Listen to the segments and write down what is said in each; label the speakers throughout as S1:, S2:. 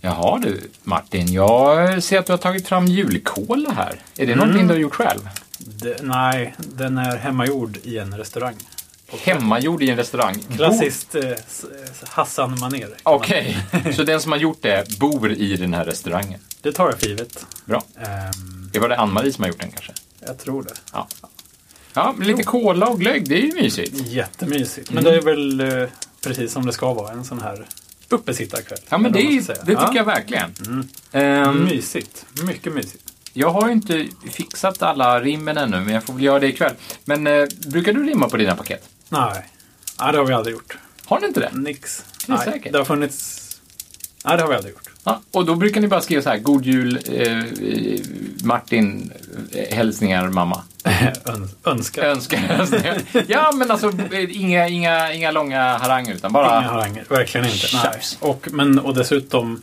S1: Jaha du Martin, jag ser att du har tagit fram julkola här. Är det någonting du har gjort själv?
S2: Det, nej, den är hemmagjord i en restaurang.
S1: Hemmagjord i en restaurang.
S2: Klassiskt eh, s- s- Hassan-manér.
S1: Bo- Okej, så den som har gjort det bor i den här restaurangen.
S2: Det tar jag för givet.
S1: Bra.
S2: Ehm,
S1: Det var det Ann-Marie som har gjort den kanske?
S2: jag tror det.
S1: Ja. Ja, men lite kola och glögg, det är ju mysigt.
S2: Jättemysigt.
S1: Mm.
S2: Men det är väl eh, precis som det ska vara, en sån här uppesittarkväll.
S1: Ja, men det,
S2: Eller
S1: är,
S2: vad man
S1: det
S2: ska säga.
S1: tycker
S2: Ja. Mm.
S1: jag verkligen. Ehm,
S2: Mysigt. Mycket mysigt.
S1: jag har ju inte fixat alla rimmen ännu, men jag får väl göra det ikväll. Men eh, brukar du rimma på dina paket?
S2: Nej. nej, det har vi aldrig gjort.
S1: Har du inte det?
S2: Nix.
S1: Det är
S2: nej,
S1: säkert.
S2: det har funnits... Nej, det har vi aldrig gjort.
S1: Ja, och då brukar ni bara skriva så här, God Jul eh, eh, Martin, eh, hälsningar mamma.
S2: Öns- Önskar.
S1: Önskar hälsningar. Ja, men alltså eh, inga, inga, inga långa haranger utan bara...
S2: Inga haranger, verkligen inte. Nej.
S1: Tjafs.
S2: Och, men, och dessutom,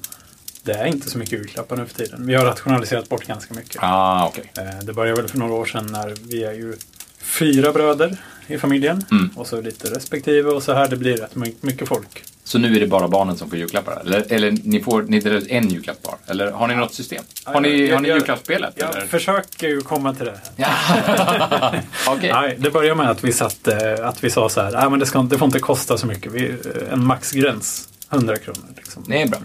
S2: det är inte så mycket julklappar nu för tiden. Vi har rationaliserat bort ganska mycket.
S1: Ah, okej.
S2: Eh, Det började väl för några år sedan när vi är ju fyra bröder i familjen.
S1: Mm.
S2: Och så lite respektive och så här. Det blir rätt my- mycket folk.
S1: Så nu är det bara barnen som får julklappar? Eller, eller ni får ni delar ut en julklapp var? Eller har ni något system? Har ni,
S2: Jag-
S1: har ni
S2: jag-
S1: julklappsspelet?
S2: Jag
S1: eller?
S2: försöker ju komma till det. här.
S1: Okej.
S2: Nej, det började med att vi, satt, eh, att vi sa så här, Nej, men det, ska, inte- det får inte kosta så mycket. Vi, eh, en maxgräns, 100 kronor liksom,
S1: Det är bra.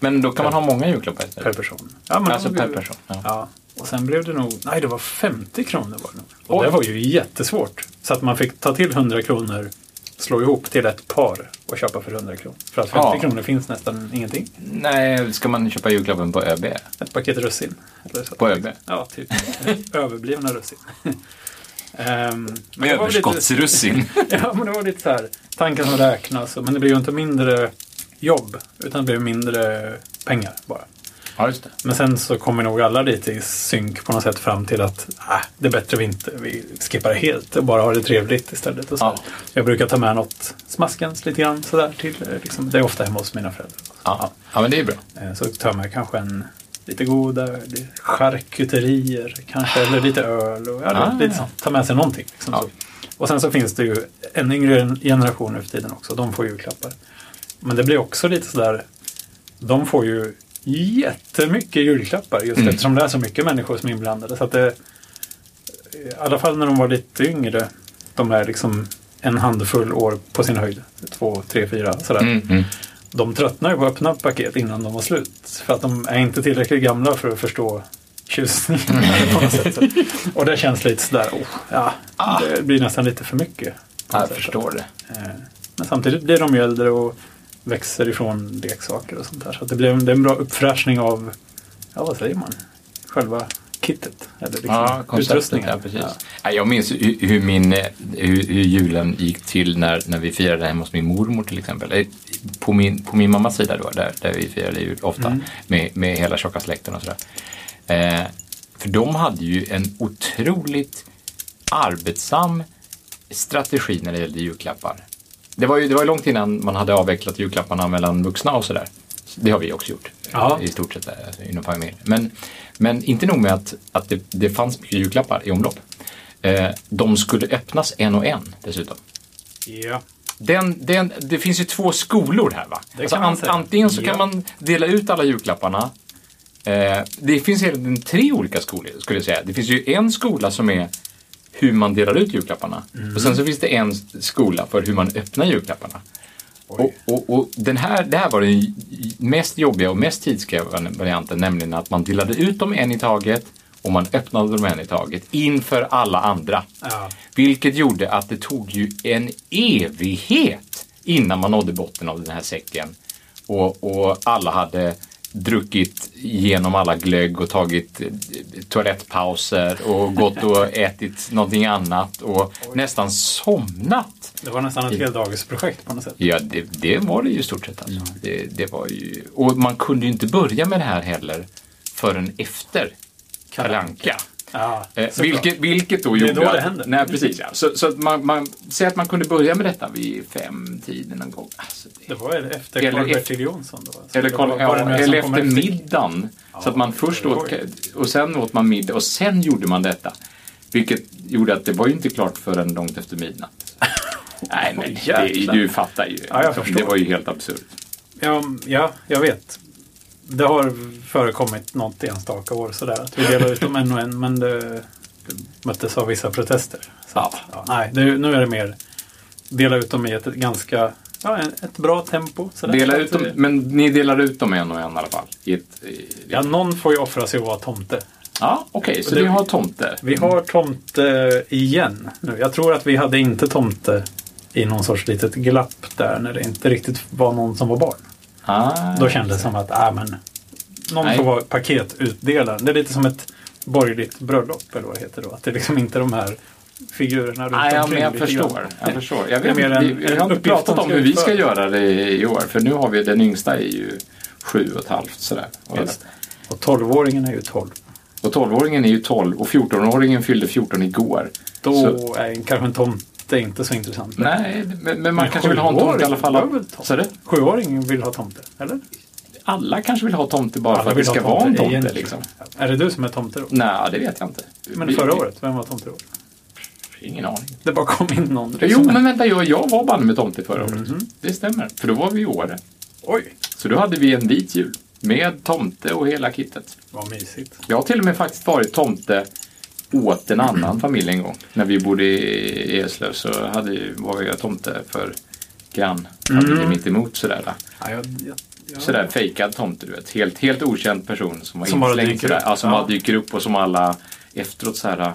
S1: Men då kan man ha många julklappar
S2: per
S1: istället?
S2: person. Ja, men
S1: Alltså
S2: vi-
S1: per person. Ja.
S2: Ja, och sen blev det nog, nej det var 50 kronor var det nog. Och
S1: Oj.
S2: det var ju jättesvårt. Så att man fick ta till 100 kronor, slå ihop till ett par och köpa för 100 kronor. För att 50
S1: Ja.
S2: kronor finns nästan ingenting.
S1: Nej, ska man köpa julklappen på ÖB?
S2: Ett paket russin. Eller så.
S1: På ÖB?
S2: Ja, typ. Överblivna russin. Ehm, men det var väl lite-
S1: Överskottsrussin.
S2: Ja, men det var lite så här, tanken som räknas. Men det blir ju inte mindre jobb, utan det blir mindre pengar bara.
S1: ja, just det.
S2: Men sen så kommer nog alla lite i synk på något sätt fram till att ah, det är bättre vi inte vi skippar helt och bara har det trevligt istället. Och så.
S1: Ja.
S2: Jag brukar ta med något smaskens lite grann sådär till. eh, Liksom, det är ofta hemma hos mina föräldrar.
S1: Ja. ja, men det är bra.
S2: Eh, Så tar jag med kanske en lite goda lite charkuterier kanske eller lite öl och ja,
S1: Ah.
S2: lite sånt. Ta med sig någonting. Liksom,
S1: Ja.
S2: så. Och sen så finns det ju en yngre generation nu för tiden också. De får julklappar. Men det blir också lite sådär, de får ju jättemycket julklappar
S1: Mm.
S2: just eftersom det är så mycket människor som är inblandade. Så att det, I alla fall när de var lite yngre, de är liksom en handfull år på sin höjd. Två, tre, fyra sådär.
S1: Mm,
S2: De tröttnar ju på att öppna paket innan de var slut. För att de är inte tillräckligt gamla för att förstå tjusningen. på något sätt. Och det känns lite sådär, oh, ja, det blir nästan lite för mycket. på
S1: Ah.
S2: något
S1: Jag
S2: sätt.
S1: förstår det.
S2: Eh, Men samtidigt blir de ju äldre och växer ifrån leksaker och sånt där. Så att det, blir en, det är en bra uppfräschning av, ja vad säger man, själva kittet. Eller liksom utrustningen.
S1: Ja, precis. Nej, Jag minns hur, hur, min, eh, hur, hur julen gick till när, när vi firade hemma hos min mormor till exempel. Eh, På min, på min mammas sida då, där, där vi firade jul ofta med, med hela tjocka släkten och sådär. Eh, för de hade ju en otroligt arbetsam strategi när det gällde julklappar. Det var ju det var ju långt innan man hade avvecklat julklapparna mellan vuxna och sådär. Det har vi också gjort
S2: Ja.
S1: i stort sett eh, inom familjen. Men, men inte nog med att, att det, det fanns mycket julklappar i omlopp. Eh, de skulle öppnas en och en dessutom.
S2: Ja.
S1: Den, den, det finns ju två skolor här va? Alltså,
S2: Det kan man säga.
S1: antingen så
S2: Ja.
S1: kan man dela ut alla julklapparna. Eh, det finns egentligen tre olika skolor skulle jag säga. Det finns ju en skola som är hur man delar ut julklapparna.
S2: Mm.
S1: Och sen så finns det en skola för hur man öppnar julklapparna. Och, och, och den här, det här var den j- mest jobbiga och mest tidskrävande varianten, nämligen att man delade ut dem en i taget och man öppnade dem en i taget inför alla andra.
S2: Ja.
S1: Vilket gjorde att det tog ju en evighet innan man nådde botten av den här säcken. Och, och alla hade druckit igenom alla glögg och tagit eh, toalettpauser och gått och ätit någonting annat och nästan somnat.
S2: Det var nästan ett heldagsprojekt på något sätt.
S1: Ja, det, det var det ju i stort sett. Alltså. Det, det var ju, och man kunde ju inte börja med det här heller förrän efter Kalle Anka.
S2: Ja,
S1: Eh,
S2: såklart.
S1: vilket, vilket då
S2: är
S1: gjorde
S2: då
S1: att-
S2: det händer.
S1: Nej, precis. Ja. Så, så att man, man, säg att man kunde börja med detta vid femtiden någon gång. Alltså,
S2: Det
S1: det,
S2: var väl efter
S1: Eller
S2: Karl-Bertil
S1: efter-
S2: Jonsson? Då, va? Så
S1: eller
S2: det
S1: kolla,
S2: var- var det
S1: ja,
S2: några som
S1: eller
S2: kom
S1: efter middagen. så att man
S2: det
S1: först
S2: var
S1: åt,
S2: ju-
S1: och sen åt man middag och sen gjorde man detta. Vilket gjorde att det var ju inte klart förrän långt efter midnatt. Nej, men det,
S2: jäklar.
S1: du fattar ju.
S2: Ja, jag förstår.
S1: det var ju helt absurt.
S2: Ja, ja, jag vet. det har förekommit något enstaka år sådär att vi delar ut dem en och en men det, det möttes av vissa protester. Så, att, ja, nej, det, nu är det mer dela ut dem i ett ganska ja, ett bra tempo. sådär.
S1: Dela
S2: Så
S1: ut
S2: att,
S1: dem, men ni delar ut dem en och en i alla fall? I ett, i,
S2: Ja, någon får ju offra sig och vara tomte.
S1: Ja, okej, så
S2: Det-
S1: ni har tomte?
S2: Vi har tomte igen nu. Jag tror att vi hade inte tomte i någon sorts litet glapp där när det inte riktigt var någon som var barn.
S1: Ah,
S2: Då kändes det som att äh, men, någon
S1: Nej.
S2: får vara paketutdelare. Det är lite som ett borgerligt bröllop eller vad det heter då. Att det är liksom inte de här figurerna runt
S1: Nej, ja, men jag
S2: lite
S1: förstår.
S2: grann.
S1: Jag, förstår. jag,
S2: Det är
S1: vet,
S2: mer
S1: inte,
S2: en-
S1: vi, vi
S2: en
S1: har inte
S2: uppgift
S1: pratat
S2: de
S1: om
S2: ska
S1: hur vi ska
S2: utföra.
S1: göra det i år, för nu har vi den yngsta är ju sju och ett halvt sådär. Och,
S2: Just. Och tolvåringen är ju tolv.
S1: och 12-åringen är ju 12 och 14-åringen fyllde 14 igår.
S2: Då
S1: Så,
S2: är en- kanske en tomte inte så intressant.
S1: nej, men, men man
S2: Men
S1: kanske vill ha en tomte i alla fall.
S2: sjuåring var väl tomte?
S1: Så det,
S2: Sjuåringen vill ha tomte, eller?
S1: alla kanske vill ha tomte bara för att det
S2: vill
S1: ska
S2: ha
S1: vara en tomte.
S2: egentligen.
S1: Liksom. Mm.
S2: Är det du som är tomte då?
S1: Nej, det vet jag inte.
S2: Men
S1: Vi-
S2: förra
S1: vi-
S2: året, vem var tomte då?
S1: Ingen aning.
S2: Det bara kom in någon.
S1: Jo, men vänta, jag, jag var banne med tomte förra året.
S2: Mhm.
S1: Det stämmer, för då var vi i Åre.
S2: Oj,
S1: Så då hade vi en vit jul med tomte och hela kittet.
S2: vad mysigt.
S1: Jag har till och med faktiskt varit tomte åt en annan familj en gång. När vi bodde i Eslöv så hade, ju- var jag tomte för grannfamiljen
S2: Mm.
S1: mitt emot sådär. va.
S2: Ja, jag, jag, jag,
S1: Sådär fejkad tomte, du vet. Helt, helt okänd person som var
S2: Som bara
S1: inslängd
S2: dyker
S1: sådär.
S2: upp.
S1: Ja, som
S2: Ja.
S1: bara dyker upp och som alla efteråt såhär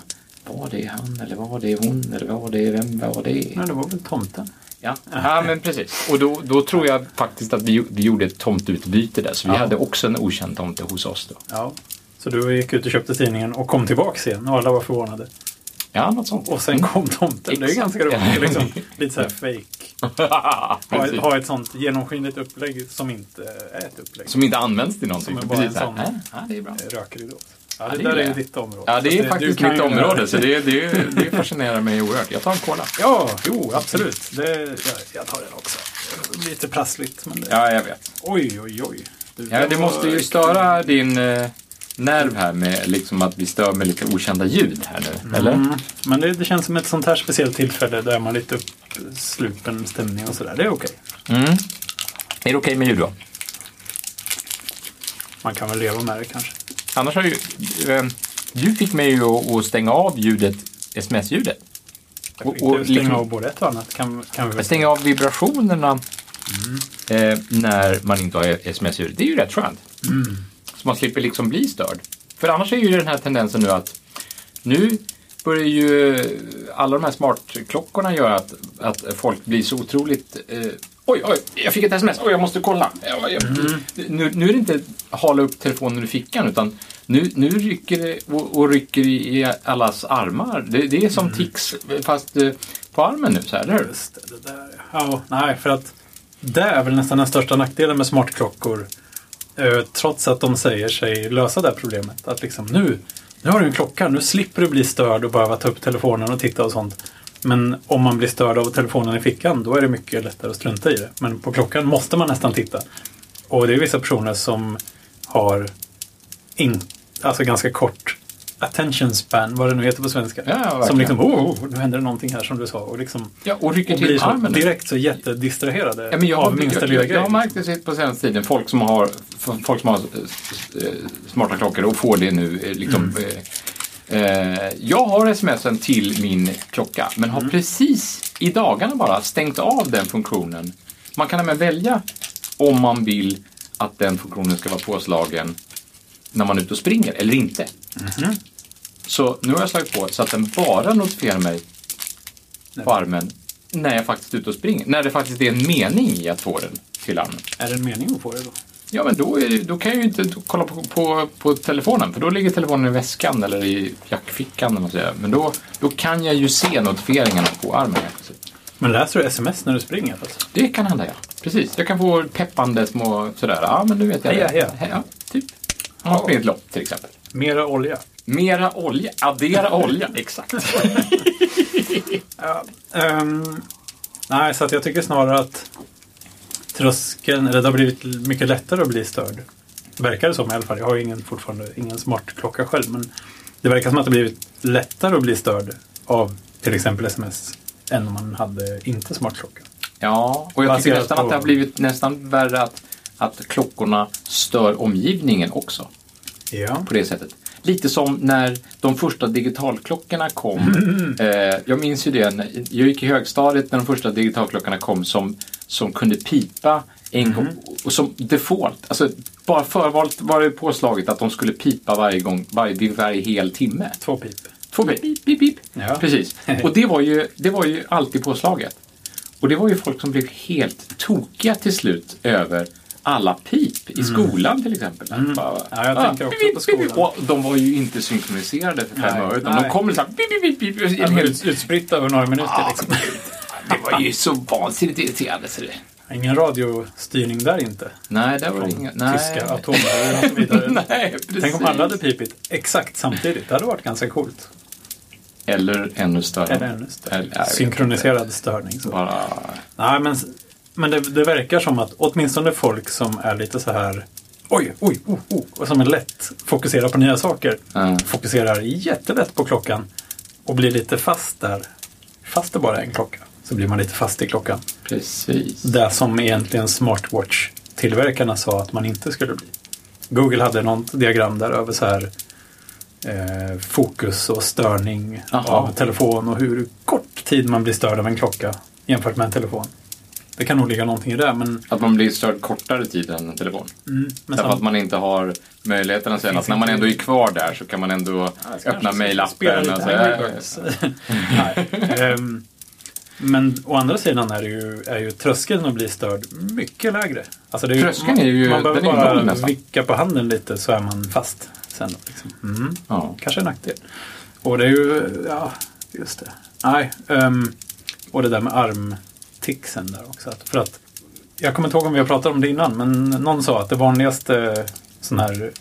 S1: var det han eller var det hon eller var det vem var det?
S2: Nej, det var väl tomten.
S1: Ja, ja men precis. Och då, då tror jag faktiskt att vi, vi gjorde ett tomtutbyte där. Så vi
S2: Ja.
S1: hade också en okänd tomte hos oss då.
S2: Ja. Så du gick ut och köpte tidningen och kom tillbaks igen och alla var förvånade.
S1: Ja, något sånt.
S2: Och sen kom tomten. Det är ju ganska roligt. Liksom, lite så här fake. Ha,
S1: Precis.
S2: ha ett sånt genomskinligt upplägg som inte är ett upplägg.
S1: Som inte används till någonting.
S2: Som är bara
S1: Precis,
S2: en
S1: så här,
S2: sån-
S1: "Nej, Ja, det är bra.
S2: Rökridåt. Ja,
S1: Ja, det
S2: det, där är ju
S1: gillar jag.
S2: ditt område.
S1: Ja, det
S2: Så
S1: är
S2: du
S1: faktiskt
S2: kan
S1: mitt
S2: ju-
S1: område så det, det, det fascinerar mig oerhört. Jag tar en cola.
S2: Ja, jo, absolut. Det, jag, jag tar den också. Lite prassligt, men det,
S1: Ja, jag vet.
S2: oj, oj, oj. Du,
S1: Ja,
S2: den
S1: det
S2: var-
S1: måste ju störa din eh, nerv här med liksom att vi stör med lite okända ljud här nu. Eller?
S2: Mm, men det, det känns som ett sånt här speciellt tillfälle där man är lite uppslupen stämning och sådär. Det är okej.
S1: Mm. Är det okej med ljud då?
S2: Man kan väl leva med det kanske.
S1: Annars har ju... Eh, du fick mig ju att- att stänga av ljudet, sms-ljudet.
S2: Jag fick
S1: Och- och
S2: ju stänga
S1: liksom-
S2: av både ett och annat. Kan, kan vi väl
S1: Jag stänger av vibrationerna eh, när man inte har sms-ljud. Det är ju rätt skönt. Så man slipper liksom bli störd. För annars är ju den här tendensen nu att nu börjar ju alla de här smartklockorna göra att, att folk blir så otroligt... Eh, oj, oj, jag fick ett sms. Oj, jag måste kolla. Jag, jag, nu, nu är det inte hala upp telefonen ur fickan utan nu, nu rycker det och, och rycker i i allas armar. Det, det är som tics fast eh, på armen nu, så här, eller hur?
S2: Just det, det där. Ja, nej, för att det är väl nästan den största nackdelen med smartklockor. Eh, trots att de säger sig lösa det här problemet. Att liksom nu, nu har du en klocka, nu slipper du bli störd och behöva ta upp telefonen och titta och sånt. Men om man blir störd av telefonen i fickan, då är det mycket lättare att strunta i det. Men på klockan måste man nästan titta. Och det är vissa personer som har in, alltså ganska kort attention span, vad det nu heter på svenska.
S1: Ja, ja,
S2: som
S1: verkligen.
S2: liksom, oh, oh, nu händer det någonting här som du sa. Och liksom,
S1: Ja, och rycker
S2: och blir
S1: till
S2: så
S1: armen.
S2: direkt så jättedistraherade
S1: Ja, men jag,
S2: av minsta
S1: jag,
S2: lilla
S1: jag, jag
S2: grej.
S1: har märkt det sett på senaste tiden, folk som har, f- folk som har eh, s- eh, smarta klockor och får det nu. eh, Liksom,
S2: Mm.
S1: eh, eh, jag har smsen till min klocka, men
S2: Mm.
S1: har precis i dagarna bara stängt av den funktionen. Man kan även välja om man vill att den funktionen ska vara påslagen när man är ute och springer eller inte.
S2: Mhm.
S1: Så nu har jag slagit på så att den bara notifierar mig på armen när jag faktiskt är ute och springer. När det faktiskt är en mening i att få den till armen.
S2: Är det en mening att få det då?
S1: Ja, men då, är det, då kan jag ju inte kolla på, på, på telefonen, för då ligger telefonen i väskan eller i jackfickan eller något sådär. Men då, då kan jag ju se notifieringarna på armen. helt plötsligt.
S2: Men läser du sms när du springer? Alltså?
S1: Det kan hända, ja. Precis. Jag kan få peppande små sådär, ja men nu vet jag
S2: Heja,
S1: det. Ja,
S2: heja.
S1: typ. Om man springer ett lopp till exempel.
S2: Mera olja?
S1: Mera olja, addera olja, exakt.
S2: Ehm, nej, så att jag tycker snarare att tröskeln, eller det har blivit mycket lättare att bli störd. Verkar det som i alla fall. Jag har ju ingen, fortfarande ingen smartklocka själv, men det verkar som att det blivit lättare att bli störd av till exempel sms än om man hade inte smartklocka.
S1: Ja, och jag tycker
S2: Baserat
S1: nästan
S2: på-
S1: att det har blivit nästan värre att, att klockorna stör omgivningen också
S2: Ja.
S1: på det sättet. Lite som när de första digitalklockorna kom. Eh, jag minns ju det, när- jag gick i högstadiet när de första digitalklockorna kom som, som kunde pipa en gång. Och som default, alltså bara förvalet var det påslaget att de skulle pipa varje gång, varje, vid varje hel timme.
S2: Två pip.
S1: Två pip, pip, pip. pip.
S2: Ja.
S1: Precis. Och det var, ju, det var ju alltid påslaget. Och det var ju folk som blev helt tokiga till slut över alla pip i skolan till exempel. Bara,
S2: Mm.
S1: "Ah,
S2: Ja, jag tänker också på
S1: pip, pip,
S2: skolan.
S1: Och de var ju inte synkroniserade för fem
S2: Nej.
S1: öre utan
S2: Nej.
S1: de kom så här pip, pip, pip, pip, i en hel... Ah.
S2: Helt utspritt över några minuter.
S1: Ja.
S2: Liksom.
S1: Det var ju så vansinnigt irriterande. Så det...
S2: Ingen radiostyrning där inte.
S1: Nej, det var inga... Nej.
S2: Tyska atomer och så vidare.
S1: Nej, precis.
S2: Tänk om alla hade pipit exakt samtidigt. Det hade varit ganska coolt.
S1: Eller ännu större.
S2: Eller ännu större.
S1: Eller- nej,
S2: Synkroniserad störning. Så.
S1: Bara...
S2: Nej, men, men det, det verkar som att åtminstone folk som är lite så här Oj, oj, oh, oh, och som är lätt fokuserar på nya saker.
S1: Ja.
S2: Fokuserar jättelätt på klockan och blir lite fast där. Fast det bara är en klocka så blir man lite fast i klockan.
S1: Precis.
S2: Det som egentligen smartwatch-tillverkarna sa att man inte skulle bli. Google hade något diagram där över så här eh, fokus och störning
S1: Aha.
S2: av telefon och hur kort tid man blir störd av en klocka jämfört med en telefon. Det kan nog ligga någonting i det, men,
S1: Att man blir störd kortare tid än en telefon.
S2: mm, men
S1: Därför att
S2: sam-
S1: man inte har möjligheten att säga
S2: Finns
S1: att när man
S2: inte.
S1: ändå är kvar där så kan man ändå öppna
S2: Spela
S1: mejlappen alltså.
S2: lite
S1: och säga...
S2: Angry Birds. Nej. Ehm, men å andra sidan är, det ju, är ju tröskeln att bli störd mycket lägre. Alltså det är ju,
S1: Tröskeln är ju-
S2: man behöver
S1: den är ju
S2: bara
S1: noll nästan.
S2: vicka på handen lite så är man fast sen. då, Liksom. Mm.
S1: Ja.
S2: Kanske en nackdel. Och det är ju, ja, just det. Nej, ehm, och det där med armtixen där också. Att, för att, jag kommer inte ihåg om vi har pratat om det innan, men någon sa att det vanligaste sån här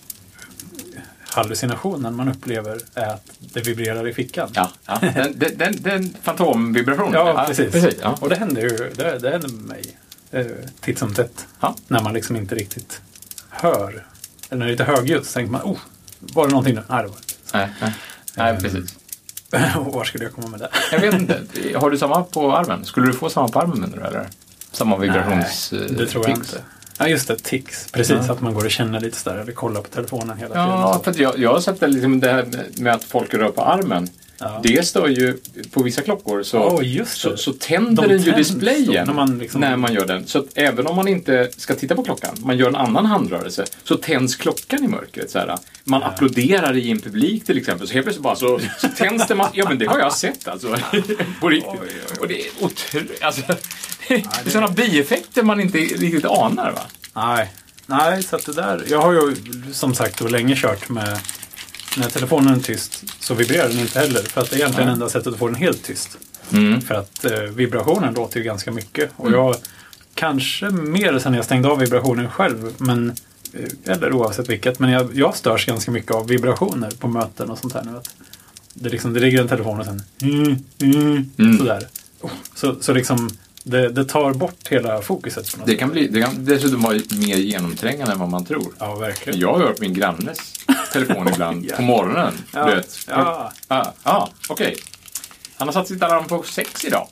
S2: hallucinationen man upplever är att det vibrerar i fickan.
S1: Ja, ja. Den, den, den, den fantomvibrationen.
S2: Ja, precis.
S1: ja.
S2: Och det händer ju det, det händer med mig eh, titt som tätt.
S1: Ja.
S2: När man liksom inte riktigt hör. Eller när det är lite högljutt så tänker man, oh, var det någonting nu? Nej, det var det
S1: Nej, nej. nej, precis.
S2: inte. Och Var skulle jag komma med det?
S1: Jag vet inte. Har du samma på armen? Skulle du få samma på armen menar du eller? Samma vibrations...
S2: Nej,
S1: eh,
S2: det tror jag
S1: tics?
S2: inte. Ja, just det, tics. Precis,
S1: Ja.
S2: att man går och känner lite sådär eller kollar på telefonen hela tiden.
S1: Ja,
S2: Så.
S1: för att jag, jag har sett det, liksom det här med- med att folk rör på armen.
S2: Ja.
S1: Det stör ju, på vissa klockor så,
S2: Ja, just
S1: så,
S2: det.
S1: så tänder
S2: De
S1: den ju
S2: tänds då,
S1: displayen
S2: när man liksom-
S1: när man gör den. Så att även om man inte ska titta på klockan, man gör en annan handrörelse, så tänds klockan i mörkret. Så här. Man applåderar i en publik till exempel, så helt plötsligt bara så, så tänds det. Man, ja, men det har jag sett alltså. på riktigt. Och det är otroligt. Alltså, det är sådana bieffekter man inte riktigt anar. Va?
S2: Nej. Nej, så att det där. Jag har ju som sagt då länge kört med när telefonen är tyst så vibrerar den inte heller. För att det är egentligen enda sättet att få den helt tyst.
S1: Mm.
S2: För att eh, vibrationen låter ju ganska mycket. Och jag kanske mer sen jag stängde av vibrationen själv. Men, eh, eller oavsett vilket. Men jag, jag störs ganska mycket av vibrationer på möten och sånt här nu. Att det, liksom, det ligger en telefon och sen mm, mm, sådär. Så, så liksom det, det tar bort hela fokuset. På något
S1: Det
S2: sätt.
S1: kan, bli, det kan dessutom vara mer genomträngande än vad man tror.
S2: Ja, verkligen.
S1: Jag har hört min grannes telefon ibland
S2: ja.
S1: på morgonen.
S2: Ja.
S1: Du vet.
S2: Ja.
S1: ah, ah, okej. Han har satt sitt alarm på sex idag.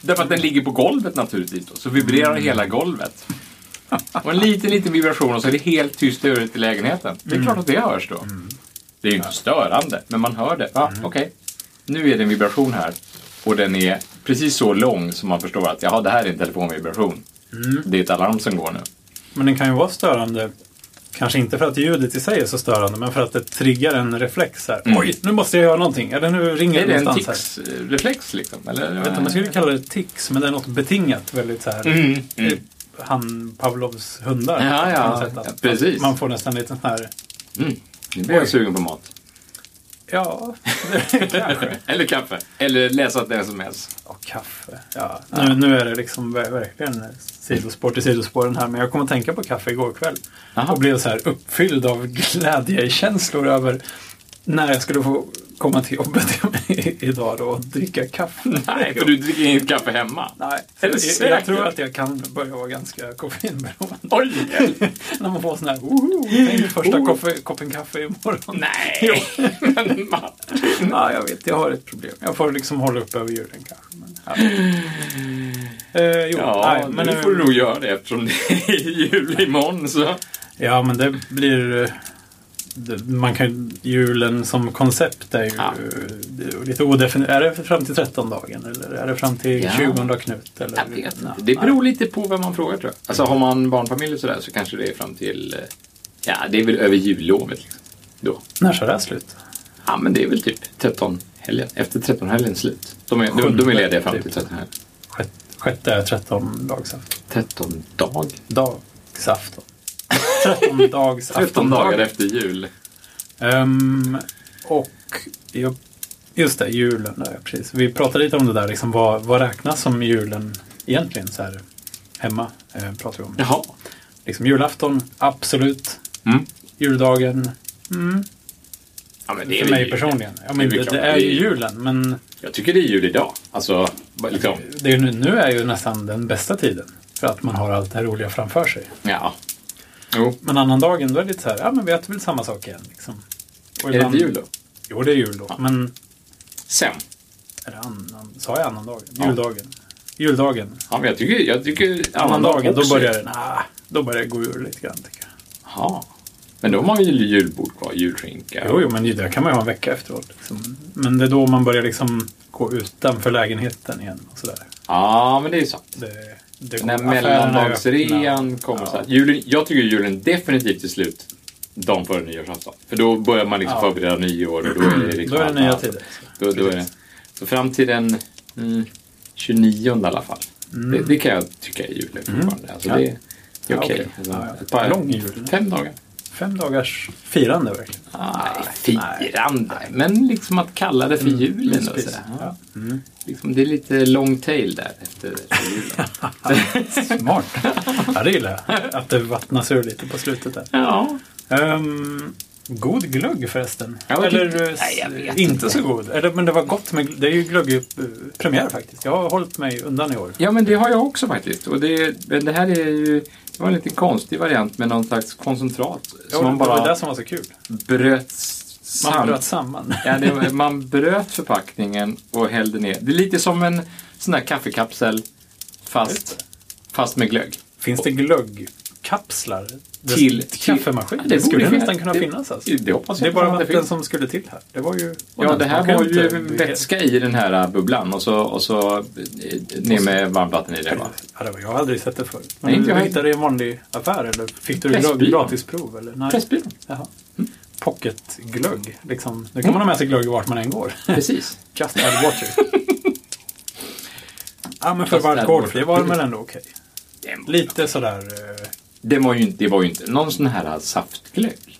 S1: Därför att den ligger på golvet naturligtvis, då, så vibrerar
S2: Mm.
S1: hela golvet. Och en liten, liten vibration och så är det helt tyst i övrigt i lägenheten. Det är
S2: Mm.
S1: klart att det hörs då. Det är ju inte störande, men man hör det. Ah,
S2: Mm.
S1: okej. Nu är det en vibration här och den är precis så lång som man förstår att jaha, det här är en telefonvibration.
S2: Mm.
S1: Det är ett alarm som går nu.
S2: Men den kan ju vara störande. Kanske inte för att ljudet i sig är så störande, men för att det triggar en reflex här.
S1: Mm.
S2: Oj, nu måste jag göra någonting. Eller nu
S1: Är
S2: ringer
S1: det
S2: det
S1: en
S2: någonstans här.
S1: tics-reflex liksom? Eller?
S2: Jag vet inte, man skulle kalla det tics, men det är något betingat väldigt så här.
S1: Mm, mm.
S2: Typ han Pavlovs hundar.
S1: Ja,
S2: på
S1: ja,
S2: något sätt. Att-
S1: ja, precis.
S2: att Man får nästan lite sån här,
S1: Mm. Nu blir jag
S2: Oj.
S1: sugen på mat.
S2: ja, kanske.
S1: Eller kaffe. Eller läsa ett sms.
S2: Och kaffe. Ja. Nu, nu är det liksom ver- verkligen sidospår till sidospåren här, men jag kom att tänka på kaffe igår kväll.
S1: Aha.
S2: Och blev så här uppfylld av glädjekänslor över när jag skulle få komma till jobbet i- idag då och dricka kaffe.
S1: Nej, för du dricker inget kaffe hemma.
S2: Nej,
S1: Är du
S2: så jag,
S1: säker?
S2: jag tror att jag kan börja vara ganska koffeinberoende.
S1: Oj!
S2: När man får sån här, woho, tänk första
S1: Oh.
S2: koffe, koppen kaffe imorgon.
S1: Nej! Men man-
S2: Ja, jag vet, jag har ett problem. Jag får liksom hålla upp över julen kanske. Men, ja. Eh, jo,
S1: Ja,
S2: nej, men,
S1: nu
S2: eh,
S1: får du nog göra det eftersom det är jul imorgon. Så.
S2: Ja, men det blir... eh, det- Man kan, julen som koncept är ju
S1: Ja.
S2: eh, lite odefinierat. Är det fram till 13-dagen eller är det fram till
S1: Ja.
S2: 20 Knut? Eller?
S1: Jag vet inte.
S2: Nej.
S1: Det beror lite på vem man frågar tror jag. Alltså har man barnfamilj och sådär så kanske det är fram till... eh, Ja, det är väl över jullovet. Liksom. Då.
S2: När tar det här slut?
S1: Ja, men det är väl typ 13 helgen. Efter 13 helgen slut. De är, de, de är lediga fram till 13 helgen.
S2: Sjätte- Sjätte är 13 dagsafton.
S1: 13 dag?
S2: Dagsafton. 13 dagsafton.
S1: 13 dagar efter jul.
S2: Ehm, och jag, just det, julen. Där, precis. Vi pratade lite om det där, liksom, vad, vad räknas som julen egentligen? Så här, hemma eh, pratar vi om.
S1: Jaha.
S2: Liksom, julafton, absolut.
S1: Mm.
S2: Juldagen, mm,
S1: Ja, men det är
S2: för
S1: väl
S2: mig
S1: jul.
S2: personligen. Ja,
S1: Det är
S2: men,
S1: väl
S2: det,
S1: klart.
S2: det är ju
S1: Det är-
S2: julen, men
S1: Jag tycker det är jul idag. Alltså, bara liksom.
S2: det är, ju nu- nu är ju nästan den bästa tiden. För att man har allt det här roliga framför sig.
S1: Ja. Jo.
S2: Men annan dagen, då är det lite så här, ja men vi äter väl samma sak igen. Liksom. Och
S1: Är det inte jul då?
S2: Jo, det är jul då. Men
S1: Sen.
S2: Är det annan, sa jag annan dag?
S1: Ja.
S2: Juldagen. Juldagen.
S1: Ja, men jag tycker... Jag tycker
S2: Annan dagen, då
S1: också.
S2: börjar det, nah, då börjar det gå ur lite grann tycker jag.
S1: Jaha. Men de har ju julbord kvar, julskinka.
S2: Jo, jo, men det kan man ju ha en vecka efteråt. Liksom. Men det är då man börjar liksom gå utanför lägenheten igen och sådär.
S1: Ja, men det är ju sant.
S2: Det, det
S1: Den här
S2: affärerna är
S1: mellandagsrean
S2: öppna.
S1: kommer
S2: Ja.
S1: så här. Julen, jag tycker julen definitivt är slut dagen före nyårsafton. För då börjar man liksom
S2: Ja.
S1: förbereda nyår och då är det liksom
S2: Mm, Då är
S1: allt
S2: det nya
S1: annat.
S2: tider.
S1: Då, då är det. Så fram till den mm, 29 i alla fall. Det, det kan jag tycka är julen fortfarande. Alltså
S2: Mm. Ja.
S1: det, det är
S2: Ja,
S1: okej.
S2: okej. Ja, ja.
S1: Alltså, ett par-
S2: Lång jul.
S1: Fem dagar.
S2: Fem dagars firande verkligen.
S1: Nej, firande. Men liksom att kalla det för julen. och
S2: Mysprecis.
S1: sådär. Ja.
S2: Mm, Ja. Mm.
S1: Liksom, det är lite long tail där efter efter julen.
S2: Smart. ja, det gillar jag. Att det vattnas ur lite på slutet där.
S1: ja.
S2: Ehm, god glögg förresten.
S1: Ja, vad
S2: Eller
S1: tyckte-
S2: eh,
S1: Nej, jag vet
S2: inte, så god. Eller, men det var gott med gl- Det är ju glöggpremiär faktiskt. Jag har hållit mig undan i år.
S1: Ja, men det har jag också faktiskt. Och det, men det här är ju... Det var en lite konstig variant med någon slags koncentrat.
S2: Ja,
S1: Som man
S2: Det var det
S1: bara
S2: som var så kul.
S1: bröt
S2: Man
S1: sam-
S2: bröt samman.
S1: Ja, det var, man bröt förpackningen och hällde ner. Det är lite som en sån där kaffekapsel fast, fast med glögg.
S2: Finns det glöggkapslar? Det-
S1: Till- till-
S2: kaffemaskin?
S1: Ja,
S2: det, skulle
S1: finnas.
S2: nästan kunna
S1: Det-
S2: finnas. Alltså.
S1: Det hoppas
S2: Det är
S1: jag
S2: bara
S1: att det
S2: vatten
S1: finns.
S2: som skulle till här. Det var ju...
S1: Ja, det här var ju
S2: Inte-
S1: vätska i den här bubblan och så, och så eh, ner med varmt vatten i det. Va?
S2: Ja, det var, jag har aldrig sett det förut. Men
S1: Nej, inte jag
S2: du
S1: heller.
S2: hittade det i en vanlig affär eller fick du
S1: Pressbyrån.
S2: glögg- gratisprov? Eller? Nej.
S1: Pressbyrån.
S2: Jaha. Mm. Pocketglögg. Liksom. Nu kan man ha med sig glögg vart man än går.
S1: Precis.
S2: Just add water. ja, men för
S1: Just add
S2: alkoholfri var den
S1: water.
S2: väl ändå okej. Lite sådär... eh,
S1: Det var ju, inte- det var ju inte någon sån här saftglögg.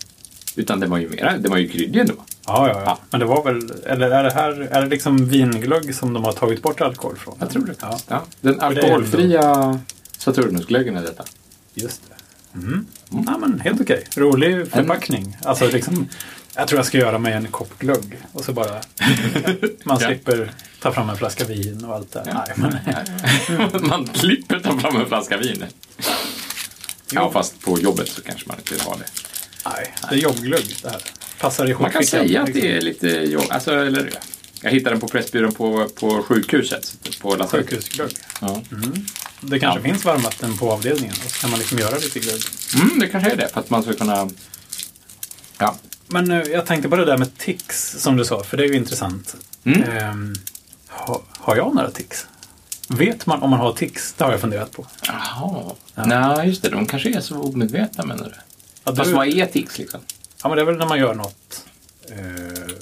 S1: Utan det var ju mera, det var ju kryddor ändå.
S2: Ja, ja,
S1: Ja.
S2: ja. Men det var väl... Eller är det här är det liksom vinglögg som de har tagit bort alkohol från?
S1: Jag tror det.
S2: Ja,
S1: Ja. Den
S2: ändå-
S1: alkoholfria Saturnusglöggen är detta.
S2: just det. Mm. Ja, men helt okej. Rolig förpackning. Alltså liksom... Jag tror jag ska göra mig en kopp glögg och så bara... Man
S1: Ja.
S2: slipper ta fram en flaska vin och allt det där.
S1: Ja.
S2: Nej, men...
S1: man slipper ta fram en flaska vin. Ja, fast på jobbet så kanske man inte vill ha det.
S2: Nej, det är jobbglögg det här. Passar i
S1: Man kan
S2: skjortfickan,
S1: säga att
S2: liksom.
S1: det är lite jobb... Alltså, eller, jag hittade den på Pressbyrån på, på sjukhuset. På lasarett.
S2: Sjukhusglögg.
S1: Ja.
S2: Det kanske
S1: Ja.
S2: finns varmvatten på avdelningen och så kan man liksom göra lite glögg.
S1: Mm, det kanske är det, för att man ska kunna... Ja.
S2: Men eh, jag tänkte på det där med tics som du sa, för det är ju intressant.
S1: Mm.
S2: Ehm, ha, har jag några tics? Vet man om man har tics? Det har jag funderat på.
S1: Jaha. Nej, just det. De kanske är så omedvetna, menar du?
S2: Ja, du,
S1: Fast vad är tics, liksom?
S2: ja, men det är väl när man gör något, eh,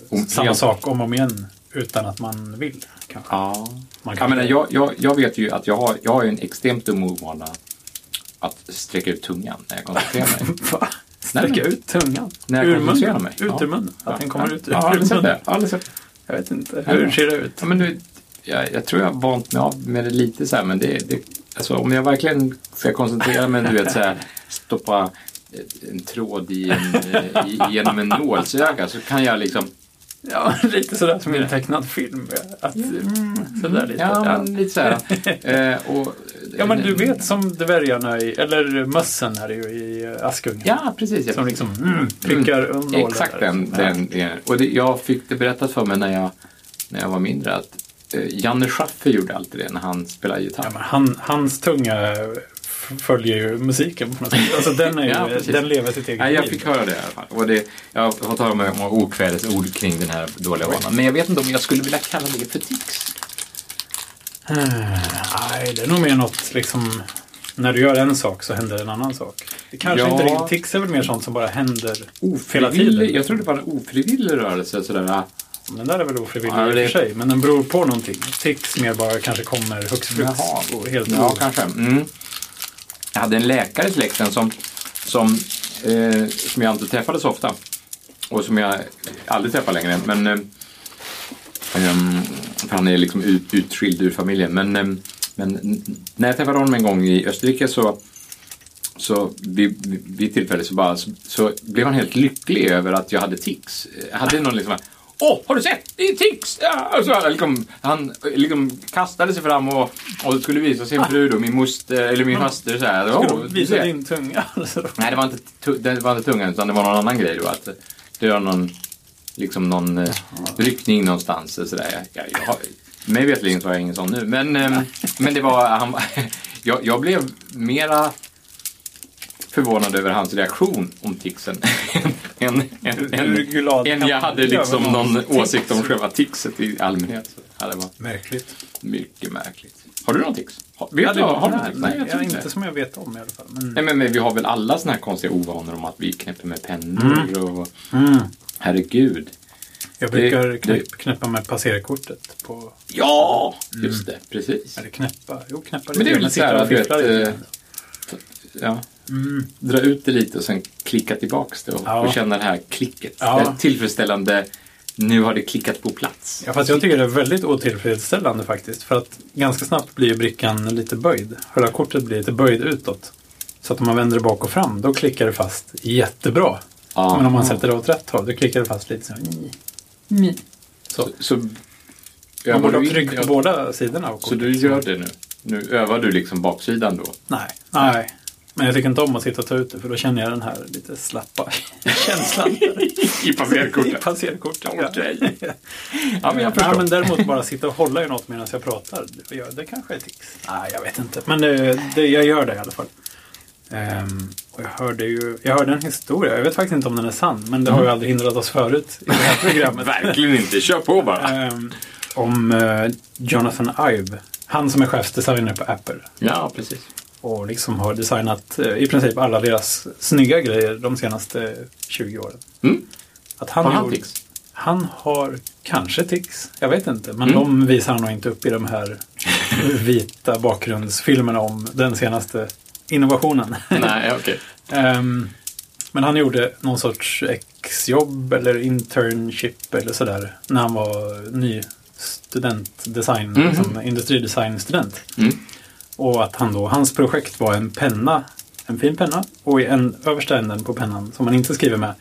S1: Om-
S2: samma
S1: ja.
S2: sak om och om igen utan att man vill. Kanske.
S1: Ja.
S2: Man
S1: Jag,
S2: kan-
S1: menar, jag, jag, jag vet ju att jag har, jag har ju en extremt dum ovana att sträcka ut tungan när jag koncentrerar mig.
S2: Va? Sträcka ut tungan
S1: När jag
S2: ur
S1: koncentrerar
S2: munnen.
S1: mig.
S2: Ut
S1: Ja.
S2: ur munnen. Att den kommer
S1: ja.
S2: ut ur
S1: Ja, aldrig sett
S2: munnen.
S1: det. Aldrig sett det.
S2: Jag vet inte.
S1: Ja.
S2: Hur ser det ut?
S1: Ja, men du, jag, jag tror jag har vant mig av med det lite så här, men det, det, alltså, om jag verkligen ska koncentrera mig, du vet så här, stoppa eh, en tråd i en, eh, i, genom en nålsöga så kan jag liksom,
S2: Ja, lite sådär som i en tecknad film. Att, mm, sådär lite.
S1: Mm. ja men lite så här. Eh, och,
S2: Ja, men du vet som dvärgarna i, eller mössen här ju i eh, Askungen.
S1: Ja, precis. Jag,
S2: Som liksom mm, prickar mm,
S1: Exakt den. den, den. Och det, jag fick det berättat för mig när jag, när jag var mindre att eh, Janne Schaffer gjorde alltid det när han spelade gitarr.
S2: Ja, men han, hans tunga f- följer ju musiken på något sätt. Alltså den, är ju,
S1: Ja, precis.
S2: den lever sitt eget
S1: Nej, jag
S2: liv.
S1: fick höra det i alla fall. Och det, jag har tagit med många okvädesord kring den här dåliga vanan. Men jag vet inte om jag skulle vilja kalla det för tics.
S2: Nej, det är nog mer något liksom... När du gör en sak så händer en annan sak. Det kanske
S1: Ja. Oh,
S2: inte riktigt... Tics är väl mer sånt som bara händer hela
S1: Frivillig-
S2: tiden.
S1: Jag tror det var en ofrivillig rörelse. Sådär. ah,
S2: Den där är väl ofrivillig
S1: Ja,
S2: i och
S1: det-
S2: för sig, men den beror på någonting. Tics mer bara kanske kommer högst flux.
S1: Jaha.
S2: och Helt
S1: Ja,
S2: o-
S1: kanske. Mm. Jag hade en läkare i släkten som, som, eh, som jag inte träffade så ofta. Och som jag aldrig träffar längre. Men, eh, ehm, för han är liksom ut, utskild ur familjen. Men, ehm, men n- när jag träffade honom en gång i Österrike så så vid, vid- vid tillfälle så, bara, så, så blev han helt lycklig över att jag hade tics. Jag hade någon liksom Åh, har du sett? Det är tics! Ja, och så, här, liksom, han eh, liksom kastade sig fram och, och skulle visa
S2: Ah.
S1: sin fru då, min moster, eller min faster så här.
S2: Ska
S1: "Åh,
S2: du
S1: du
S2: Ah. visa
S1: ser."
S2: din tunga? Alltså.
S1: Nej, det var, inte tu- det var inte tungan utan det var någon annan grej då. Att det var någon, liksom någon eh, ryckning någonstans. och Sådär. Jag, jag, jag, har- mig veterligen så har jag ingen sån nu. Men, eh, men det var, han, var- jag, jag blev mera förvånad över hans reaktion om ticsen. än, än,
S2: Hur
S1: än,
S2: glad
S1: än
S2: kan
S1: jag
S2: man
S1: hade
S2: bli
S1: liksom
S2: över någons
S1: någon
S2: tics?
S1: åsikt om själva ticset i allmänhet. Ja, det var
S2: Märkligt.
S1: mycket märkligt. Har du någon tics? Har, vet
S2: Ja,
S1: du,
S2: det var,
S1: har du någon
S2: nej,
S1: tics?
S2: nej,
S1: jag tror
S2: inte som jag vet om i alla fall. Men,
S1: Nej, men, men vi har väl alla såna här konstiga ovanor om att vi knäpper med pennor och
S2: mm,
S1: herregud.
S2: jag
S1: Det-
S2: brukar
S1: det-
S2: knäpp, knäppa med passerkortet på...
S1: Ja! Mm. Just det, precis.
S2: Eller knäppa? Jo, knäppa.
S1: Men det är väl
S2: Man
S1: lite så här
S2: sitter och
S1: att du vet,
S2: fifflar lite.
S1: eh,
S2: Mm.
S1: ja, dra ut det lite och sen klicka tillbaks det och,
S2: Ja.
S1: och känna det här klicket.
S2: Ja.
S1: Det här tillfredsställande, nu har det klickat på plats.
S2: Ja, fast jag tycker det är väldigt otillfredsställande faktiskt. För att ganska snabbt blir brickan lite böjd. Själva kortet blir lite böjd utåt. Så att om man vänder det bak och fram, då klickar det fast jättebra.
S1: Ja.
S2: Men om man sätter det åt rätt håll, då klickar det fast lite så här. "Nj, nj." Så.
S1: Så,
S2: Man
S1: övar
S2: borde ha
S1: du
S2: tryck
S1: in,
S2: på båda sidorna. av
S1: så
S2: kortet.
S1: du gör det nu? Nu övar du liksom baksidan då?
S2: Nej, nej. Men jag tycker inte om att sitta och ta ut det, för då känner jag den här lite slappa känslan.
S1: I
S2: I
S1: passerkortet?
S2: passerkortet. ja.
S1: Okej. Ja, men jag
S2: Nej,
S1: förstår.
S2: men däremot bara sitta och hålla i något medan jag pratar. Det, gör- det kanske är tics. Nej, jag vet inte. Men det, det, jag gör det i alla fall. Ehm, och jag, hörde ju, jag hörde en historia. Jag vet faktiskt inte om den är sann, men det har ju aldrig hindrat oss förut i det här programmet.
S1: Verkligen inte, kör på bara.
S2: Ehm, om eh, Jonathan Ive. Han som är chefsdesigner på Apple.
S1: Ja, precis.
S2: Och liksom har designat eh, i princip alla deras snygga grejer de senaste 20 åren.
S1: Mm.
S2: Att han,
S1: Har han
S2: gjorde-
S1: tics?
S2: Han har kanske tics, jag vet inte. Men
S1: Mm.
S2: de visar han nog inte upp i de här vita bakgrundsfilmerna om den senaste innovationen.
S1: Nej, okej.
S2: Ehm, men han gjorde någon sorts exjobb eller internship eller sådär när han var ny studentdesign,
S1: Mhm.
S2: liksom, industridesignstudent.
S1: Mm.
S2: Och att han då, hans projekt var en penna, en fin penna, och i en översta änden på pennan som man inte skriver med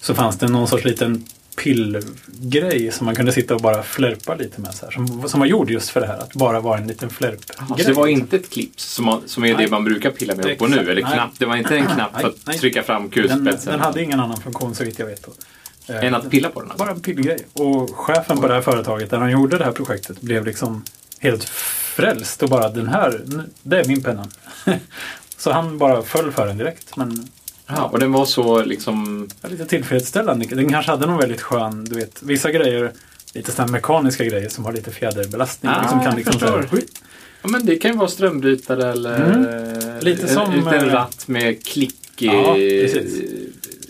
S2: så fanns det någon sorts liten pillgrej som man kunde sitta och bara flärpa lite med. Så här, som, som var gjord just för det här, att bara vara en liten flärpgrej.
S1: Så Alltså, det var inte ett clips som, man, som är
S2: Nej.
S1: det man brukar pilla med upp på
S2: Exakt,
S1: nu? Eller
S2: nej.
S1: knapp? Det var inte en knapp för
S2: Nej,
S1: att
S2: nej.
S1: trycka fram
S2: den,
S1: kulspetsen?
S2: den hade ingen annan funktion så vitt jag vet. Då. Eh,
S1: Än att pilla på den? Alltså.
S2: Bara en pillgrej. Och chefen på det här företaget, där han gjorde det här projektet, blev liksom helt frälst och bara den här, nu- det är min penna. så han bara föll för den direkt. Men
S1: Ja, och den var så liksom...
S2: Ja, lite tillfredsställande. Den kanske hade någon väldigt skön, du vet, vissa grejer, lite sådana mekaniska grejer som har lite fjäderbelastning.
S1: Ah,
S2: liksom kan
S1: jag
S2: liksom så
S1: förstår.
S2: här,
S1: Ja, men det kan ju vara strömbrytare eller...
S2: Lite
S1: en,
S2: som,
S1: En liten
S2: eh,
S1: ratt med klick...
S2: Ja,
S1: eh,
S2: precis.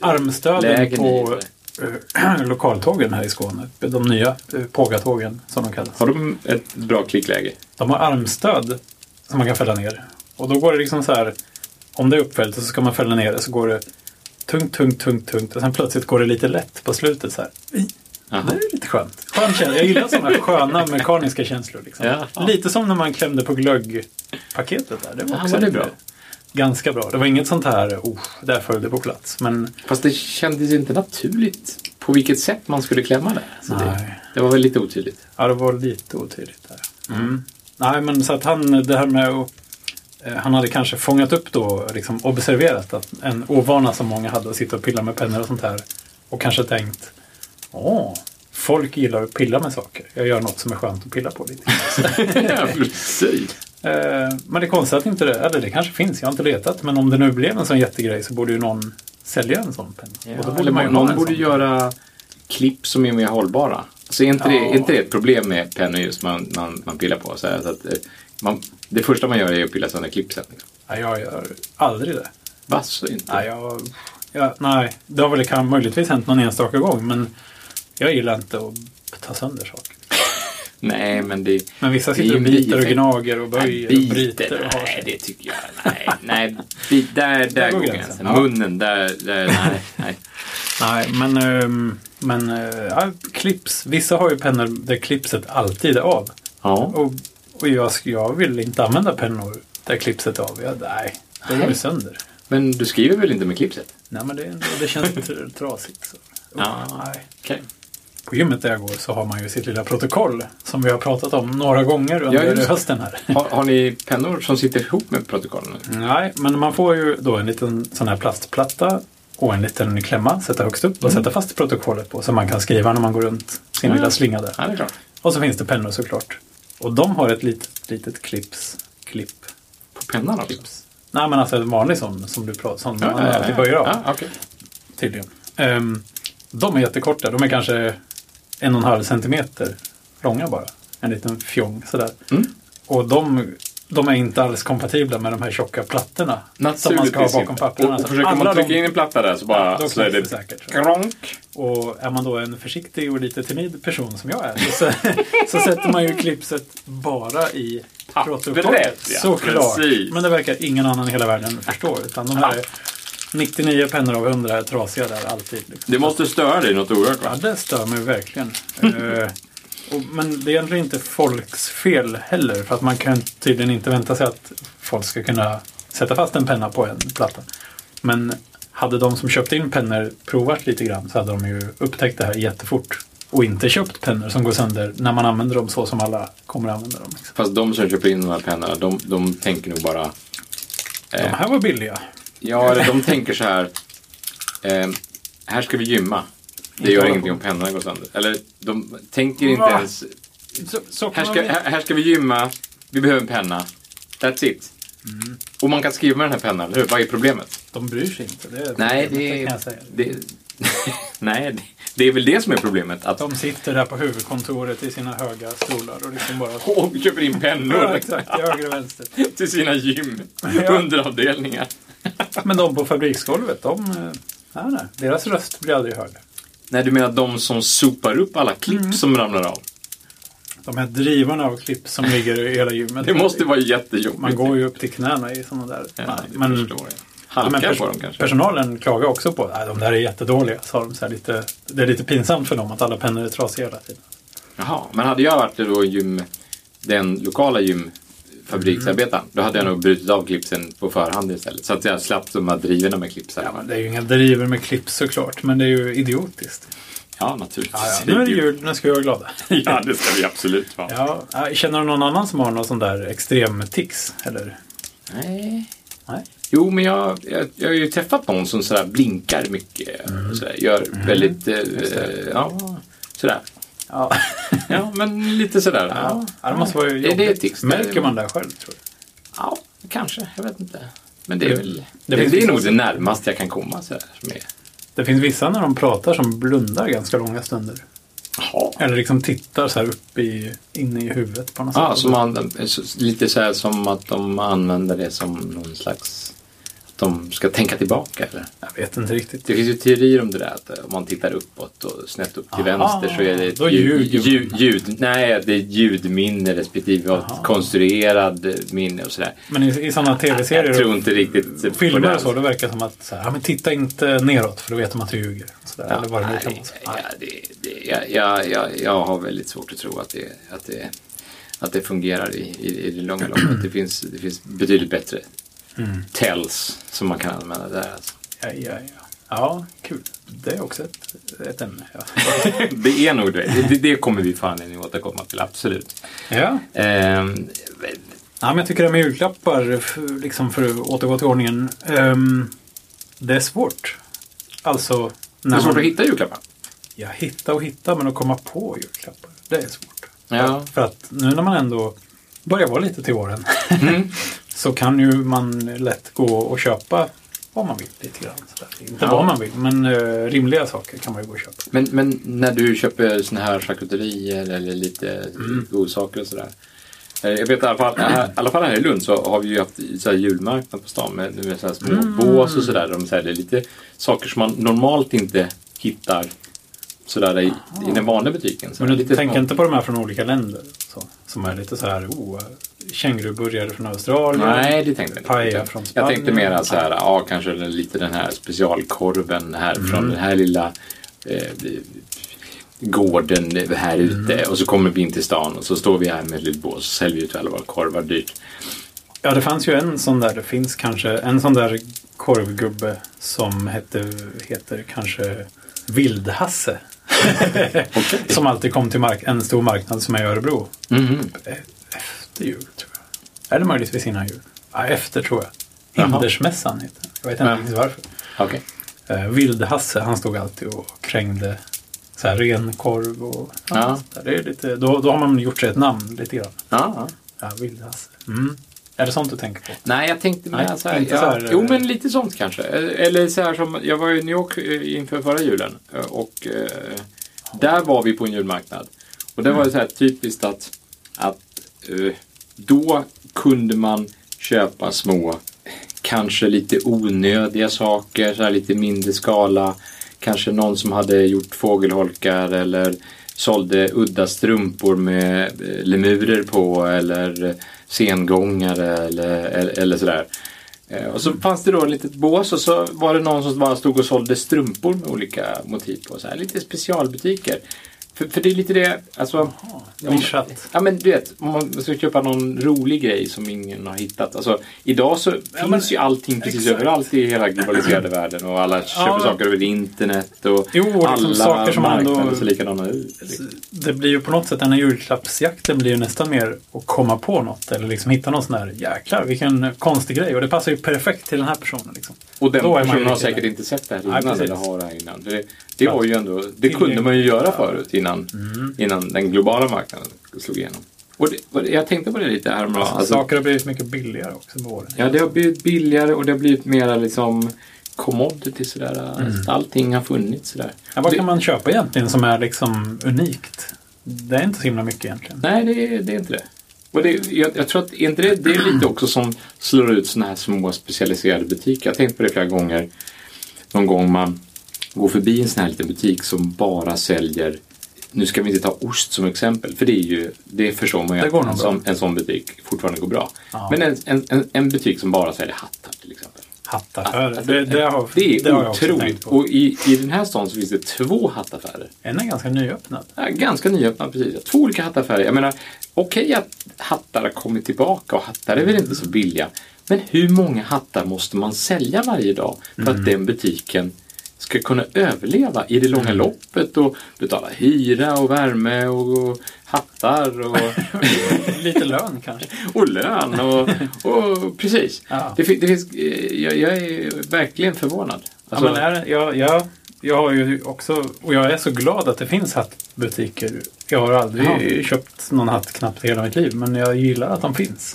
S2: armstöden
S1: Lägen
S2: på
S1: i
S2: eh, lokaltågen här i Skåne, de nya eh, pågatågen som de kallas.
S1: Har de ett bra klickläge?
S2: De har armstöd som man kan fälla ner. Och då går det liksom så här, om det är uppfällt så ska man fälla ner det så går det tungt, tungt, tungt, tungt och sen plötsligt går det lite lätt på slutet så här.
S1: Aha.
S2: Det är lite skönt. Skön känsla. Jag gillar sådana sköna mekaniska känslor. Liksom.
S1: Ja.
S2: Lite som när man klämde på glöggpaketet där. Det var
S1: Ja,
S2: också
S1: var det
S2: lite-
S1: bra?
S2: Ganska bra. Det var inget sånt här, oh, där föll det på plats. Men
S1: Fast det kändes ju inte naturligt på vilket sätt man skulle klämma det. Så det,
S2: Nej.
S1: det var väl lite otydligt.
S2: ja, det var lite otydligt där.
S1: Mm.
S2: Nej, men så att han, det här med att eh, han hade kanske fångat upp då, liksom observerat att en ovana som många hade att sitta och pilla med pennor och sånt här. Och kanske tänkt, åh, folk gillar att pilla med saker. Jag gör något som är skönt att pilla på lite.
S1: ja, precis.
S2: Eh, men det är konstigt att inte det, eller det kanske finns, jag har inte letat. Men om det nu blev en sån jättegrej så borde ju någon sälja en sån penna.
S1: Ja,
S2: Och då
S1: eller
S2: borde man ju ha
S1: någon
S2: en
S1: borde
S2: sån.
S1: göra klipp som är mer hållbara. Så är inte, det,
S2: Ja.
S1: är inte det ett problem med pennor just man, man, man pillar på? Så här, så att, eh, man, det första man gör är att pilla sönder klippsen.
S2: Nej, jag gör aldrig det.
S1: Vasså inte.
S2: Nej, jag, jag, nej, det har väl kan, möjligtvis hänt någon enstaka gång men jag gillar inte att ta sönder saker.
S1: Nej, men det...
S2: Men vissa sitter
S1: Det är
S2: och
S1: ju
S2: biter och
S1: bieffekt.
S2: gnager och
S1: Nej,
S2: böjer och
S1: biter.
S2: bryter och har
S1: Nej,
S2: sig.
S1: det tycker jag. Nej, nej. bi- Där, där, går gränsen.
S2: Ja.
S1: Munnen, där, där nej, nej.
S2: Nej, men, ehm, men eh, ja, clips. Vissa har ju pennor där clipset alltid är av.
S1: Ja.
S2: Och, och jag, sk- jag vill inte använda pennor där clipset är av. Jag, nej, det går ju
S1: Nej.
S2: sönder.
S1: Men du skriver väl inte med klippset?
S2: Nej, men det, det känns tr- trasigt. Så.
S1: Ja.
S2: Nej.
S1: Okej.
S2: På gymmet där jag går så har man ju sitt lilla protokoll som vi har pratat om några gånger under
S1: just det.
S2: hösten här.
S1: Har, har ni pennor som sitter ihop med protokollen? eller?
S2: Nej, men man får ju då en liten sån här plastplatta och en liten klämma, sätta högst upp
S1: Mm.
S2: och sätta fast protokollet på så man kan skriva när man går runt sin
S1: Ja.
S2: lilla slinga där.
S1: Ja, det är klart.
S2: Och så finns det pennor såklart. Och de har ett litet, litet clips, klipp,
S1: På pennan också?
S2: clips. Nej men alltså en vanlig sån som du pratar som man alltid böjer av
S1: Ja, okej.
S2: tydligen. Ehm, de är jättekorta, de är kanske en och en halv centimeter långa bara. En liten fjong sådär.
S1: Mm.
S2: Och de, de är inte alls kompatibla med de här tjocka plattorna som man ska ha
S1: Naturligtvis
S2: bakom
S1: inte.
S2: papperna.
S1: Och,
S2: Så
S1: och försöker
S2: alla
S1: man trycka
S2: de-
S1: in en platta där så bara
S2: Ja, då
S1: så är
S2: knyts
S1: det
S2: det säkert.
S1: kronk.
S2: Och är man då en försiktig och lite timid person som jag är så, så sätter man ju klipset bara i
S1: Pappret,
S2: protokollet.
S1: ja,
S2: Såklart.
S1: precis.
S2: Men det verkar ingen annan i hela världen förstå. Utan de här 99 pennor av 100 är trasiga där alltid. Liksom.
S1: Det måste störa dig något oerhört
S2: Ja,
S1: va?
S2: det stör mig verkligen. Eh, och, men det är egentligen inte folks fel heller. För att man kan tydligen inte vänta sig att folk ska kunna sätta fast en penna på en platta. Men hade de som köpte in pennor provat lite grann så hade de ju upptäckt det här jättefort. Och inte köpt pennor som går sönder när man använder dem så som alla kommer att använda dem. Liksom.
S1: Fast de som köper in de här pennorna, de, de tänker nog bara...
S2: De här var billiga.
S1: Ja, eller de tänker så här. Eh, här ska vi gymma. Det gör
S2: hålla
S1: ingenting
S2: på.
S1: om pennorna går sönder. Eller de tänker inte
S2: Va?
S1: ens...
S2: Så, så kan
S1: Här ska,
S2: man...
S1: här, här ska vi gymma, vi behöver en penna. That's it.
S2: Mm.
S1: Och man kan skriva med den här pennan, eller hur? Vad är problemet?
S2: De bryr sig inte. Det är
S1: Nej,
S2: problemet,
S1: det,
S2: kan jag säga.
S1: det, nej, det, det är väl det som är problemet. Att
S2: De sitter där på huvudkontoret i sina höga stolar och liksom bara...
S1: och köper in
S2: Ja,
S1: pennor
S2: exakt. till Höger och vänster.
S1: till sina gym,
S2: Ja.
S1: underavdelningar.
S2: Men de på fabriksgolvet, de... eh, Nej, nej. Deras röst blir aldrig hörd.
S1: Nej, du menar de som sopar upp alla klipp
S2: Mm.
S1: som ramlar av?
S2: De här drivorna av klipp som ligger i hela gymmet.
S1: Det måste vara jättejobbigt.
S2: Man går ju upp till knäna i sådana där.
S1: Ja,
S2: Nej,
S1: det
S2: men-
S1: förstår jag. Halkar
S2: men pers-
S1: på dem kanske?
S2: Personalen klagar också på att de där är jättedåliga. Sa de så här lite, det är lite pinsamt för dem att alla pennor är trasiga hela tiden.
S1: Jaha, men hade jag varit då gym, den lokala gymfabriksarbetaren,
S2: Mm.
S1: då hade jag nog brutit av klipsen på förhand istället. Så att jag slapp de här drivorna med klipsar.
S2: Ja, men det är ju inga driver med klipp såklart, men det är ju idiotiskt.
S1: Ja, naturligtvis.
S2: Ja, ja. Nu är det jul, nu ska vi vara glada.
S1: Ja, det ska vi absolut vara.
S2: Ja, eh, känner du någon annan som har någon sån där extremtics? Eller?
S1: Nej.
S2: Nej.
S1: Jo, men jag, jag, jag har ju träffat någon som sådär blinkar mycket.
S2: Mm.
S1: och Sådär, gör väldigt... Eh, ja, sådär.
S2: Ja.
S1: Ja, men lite sådär.
S2: Ja, det måste vara ju
S1: Är det ett
S2: jobbigt.
S1: tics?
S2: Märker man det själv tror jag.
S1: Ja, kanske. Jag vet inte. Men det är väl...
S2: Det
S1: Det,
S2: finns
S1: det är
S2: ju-
S1: nog det närmaste jag kan komma sådär. Som är,
S2: Det finns vissa när de pratar som blundar ganska långa stunder.
S1: jaha.
S2: Eller liksom tittar så här upp i, inne i huvudet på något
S1: Ja,
S2: sätt.
S1: som man, så- lite så här som att de använder det som någon slags... Att de ska tänka tillbaka eller?
S2: Jag vet inte riktigt.
S1: Det finns ju teorier om det där att eh, om man tittar uppåt och snett upp till
S2: Aha,
S1: vänster så är det ett
S2: då
S1: ljud,
S2: ljuger
S1: ljud, ljud, nej, det är ett ljudminne respektive ett konstruerad eh, minne och sådär.
S2: Men i, i sådana
S1: Jag tror
S2: tv-serier
S1: inte riktigt på
S2: och filmer
S1: det.
S2: och så, då verkar det som att så här, ja, men titta inte neråt för då vet de att du ljuger. Så där,
S1: Ja,
S2: eller vad det nu kan
S1: nej,
S2: vara.
S1: ja, det, det, jag, jag, jag, jag har väldigt svårt att tro att det, att det, att det fungerar i, i, i det långa loppet. Det finns, det finns betydligt bättre Mm. tells som man kan använda där. Alltså.
S2: Ja, ja, ja. ja, kul. Det är också ett, ett ämne. Ja.
S1: Det är nog det. det. Det kommer vi fan in i återkomma till, absolut.
S2: ja.
S1: Ehm,
S2: Ja, men jag tycker det här med julklappar, f- liksom för att återgå till ordningen, ehm, det är svårt. Alltså, när
S1: det är svårt
S2: man-
S1: att hitta julklappar.
S2: Ja, hitta och hitta, men att komma på julklappar, det är svårt.
S1: Ja.
S2: För att nu när man ändå börjar vara lite till åren
S1: Mm.
S2: så kan ju man lätt gå och köpa vad man vill lite grann. Sådär. Inte
S1: Ja.
S2: vad man vill, men eh, rimliga saker kan man ju gå och köpa.
S1: Men, men när du köper såna här charkuterier eller lite godsaker och sådär. Eh, Jag vet i alla fall, i alla fall här i Lund så har vi ju haft så här julmarknad på stan med, med så här små bås och sådär. De säljer lite saker som man normalt inte hittar sådär i, i den vanliga butiken. Så
S2: Men du
S1: lite
S2: tänker
S1: små-
S2: inte på de här från olika länder? Så, som är lite så här, oh, känguruburgare från Australien.
S1: Nej, det tänkte jag
S2: Paella
S1: inte.
S2: från
S1: jag
S2: Spanien.
S1: tänkte mer så här, ja kanske den- lite den här specialkorven här
S2: Mm.
S1: från den här lilla eh, gården här
S2: Mm.
S1: ute och så kommer vi in till stan och så står vi här med ett litet bås och säljer ut alla våra korvar dyrt.
S2: Ja, det fanns ju en sån där, det finns kanske en sån där korvgubbe som hette, heter kanske Vildhasse. som alltid kom till mark- en stor marknad som är i Örebro.
S1: Mhm.
S2: E- Efter jul, tror jag. Eller möjligtvis innan jul. Ja, efter, tror jag.
S1: Jaha.
S2: Hindersmässan heter den. Jag vet inte
S1: Ja.
S2: riktigt varför.
S1: Okej.
S2: Eh, Vildhasse, han stod alltid och krängde så här renkorv och
S1: Ja.
S2: sånt där. det är lite, då, då har man gjort sig ett namn lite grann.
S1: Ja, ja.
S2: Ja, Vildhasse. Mm. Är det sånt du tänker på?
S1: Nej, jag tänkte mer
S2: Nej,
S1: så här,
S2: inte
S1: ja,
S2: så här, eh,
S1: Jo, men lite sånt kanske. Eh, Eller så här som, jag var i New York eh, inför förra julen eh, och eh, där var vi på en julmarknad. Och det var ju så här typiskt att, att eh, då kunde man köpa små, kanske lite onödiga saker, så här lite mindre skala. Kanske någon som hade gjort fågelholkar eller sålde udda strumpor med eh, lemurer på eller sengångare eller, eller, eller sådär. Eh, Och så fanns det då ett litet bås och så var det någon som bara stod och sålde strumpor med olika motiv på. Så här, lite specialbutiker. För, för det är lite det, alltså... om-
S2: nischat.
S1: Ja men du vet, om man ska köpa någon rolig grej som ingen har hittat. Alltså, idag så finns
S2: men-
S1: ju allting precis
S2: exakt.
S1: överallt i hela globaliserade världen och alla köper
S2: men-
S1: saker över internet och
S2: Jo, och liksom
S1: alla
S2: saker som ändå-
S1: marknader ser likadana ut. liksom.
S2: Det blir ju på något sätt, den här julklappsjakten blir ju nästan mer att komma på något eller liksom hitta någon sån här jäklar vilken konstig grej och det passar ju perfekt till den här personen. Liksom.
S1: Och den
S2: Då är man ju
S1: personen har
S2: lite-
S1: säkert inte sett det här
S2: Nej,
S1: innan
S2: precis.
S1: eller har det här innan. För Det, det, var ju ändå, det kunde man ju göra förut innan,
S2: Mm.
S1: innan den globala marknaden slog igenom. Och det, och det- jag tänkte på det lite häromdagen. Alltså,
S2: Saker har blivit mycket billigare också med åren.
S1: Ja, det har blivit billigare och det har blivit mera liksom commodity sådär. Alltså, Allting har funnits sådär.
S2: Mm. Ja, vad
S1: Det-
S2: kan man köpa egentligen som är liksom unikt? Det är inte så himla mycket egentligen.
S1: Nej, det, är- det är inte det. Och det jag, jag tror att är inte det, det är lite också som slår ut såna här små specialiserade butiker. Jag har tänkt på det flera gånger. Någon gång man går förbi en sån här liten butik som bara säljer nu ska vi inte ta ost som exempel, för det är ju, det förstår man ju
S2: Det går nog
S1: en, sån, en sån butik fortfarande går bra.
S2: Ja.
S1: Men en, en, en, en butik som bara säljer hattar till exempel.
S2: Hattaffärer, det, det, har,
S1: Det är
S2: har jag också tänkt
S1: otroligt.
S2: på.
S1: Och i, i den här stan så finns det två hattaffärer.
S2: En är ganska nyöppnad.
S1: Ja, Ganska nyöppnade precis. Två olika hattaffärer. Jag menar, okej att hattar har kommit tillbaka och hattar är väl inte så billiga. Men hur många hattar måste man sälja varje dag för
S2: Mm.
S1: att den butiken ska kunna överleva i det långa
S2: Mm.
S1: loppet och betala hyra och värme och, och hattar och
S2: Lite lön kanske.
S1: och lön och, och precis.
S2: Ja.
S1: Det, fin- det finns, eh, jag, jag är verkligen förvånad.
S2: Ja,
S1: Alltså-
S2: men är, jag, jag, jag har ju också, och jag är så glad att det finns hattbutiker. Jag har aldrig
S1: Ja.
S2: köpt någon hatt knappt i hela mitt liv, men jag gillar att de finns.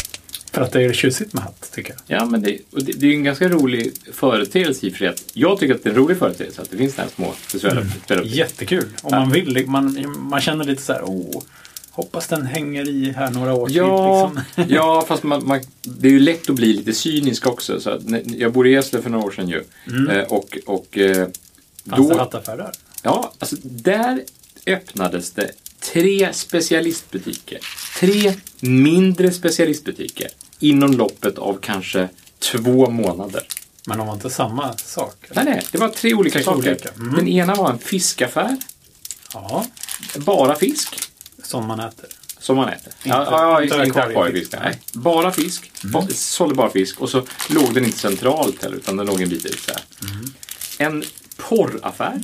S2: För att det är tjusigt med hatt, tycker jag.
S1: Ja, men det, och det, det är ju en ganska rolig företeelse i och för sig. att- Jag tycker att det är en rolig företeelse att det finns de här små visuella mm.
S2: Jättekul! Om man vill, man, man känner lite så här, åh, hoppas den hänger i här några år
S1: Ja,
S2: till. Liksom.
S1: ja, fast man, man, det är ju lätt att bli lite cynisk också. Så att, när- jag bodde i Eslöv för några år sedan ju. Eh, Och, och eh,
S2: Mm. Fanns det hattaffärer?
S1: Ja, alltså där öppnades det tre specialistbutiker. Tre mindre specialistbutiker inom loppet av kanske två månader.
S2: Men de var inte samma sak? eller?
S1: Nej, nej, det var tre olika
S2: Tre
S1: saker.
S2: olika, mm.
S1: Den ena var en fiskaffär,
S2: Ja,
S1: bara fisk.
S2: som man äter.
S1: Som man äter?
S2: Inte- inte
S1: inte
S2: akvariefisk.
S1: akvariefisk. Nej. Bara fisk. Mm. Sålde bara fisk. Och så låg den inte centralt heller, utan den låg en bit ut så här.
S2: Mm.
S1: En porraffär.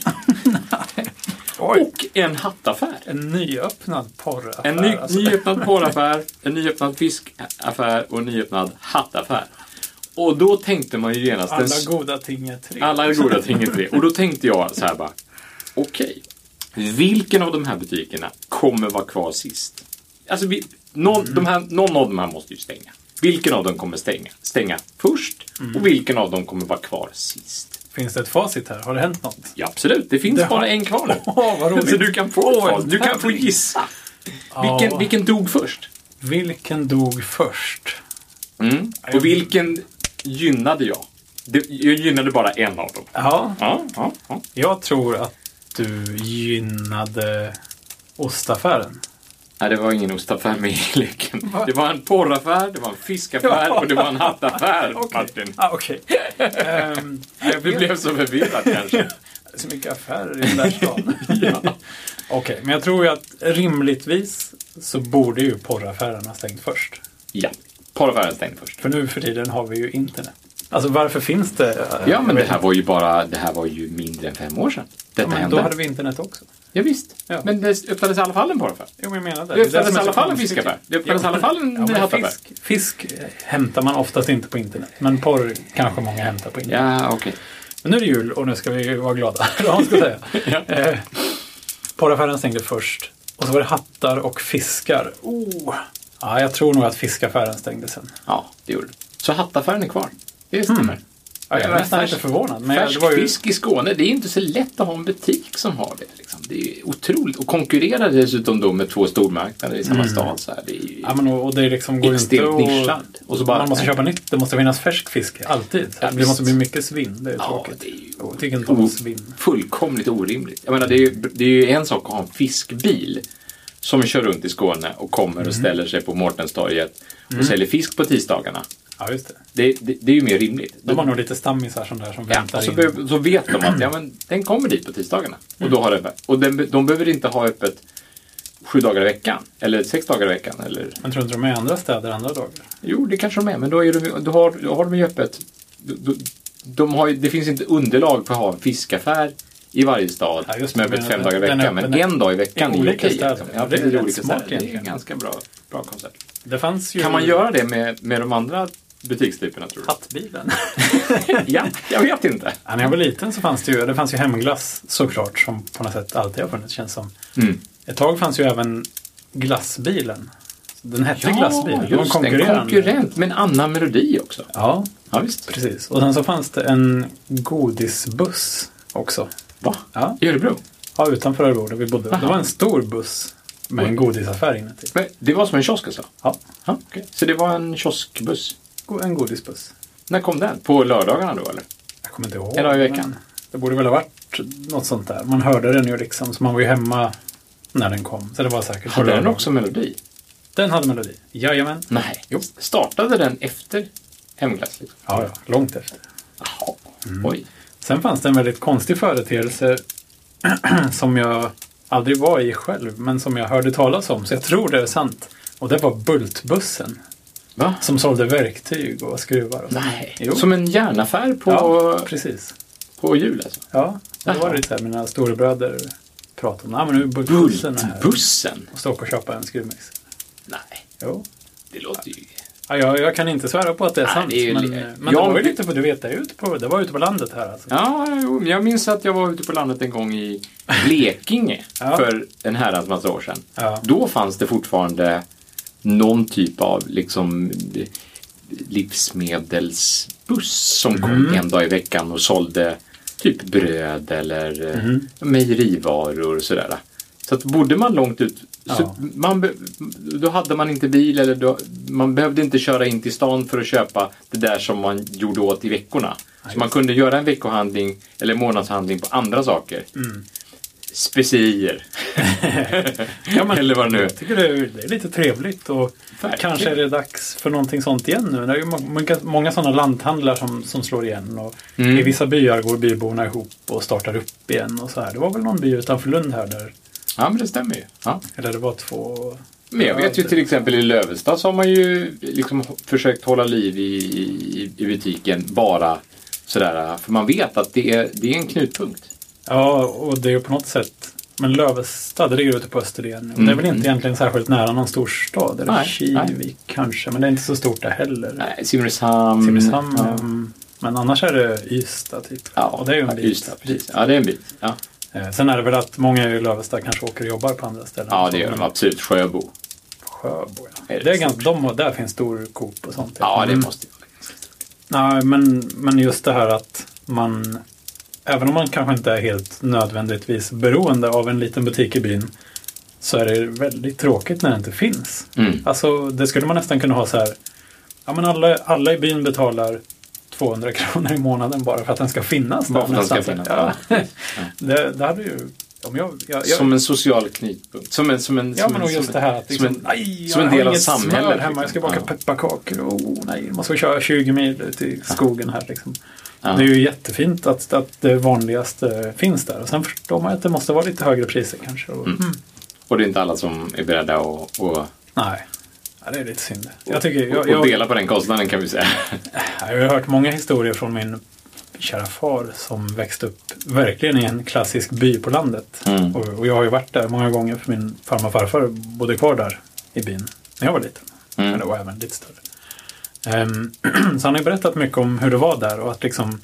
S1: och en hattaffär.
S2: En nyöppnad porraffär.
S1: En ny,
S2: alltså.
S1: nyöppnad porraffär, en nyöppnad fiskaffär och en nyöppnad hattaffär. Och då tänkte man ju genast... den
S2: Alla
S1: s-
S2: goda ting är tre.
S1: alla goda ting är tre. Och då tänkte jag så här bara, okej. Vilken av de här butikerna kommer vara kvar sist? Alltså, vi, någon, de här, någon av de här måste ju stänga. Vilken av dem kommer stänga, stänga först
S2: Mm.
S1: och vilken av dem kommer vara kvar sist?
S2: Finns det ett facit här? Har det hänt något?
S1: Ja, absolut. Det finns
S2: Det har-
S1: bara en kvar nu.
S2: Åh, vad roligt.
S1: Så du kan få,
S2: Åh,
S1: ett val. du kan få
S2: tävling.
S1: gissa.
S2: Ja.
S1: Vilken, vilken dog först?
S2: Vilken dog först?
S1: Mm. Och vilken gynnade jag? Det- Jag gynnade bara en av dem.
S2: Ja,
S1: Ja, ja, ja.
S2: jag tror att du gynnade ostaffären.
S1: Nej, det var ingen ostaffär med i leken.
S2: Va?
S1: Det var en porraffär, det var en fiskaffär och det var en hattaffär, Martin.
S2: Ah, okay. um, jag
S1: Vi blev så förvirrade kanske.
S2: så mycket affärer i den där stan.
S1: Ja.
S2: Okej, men jag tror ju att rimligtvis så borde ju porraffären ha stängt först.
S1: ja. Porraffären stängde först.
S2: För nu för tiden har vi ju internet. Alltså varför finns det?
S1: Ja, men det här var ju bara, det här var ju mindre än fem år sedan.
S2: Ja,
S1: Detta
S2: men
S1: hände.
S2: då hade vi internet också.
S1: Ja, visst.
S2: Ja.
S1: Men det öppnades i alla fall en porraffär.
S2: Jo, men jag menar det.
S1: Det
S2: är som
S1: öppnades i alla
S2: är så
S1: fall en
S2: konstigt.
S1: fiskaffär. Det öppnades i alla fall en
S2: Ja, men
S1: hattaffär.
S2: fisk, fisk hämtar man oftast inte på internet, men porr kanske många hämtar på internet.
S1: Ja, okej.
S2: Men nu är det jul och nu ska vi ju vara glada. Eller vad man ska säga. eh, porraffären stängde först och så var det hattar och fiskar. Oh. Ja, jag tror nog att fiskaffären stängde sen.
S1: Ja, det gjorde det. Så hattaffären är kvar. Det stämmer.
S2: Ja, jag
S1: Mm. Ja,
S2: är nästan
S1: färsk-
S2: lite förvånad. Men jag- det
S1: Färsk
S2: var ju...
S1: fisk i Skåne, det är inte så lätt att ha en butik som har det. Liksom. Det är ju otroligt. Och konkurrera dessutom då med två stormarknader i samma stad. Så här, det är ju...
S2: Ja, men och, och det är liksom går ju inte
S1: Extremt
S2: att-
S1: nischad. Och så bara-
S2: man måste köpa nytt. Det måste finnas färsk fisk alltid.
S1: Ja,
S2: det
S1: visst.
S2: måste bli mycket svinn. Det är
S1: Ja,
S2: tråkigt.
S1: det är ju
S2: Jag tycker inte
S1: o-
S2: om svinn.
S1: fullkomligt orimligt. Jag menar, det, är ju, det är ju en sak att ha en fiskbil som kör runt i Skåne och kommer
S2: Mm.
S1: och ställer sig på Mårtenstorget och säljer fisk på tisdagarna.
S2: Ja, just det.
S1: Det, det, det är ju mer rimligt.
S2: De har nog lite stammisar som där som
S1: Ja,
S2: väntar
S1: och så,
S2: in.
S1: be- så vet de att ja, men, den kommer dit på tisdagarna. Och, då har den, och den, be- de behöver inte ha öppet sju dagar i veckan. Eller sex dagar i veckan. Eller,
S2: Men tror du inte de är i andra städer andra dagar?
S1: jo, det kanske de är. Men då, är de, då, har, då har de ju öppet. De, de har, ju- det finns inte underlag för att ha en fiskaffär i varje stad
S2: Ja, just
S1: som är
S2: det,
S1: öppet
S2: men
S1: fem
S2: den-
S1: dagar i
S2: den
S1: veckan.
S2: är-
S1: Men
S2: den är-
S1: en dag i veckan
S2: i
S1: är ju
S2: olika
S1: okej.
S2: städer.
S1: liksom. Ja,
S2: Ja, det
S1: precis,
S2: är
S1: i
S2: rätt
S1: olika
S2: smart
S1: städer. Det är
S2: egentligen.
S1: en ganska bra, bra koncept.
S2: Det fanns ju...
S1: Kan man göra det med, med de andra butikstyperna tror du?
S2: Hattbilen.
S1: Ja, jag vet inte.
S2: Ja, när jag var liten så fanns det ju, det fanns ju hemglass såklart som på något sätt alltid har funnits känns som.
S1: Mm.
S2: Ett tag fanns ju även glassbilen. Den hette
S1: Ja,
S2: glassbilen. Det var
S1: just det. En konkurrent med en annan melodi också.
S2: Ja,
S1: Ja, visst.
S2: precis. Och sen så fanns det en godisbuss också.
S1: Va?
S2: Ja,
S1: I Örebro?
S2: ja utanför Örebro där vi bodde. Det var en stor buss med en godisaffär inuti.
S1: Men det var som en kiosk alltså?
S2: Ja,
S1: Ja, okej. Så det var en kioskbuss?
S2: go- en godisbuss.
S1: När kom den? På lördagarna då eller?
S2: Jag kommer inte ihåg.
S1: En dag i veckan.
S2: men Det borde väl ha varit något sånt där. Man hörde den ju liksom, så man var ju hemma när den kom. Så det var säkert...
S1: Hade den också melodi?
S2: Den hade melodi. Jajamän.
S1: Nej. Jo. Startade den efter Hemglass? Liksom?
S2: Ja, ja. Långt efter.
S1: Jaha. Oj.
S2: Sen fanns det en väldigt konstig företeelse som jag aldrig var i själv, men som jag hörde talas om, så jag tror det är sant. Och det var Bultbussen,
S1: Va?
S2: som sålde verktyg och skruvar. Och sånt.
S1: Nej.
S2: Jo.
S1: Som en järnaffär på,
S2: Ja, precis.
S1: på jul alltså?
S2: Ja, det var
S1: Jaha.
S2: det där mina storebröder pratade om. Ja, men nu är Bultbussen här.
S1: Bultbussen?
S2: Och så åka och köpa en skruvmejsel.
S1: Nej.
S2: Jo.
S1: Det låter ju...
S2: Ja, jag, jag kan inte svära på att det är
S1: Nej,
S2: sant,
S1: det är ju
S2: men, eh,
S1: le-
S2: men
S1: Jag-
S2: det var ju lite på, du vet, det, är ute på, det var ute på landet här alltså.
S1: Ja, jo, men jag minns att jag var ute på landet en gång i Blekinge
S2: Ja.
S1: för en herrans massa år sedan.
S2: Ja.
S1: Då fanns det fortfarande någon typ av liksom livsmedelsbuss som kom en dag i veckan och sålde typ bröd eller eh, mejerivaror och sådär. Så att bodde man långt ut, så
S2: Ja.
S1: man, be- då hade man inte bil eller då, man behövde inte köra in till stan för att köpa det där som man gjorde åt i veckorna. Så man kunde göra en veckohandling eller månadshandling på andra saker. Specier.
S2: Ja, men-
S1: eller vad det nu är.
S2: Jag tycker det är, det är lite trevligt och
S1: Verkligen.
S2: kanske är det dags för någonting sånt igen nu. Det är ju må- många, många sådana lanthandlar som, som slår igen och
S1: Mm.
S2: i vissa byar går byborna ihop och startar upp igen och så här. Det var väl någon by utanför Lund här där,
S1: Ja, men det stämmer ju. Ja.
S2: eller det var två...
S1: Men jag vet ju till exempel i Lövestad så har man ju liksom h- försökt hålla liv i, i, i butiken bara sådär. För man vet att det är, det är en knutpunkt.
S2: Ja, och det är ju på något sätt men Lövestad det ligger ute på Österlen. Och Det är väl inte egentligen särskilt nära någon storstad. Eller
S1: Mm. Nej,
S2: Kivik
S1: nej.
S2: kanske, men det är inte så stort där heller.
S1: Nej, Simrishamn.
S2: Simrishamn.
S1: Ja.
S2: ehm, Men annars är det Ystad typ.
S1: Ja,
S2: och det är ju en
S1: ja,
S2: bit.
S1: Ystad, precis. Ja, det är en bit. Ja.
S2: Eh, Sen är det väl att många i Lövestad kanske åker och jobbar på andra ställen.
S1: Ja, det gör de absolut. Sjöbo.
S2: Sjöbo, ja.
S1: Är det
S2: Det är
S1: så?
S2: ganska, de, har- där finns stor Coop och sånt.
S1: Ja, det
S2: Mm.
S1: måste jag.
S2: Nej, men, men just det här att man, även om man kanske inte är helt nödvändigtvis beroende av en liten butik i byn, så är det väldigt tråkigt när det inte finns.
S3: Mm.
S2: Alltså, det skulle man nästan kunna ha så här, ja men alla, alla i byn betalar 200 kronor i månaden bara för att den ska finnas där
S1: Bara för att den ska
S2: någonstans.
S1: finnas.
S2: Ja. Det, det hade ju, om jag, jag, jag
S1: Som en social knutpunkt. Som en... Som en
S2: Ja,
S1: som
S2: men
S1: en,
S2: och just det här att
S1: som
S2: liksom,
S1: en,
S2: nej, jag
S1: som en
S2: har
S1: del av
S2: inget smör
S1: samhället,
S2: hemma, jag ska
S1: liksom.
S2: baka
S1: Ja.
S2: pepparkakor. Oh, nej, man ska köra 20 mil ut i skogen här. Liksom.
S1: Ja.
S2: Det är ju jättefint att, att det vanligaste finns där. Och sen förstår man att det måste vara lite högre priser kanske. Och, mm.
S1: Och det är inte alla som är beredda att och,
S2: Nej, ja, det är lite synd. Jag, tycker,
S1: och,
S2: jag,
S1: och
S2: jag,
S1: dela på den kostnaden kan vi säga.
S2: jag har ju hört många historier från min kära far som växte upp verkligen i en klassisk by på landet.
S1: Mm.
S2: Och, och jag har ju varit där många gånger för min farmor och farfar bodde kvar där i byn när jag var liten.
S1: Mm.
S2: Men det var även lite större. Ehm, så han har ju berättat mycket om hur det var där och att liksom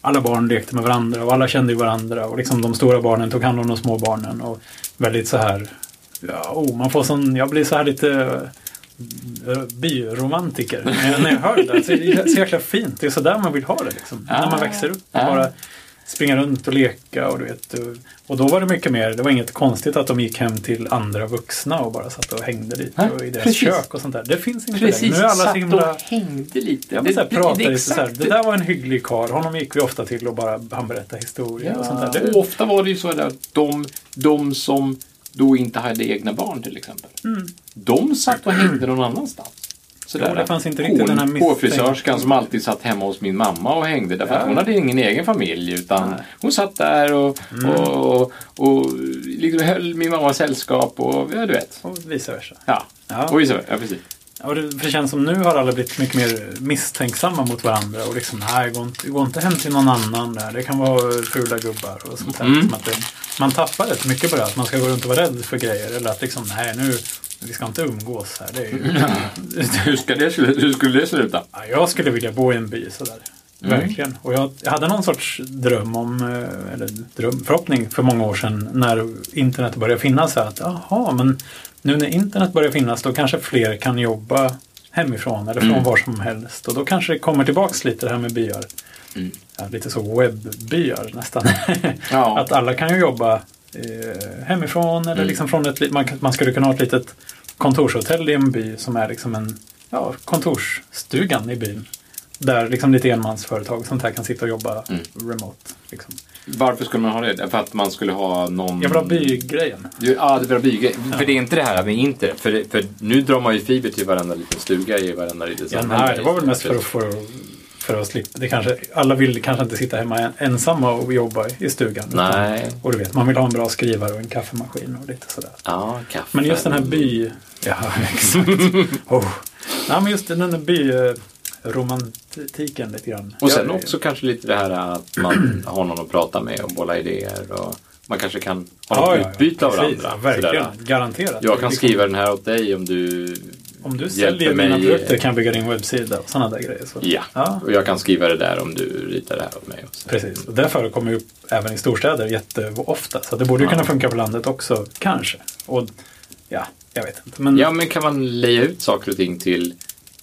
S2: alla barn lekte med varandra och alla kände ju varandra och liksom de stora barnen tog hand om de små barnen och väldigt så här, ja, oh, man får sån, jag blir så här lite eh, byromantiker när jag- när jag hör det där. Så det är så jäkla fint, det är så där man vill ha det liksom. när man växer upp och
S1: Ah.
S2: bara springa runt och leka och du vet. och- Och då var det mycket mer, det var inget konstigt att de gick hem till andra vuxna och bara satt och hängde lite
S1: Nej,
S2: och i deras
S1: precis.
S2: kök och sånt där. Det finns inte
S1: Precis,
S2: längre. Nu är alla
S1: satt
S2: så himla...
S1: och hängde lite.
S2: Ja, men så här, pratar
S1: det är
S2: lite så här,
S1: exakt
S2: det där var en hygglig karl, honom gick vi ofta till och bara han berättade historier och sånt där.
S1: Och
S2: Det,
S1: ofta var det ju så där att de, de som då inte hade egna barn till exempel. De satt och hängde någon annanstans. Så
S2: Jo, det fanns inte riktigt den här misstänk-
S1: Hårfrisörskan som alltid satt hemma hos min mamma och hängde därför att
S2: Ja.
S1: hon hade ingen egen familj utan
S2: Nej. Mm.
S1: hon satt där och, och, och, och liksom höll min mamma sällskap och ja, du vet.
S2: och vice versa.
S1: Ja,
S2: Ja.
S1: och vice versa. Ja, precis.
S2: Ja, det, för det känns som nu har alla blivit mycket mer misstänksamma mot varandra och liksom nej, gå inte, gå inte hem till någon annan där. Det kan vara fula gubbar och sånt där.
S1: Mm.
S2: Som att det, man tappar rätt mycket på det, att man ska gå runt och vara rädd för grejer eller att liksom nej, nu, vi ska inte umgås här. Det är ju,
S1: Hur, ska det, sluta- hur skulle det sluta?
S2: ja, jag skulle vilja bo i en by sådär. Verkligen. Och jag, jag hade någon sorts dröm om, eh, eller dröm, förhoppning för många år sedan när internet började finnas. Här, att jaha, men nu när internet börjar finnas då kanske fler kan jobba hemifrån eller från var som helst. Och då kanske det kommer tillbaks lite det här med byar. Ja, lite så webbyar nästan.
S1: Ja.
S2: Att alla kan ju jobba eh, hemifrån eller liksom från ett li- man, kan- man skulle kunna ha ett litet kontorshotell i en by som är liksom en ja, kontorsstugan i byn. Där liksom lite enmansföretag och sånt här kan sitta och jobba remote. Liksom.
S1: Varför skulle man ha det? För att man skulle ha någon...
S2: Jag vill ha bygrejen.
S1: Du- Ja, det var bygge.
S3: För det är inte det här med internet. För, det- för nu drar man ju fiber till varenda liten stuga i varenda liten
S2: Ja, nej, det var väl mest för att, för, för att slippa. Det kanske, alla vill kanske inte sitta hemma en- ensamma och jobba i- i stugan. utan-
S3: Nej.
S2: Och du vet, man vill ha en bra skrivare och en kaffemaskin och lite sådär.
S3: Ja, kaffe.
S2: Men just den här by... Ja, exakt. oh. Nej, men just den här byromantiken lite grann.
S1: Och sen
S2: Jag-
S1: också kanske lite det här att man har någon att prata med och bolla idéer. Och man kanske kan ha
S2: Ja,
S1: något
S2: ja, ja,
S1: utbyte av
S2: precis.
S1: varandra.
S2: Verkligen,
S1: Sådär.
S2: garanterat. Det är
S1: Jag kan
S2: liksom-
S1: skriva den här åt dig om du...
S2: Om du
S1: hjälper
S2: säljer dina
S1: mig-
S2: produkter kan jag bygga din webbsida och sådana där grejer. Så.
S1: Ja.
S2: Ja.
S1: och jag kan skriva det där om du ritar det här åt mig. också.
S2: Precis, och det förekommer ju även i storstäder jätteofta. Så det borde ju kunna funka på landet också, kanske. Och ja, jag vet inte. Men
S1: Ja, men kan man lägga ut saker och ting till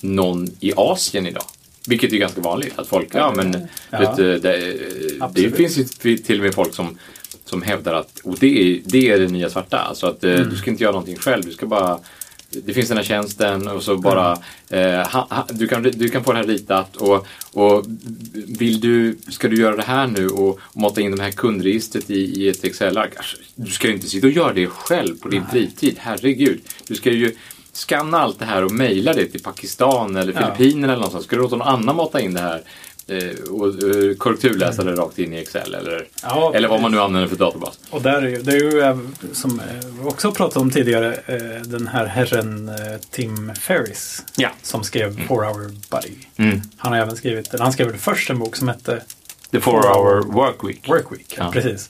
S1: någon i Asien idag? Vilket är ganska vanligt att folk, ja men
S2: Ja.
S1: vet du, det, det
S2: Absolut.
S1: finns ju till och med folk som, som hävdar att och det, är, det är det nya svarta. Alltså att eh, du ska inte göra någonting själv, du ska bara det finns den här tjänsten och så bara eh, ha, ha, du, kan, du kan få det här ritat och, och vill du, ska du göra det här nu och, och mata in det här kundregistret i, i ett Excel-ark. Alltså, Du ska ju inte sitta och göra det själv på din fritid, herregud. Du ska ju skanna allt det här och mejla det till Pakistan eller
S2: Ja.
S1: Filippinerna eller någonstans. Ska du låta någon annan mata in det här eh, och eh, korrekturläsa det rakt in i Excel eller,
S2: Ja,
S1: eller vad man nu använder för databas.
S2: Och där är ju, det är ju eh, som eh, vi också pratade om tidigare, eh, den här herren eh, Tim Ferris
S1: Ja.
S2: som skrev Four Hour Buddy.
S3: Mm.
S2: Han har även skrivit, eller han skrev väl först en bok som hette
S3: The four hour work week.
S2: Workweek.
S3: Ja.
S2: Precis.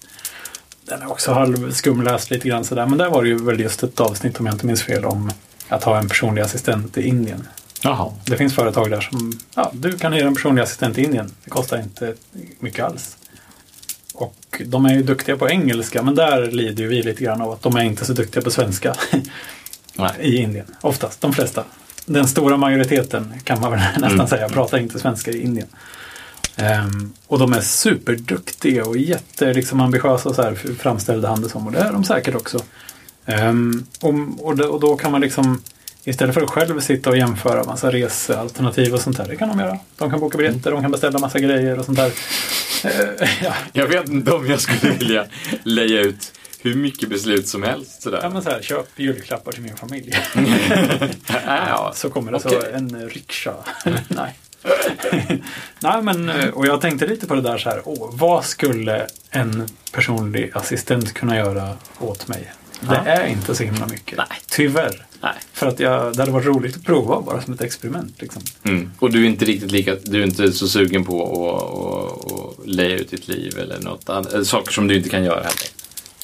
S2: Den är också halvskumläst lite grann sådär, men där var det ju väl just ett avsnitt om jag inte minns fel om att ha en personlig assistent i Indien.
S3: Jaha.
S2: Det finns företag där som, ja, du kan hyra en personlig assistent i Indien. Det kostar inte mycket alls. Och Och de är ju duktiga på engelska men där lider ju vi lite grann av att de är inte så duktiga på svenska
S3: Nej.
S2: i Indien. Oftast, de flesta. Den stora majoriteten kan man väl nästan säga pratar inte svenska i Indien. Ehm, och de är superduktiga och jätte, liksom, ambitiösa så här, framställde han det som och det är de säkert också. Ehm, och, och, då, och då kan man liksom istället för att själv sitta och jämföra massa resealternativ och sånt där, det kan de göra. De kan boka biljetter, de kan beställa massa grejer och sånt där. Ehm, ja.
S1: Jag vet inte om jag skulle vilja lägga ut hur mycket beslut som helst sådär.
S2: ja, men så här, köp julklappar till min familj.
S1: ja, Äh, ja.
S2: Så kommer det så
S1: Okej. Mm.
S2: en riksha. Nej. Nej, men eh, och jag tänkte lite på det där så här. Åh, vad skulle en personlig assistent kunna göra åt mig? Det
S1: Ja.
S2: är inte så himla mycket.
S1: Nej.
S2: Tyvärr.
S1: Nej.
S2: För att jag, det hade varit roligt att prova bara som ett experiment. Liksom.
S1: Mm. Och du är inte riktigt lika, du är inte så sugen på att- att att- att lägga ut ditt liv eller något annat, eller saker som du inte kan göra heller.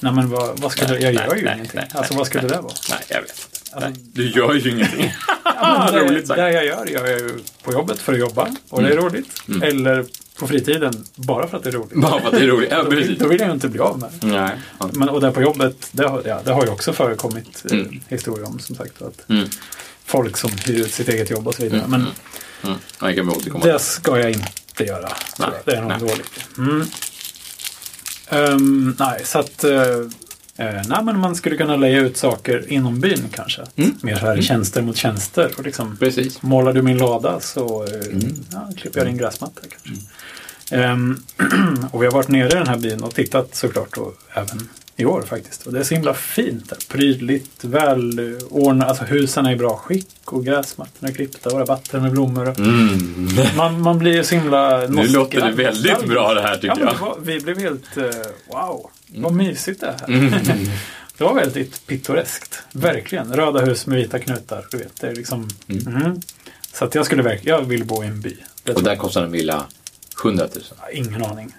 S2: Nej, men vad, vad skulle,
S1: Nej,
S2: jag gör
S1: nej,
S2: ju
S1: nej,
S2: ingenting.
S1: nej,
S2: alltså vad skulle det vara?
S1: Nej, jag vet inte.
S2: Alltså-
S1: Nej. Du gör ju ingenting.
S2: Ja, men
S1: roligt
S2: Ah,
S1: Mm.
S2: det,
S1: sagt.
S2: det jag gör, gör jag ju på jobbet för att jobba och det är roligt. Eller på fritiden bara för att det är roligt.
S1: Bara för att det är roligt. Ja,
S2: Då vill,
S1: precis.
S2: då vill jag ju inte bli av med det.
S1: Nej. Ja.
S2: Men, och där på jobbet, det har, ja, det har ju också förekommit eh,
S1: Mm.
S2: historier om som sagt. Att
S1: Mm.
S2: Folk som hyr ut sitt eget jobb och så vidare. Men
S1: Mm. Ja, jag kan väl återkomma.
S2: det ska jag inte göra. tror
S1: Nej,
S2: jag. Det är nog
S1: nej.
S2: dåligt. Mm. Ehm, nej, så att eh, eh, nej, men man skulle kunna lägga ut saker inom byn kanske.
S1: Mm.
S2: Mer så här tjänster mot tjänster. Och liksom,
S1: Precis.
S2: Målar du min lada så eh,
S1: Mm.
S2: ja, klipper jag din gräsmatta kanske. Ehm, och vi har varit nere i den här byn och tittat såklart och även i år faktiskt. Och det är så himla fint där. Prydligt, välordnat. Alltså husen är i bra skick och gräsmattorna är klippta och rabatter med blommor. och-
S1: Mm.
S2: Man, man blir ju så himla
S1: Nu låter det
S2: nostalgisk.
S1: väldigt bra det här tycker
S2: Ja, men
S1: jag. Mm.
S2: det var, vi blev helt eh, wow, vad mysigt det är här. det var väldigt pittoreskt, verkligen. Röda hus med vita knutar, du vet. Det är liksom,
S1: Mm.
S2: Mhm. Så att jag skulle verkligen, jag vill bo i en by. Det
S1: Och
S2: tror
S1: där kostar en villa 100 000.
S2: jag, ingen aning.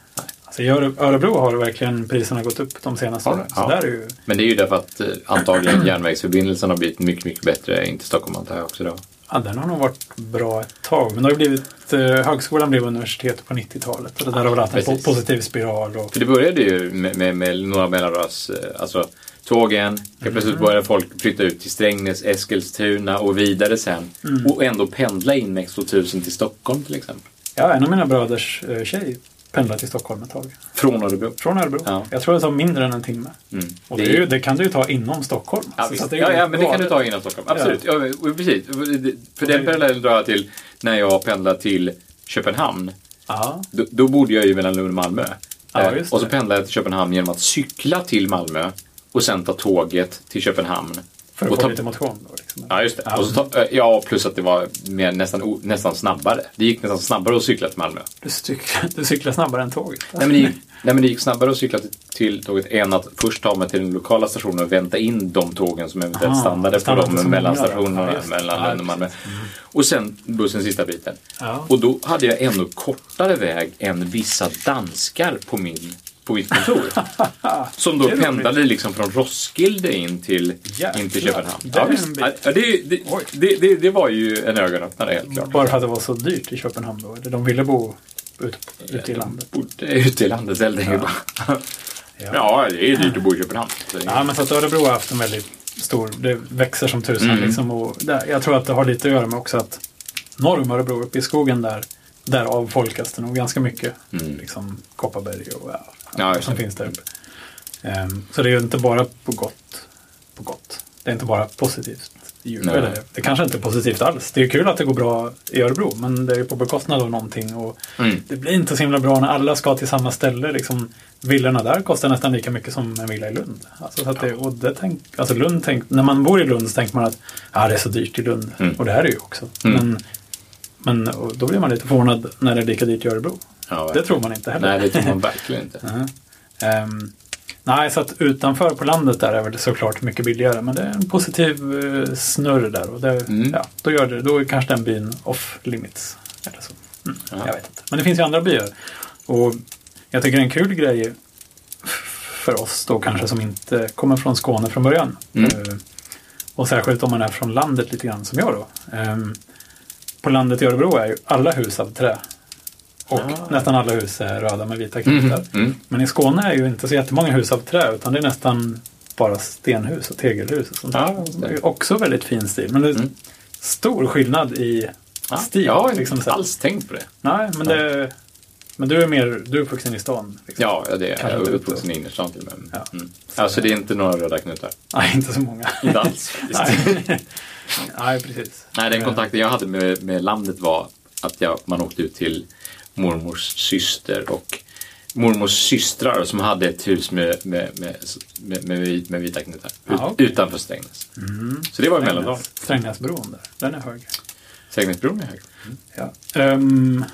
S2: Alltså, i Öre- Örebro har verkligen priserna gått upp de senaste
S1: Har det?
S2: åren. Så
S1: Ja.
S2: där är ju,
S1: Men det är ju därför att eh, antagligen järnvägsförbindelsen har blivit mycket, mycket bättre in till Stockholm antar jag också då.
S2: ja, den har nog varit bra ett tag. Men det har ju blivit, eh, högskolan blev universitet på 90-talet och det där har väl haft en po-
S1: Precis.
S2: positiv spiral. Och,
S1: För det började ju med, med, med några mellanras, eh, alltså tågen, helt plötsligt började folk flytta ut till Strängnäs, Eskilstuna och vidare sen. Och ändå pendla in med X2000 till Stockholm till exempel.
S2: ja, en av mina bröders eh, tjej pendlade till Stockholm ett tag.
S1: Från Örebro.
S2: Från Örebro.
S1: Ja.
S2: Jag tror det tar mindre än en timme.
S1: Mm.
S2: Och det, är ju, det kan du ju ta inom Stockholm.
S1: Ja,
S2: Alltså, så
S1: visst.
S2: att det är ju
S1: ja, ja, men det kan du
S2: galet.
S1: ta innan Stockholm. Absolut. Ja. och precis. För den parallellen drar jag till när jag pendlar till Köpenhamn.
S2: Ja,
S1: Då, då bodde jag ju mellan Lund och Malmö.
S2: Ja,
S1: Eh,
S2: just
S1: och så
S2: det.
S1: pendlade jag till Köpenhamn genom att cykla till Malmö och sen ta tåget till Köpenhamn.
S2: för att
S1: och
S2: få
S1: ta,
S2: lite motion. Då, liksom.
S1: Ja, just det. Och så ta, eh, ja, plus att det var mer, nästan, o- nästan snabbare. Det gick nästan snabbare att cykla till Malmö.
S2: du, cyklar, du cyklar snabbare än tåget.
S1: Nej, men det gick, nej, men det gick snabbare att cykla till, till tåget än att först ta mig till den lokala stationen och vänta in de tågen som eventuellt
S2: Ah,
S1: stannade på
S2: stannade inte så
S1: de
S2: många
S1: mellanstationerna
S2: då. Ja, just det.
S1: mellan
S2: Ja, Mm.
S1: Lund och Malmö. Och sen bussen sista biten.
S2: Ja.
S1: Och då hade jag ändå kortare väg än vissa danskar på, min, på mitt kontor. som då
S2: Det är roligt.
S1: pendlade liksom från Roskilde in till,
S2: Jäklar,
S1: in till Köpenhamn.
S2: det
S1: Ja,
S2: är
S1: visst.
S2: en bit.
S1: Ja, det, det,
S2: Oj. Mm.
S1: det, det, det var ju en ögonöppnare helt klart.
S2: Bara för att det var så dyrt i Köpenhamn då. Eller de ville bo ute, ute i landet.
S1: Bodde ute eh, i landet helt enkelt. Ja.
S2: Ja.
S1: ja, det är dyrt att bo i Köpenhamn. Så det är-
S2: Ja, men så att Örebro har haft en väldigt stor... Det växer som tusan
S1: Mm.
S2: liksom. Och där, jag tror att det har lite att göra med också att norr om Örebro, uppe i skogen där, där avfolkas det nog ganska mycket.
S1: Mm.
S2: Liksom Kopparberg och ja,
S1: Ja, just
S2: som
S1: det.
S2: finns där uppe. Ehm, så det är ju inte bara på gott. På gott. Det är inte bara positivt. ju.
S1: Nej.
S2: Eller, det kanske inte är positivt alls. Det är ju kul att det går bra i Örebro, men det är ju på bekostnad av någonting. Och
S1: Mm.
S2: Det blir inte så himla bra när alla ska till samma ställe. Liksom, villorna där kostar nästan lika mycket som en villa i Lund. Alltså, så att det, och det tänk, alltså Lund tänk, när man bor i Lund så tänker man att ah, det är så dyrt i Lund.
S1: Mm.
S2: Och det här är ju också. Men, men och då blir man lite förvånad när det är lika dyrt i Örebro.
S1: Ja,
S2: det
S1: verkligen.
S2: tror man inte heller.
S1: Nej, det tror man verkligen inte.
S2: Ehm, nej, så att utanför på landet där är väl det såklart mycket billigare. Men det är en positiv eh, snurr där. Och det, ja, då, gör det, då är kanske den byn off limits. Eller så. Mm, Jag vet inte. Men det finns ju andra byar. Och jag tycker en kul grej för oss då kanske som inte kommer från Skåne från början. Eh, och särskilt om man är från landet lite grann som jag då. Ehm, på landet i Örebro är ju alla hus av trä. Och nästan alla hus är röda med vita knutar.
S1: Mm.
S2: Men i Skåne är ju inte så jättemånga hus av trä utan det är nästan bara stenhus och tegelhus. Och sånt där.
S1: Ja, just det. Mm.
S2: det är också väldigt fin stil. Men det är stor skillnad i
S1: Ja,
S2: stil.
S1: jag har inte
S2: liksom så här.
S1: alls tänkt på det.
S2: Nej, men, det, men du är mer du är uppvuxen i stan. Liksom.
S1: Ja, ja, det är
S2: Kanske
S1: jag är
S2: inte
S1: uppvuxen i innerstan till och med.
S2: Ja.
S1: Mm. Alltså det är inte några röda knutar.
S2: Nej, inte så många.
S1: Inte alls faktiskt.
S2: Nej. Nej, precis.
S1: Nej, den kontakten jag hade med, med landet var att jag, man åkte ut till mormors syster och mormors systrar som hade ett hus med, med, med, med, med, vit- med vita knutar ut,
S2: Ja, Ah, okej. Mm.
S1: utanför Strängnäs. Så det var i Mälardalen.
S2: Eh, Strängnäsbron där, den är hög.
S1: Strängnäsbron är hög.
S2: Ja. Ehm,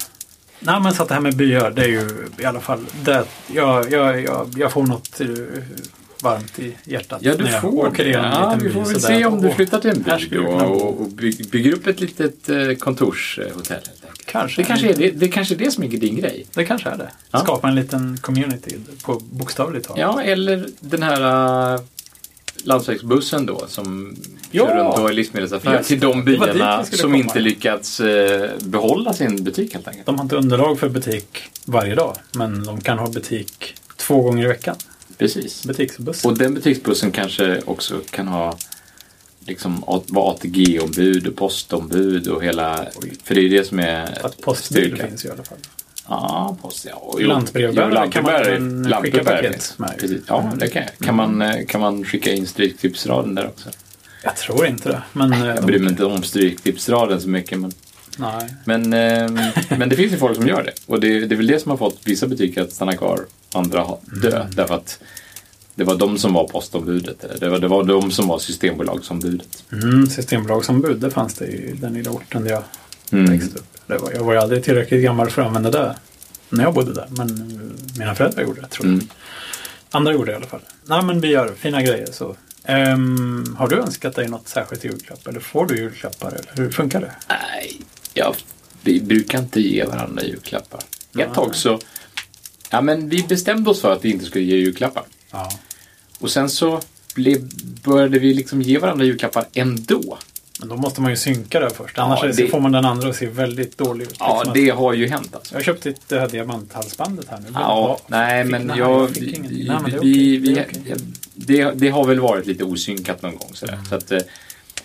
S2: nej men så att det här med byar, det är ju i alla fall det. Jag, jag, jag, jag får något eh, varmt i hjärtat.
S1: Ja, du
S2: när jag
S1: får
S2: åker
S1: det.
S2: igenom en
S1: Ja,
S2: liten
S1: vi
S2: by
S1: får väl
S2: sådär.
S1: se om du
S2: Åh,
S1: flyttar till en
S2: här
S1: by
S2: skulle jag
S1: då
S2: kunna
S1: och, och byg- bygger upp ett litet eh, kontorshotell. helt enkelt.
S2: Kanske.
S1: Det kanske är det, det, kanske är det som är din grej.
S2: Det kanske är det.
S1: Ja.
S2: Skapa en liten community på bokstavligt talat.
S1: Ja, eller den här eh, landsvägsbussen då som
S2: Ja.
S1: kör runt då i livsmedelsaffärer
S2: Just
S1: till de
S2: det var dit vi
S1: byarna
S2: skulle
S1: som
S2: komma.
S1: inte lyckats eh, behålla sin butik helt enkelt.
S2: De har inte underlag för butik varje dag, men de kan ha butik två gånger i veckan.
S1: Precis.
S2: Butiksbuss.
S1: Och den butiksbussen kanske också kan ha liksom A- vara ATG-ombud och postombud och hela... För det är ju det som är
S2: Att postbil
S1: styrkan.
S2: finns ju i alla fall.
S1: Ja, post. Ja. Och-
S2: Lantbrevbärare
S1: jo,
S2: kan man-
S1: lantbrevbärare-
S2: kan skicka
S1: lantbrevbärare
S2: paket
S1: finns.
S2: med. Mm.
S1: Precis. Ja, det kan jag. Kan man, eh, kan man skicka in stryktipsraden där också?
S2: Jag tror inte det. Men, eh,
S1: Jag
S2: de-
S1: bryr mig inte om stryktipsraden så mycket. Men,
S2: Nej.
S1: men, ehm, men det finns ju folk som gör det. Och det, det är väl det som har fått vissa butiker att stanna kvar, andra ha- dö.
S2: Mm.
S1: Därför att det var de som var postombudet. Eller det, var, det var de som var systembolagsom-budet.
S2: Mm, systembolagsombud, det fanns det i den lilla orten där jag
S1: Mm.
S2: växte upp. Det var, jag var ju aldrig tillräckligt gammal för att använda det när jag bodde där, men eh, mina föräldrar gjorde det tror jag.
S1: Mm.
S2: Andra gjorde det i alla fall. Nej men vi gör fina grejer så. Ehm, har du önskat dig något särskilt i julklapp eller får du julklappar eller hur funkar det?
S1: Nej, jag, vi brukar inte ge varandra julklappar. Ett tag så... Ja, men vi bestämde oss för att vi inte skulle ge julklappar.
S2: Ja.
S1: Och sen så blev, började vi liksom ge varandra julklappar ändå.
S2: Men då måste man ju synka det först, annars
S1: Ja,
S2: är- så
S1: det-
S2: får man den andra att se väldigt dålig ut.
S1: Ja,
S2: Liksom att-
S1: det har ju hänt alltså.
S2: Jag köpte det här eh, diamanthalsbandet här nu.
S1: Ja, nej,
S2: fick-
S1: men
S2: nej,
S1: jag...
S2: fick
S1: vi-
S2: ingen.
S1: vi-
S2: Nej, men det är
S1: vi- vi-
S2: okej, det är okej.
S1: Det det har väl varit lite osynkat någon gång sådär. Så att, eh,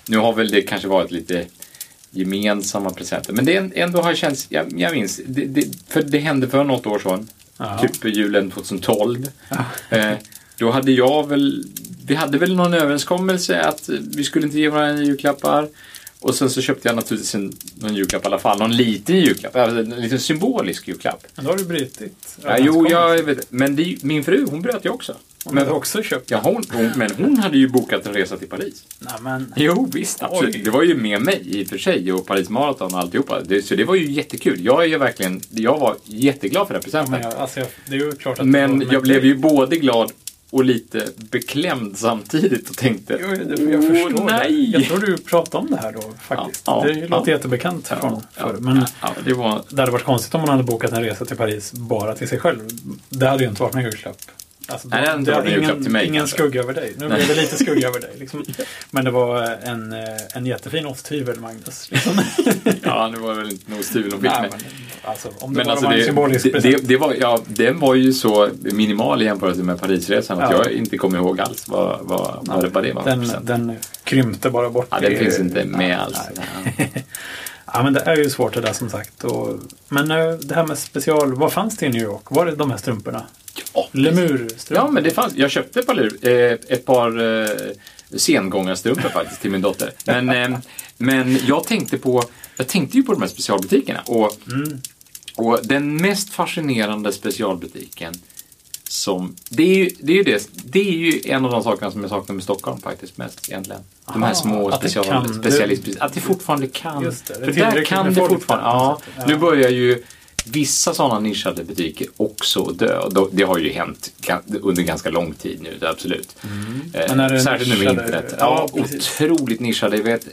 S1: nu har väl det kanske varit lite gemensamma presenter. Men det är en- ändå har känts, jag, jag minns, det, det, för det hände för något år sedan.
S2: Ja.
S1: Typ julen 2012. Eh, då hade jag väl, vi hade väl någon överenskommelse att eh, vi skulle inte ge varandra julklappar. Och sen så köpte jag naturligtvis en, någon julklapp i alla fall, någon liten julklapp, alltså en liten symbolisk julklapp.
S2: Men då har du brutit
S1: Ja, jo, jag vet. Men det, min fru, hon bröt ju också.
S2: Men du
S1: Men,
S2: har också köpt?
S1: ja, hon, hon, men hon hade ju bokat en resa till Paris.
S2: Nej, men...
S1: Jo, visst. Absolut.
S2: Oj.
S1: Det var ju med mig i och för sig och Paris Marathon och alltihopa. Det, så det var ju jättekul. Jag är ju verkligen, jag var jätteglad för den
S2: Ja, men
S1: presenten.
S2: jag, alltså, jag, det är ju klart att
S1: Men jag blev ju både glad och lite beklämd samtidigt och tänkte
S2: Jo, det- jag förstår
S1: Åh,
S2: det. Jag
S1: nej!
S2: tror du pratade om det här då faktiskt.
S1: Ja, ja,
S2: det låter
S1: ja.
S2: jättebekant från
S1: Ja,
S2: förr. Men
S1: ja, det var,
S2: det hade varit konstigt om man hade bokat en resa till Paris bara till sig själv. Det hade ju inte varit någon julklapp. Alltså,
S1: Nej, det hade inte
S2: har
S1: varit en julklapp
S2: ingen,
S1: till mig,
S2: Ingen
S1: kanske.
S2: skugga över dig. Nu blev det lite skugga över dig. Liksom. Men det var en, eh, en jättefin osthyvel, Magnus. Liksom.
S1: ja, nu var det väl inte nog stulen och fick
S2: Nej,
S1: mig.
S2: men, alltså, om det
S1: Men
S2: bara
S1: alltså
S2: var en
S1: det,
S2: symbolisk
S1: det,
S2: present.
S1: det, det var, ja, den var ju så minimal i jämförelse med Parisresan att
S2: Ja.
S1: jag inte kommer ihåg alls vad, vad, vad, det, vad det var. för
S2: den,
S1: present.
S2: den krympte bara bort.
S1: ja, den
S2: i-
S1: finns inte med
S2: Nej,
S1: alls.
S2: nej. Ja, men det är ju svårt det där som sagt. Och, men eh, det här med special, vad fanns det i New York? Var det de här strumporna?
S1: Ja.
S2: Lemurstrumpor?
S1: Ja, men det fanns. Jag köpte ett par, lur- eh, ett par eh, sengångarstrumpor faktiskt till min dotter. Men, eh, men jag, tänkte på, jag tänkte ju på de här specialbutikerna. Och,
S2: Mm.
S1: och den mest fascinerande specialbutiken som, det, är ju, det, är ju det, det är ju en av de sakerna som jag saknar med Stockholm faktiskt mest egentligen. De här
S2: Aha,
S1: små
S2: att det
S1: special,
S2: kan.
S1: specialistpriser. Att det fortfarande kan.
S2: Just det, det är
S1: För där
S2: tillräckligt
S1: kan
S2: med
S1: det
S2: folk
S1: fortfarande.
S2: där på
S1: Ja,
S2: något sätt.
S1: nu börjar ju vissa sådana nischade butiker också dö. Och då- Det har ju hänt ga- under ganska lång tid nu, det absolut. Eh,
S2: Mm. Men är det
S1: Särskilt nu med
S2: nischade-
S1: internet.
S2: Ja,
S1: Ja,
S2: precis.
S1: otroligt nischade. Jag vet,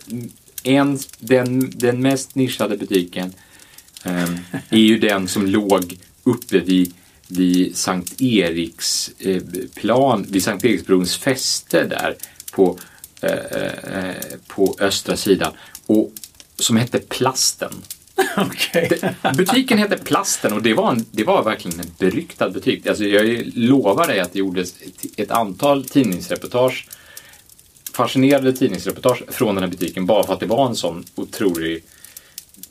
S1: en, den, den mest nischade butiken ehm, är ju den som låg uppe vid vid Sankt Eriks eh, plan, vid Sankt Eriksbrons fäste där på, eh, eh, eh, på östra sidan och som hette Plasten.
S2: Okej.
S1: Det- Butiken hette Plasten och det var, en, det var verkligen en beryktad butik. Alltså jag lovar dig att det gjordes ett- ett antal tidningsreportage, fascinerade tidningsreportage från den här butiken bara för att det var en sån otrolig,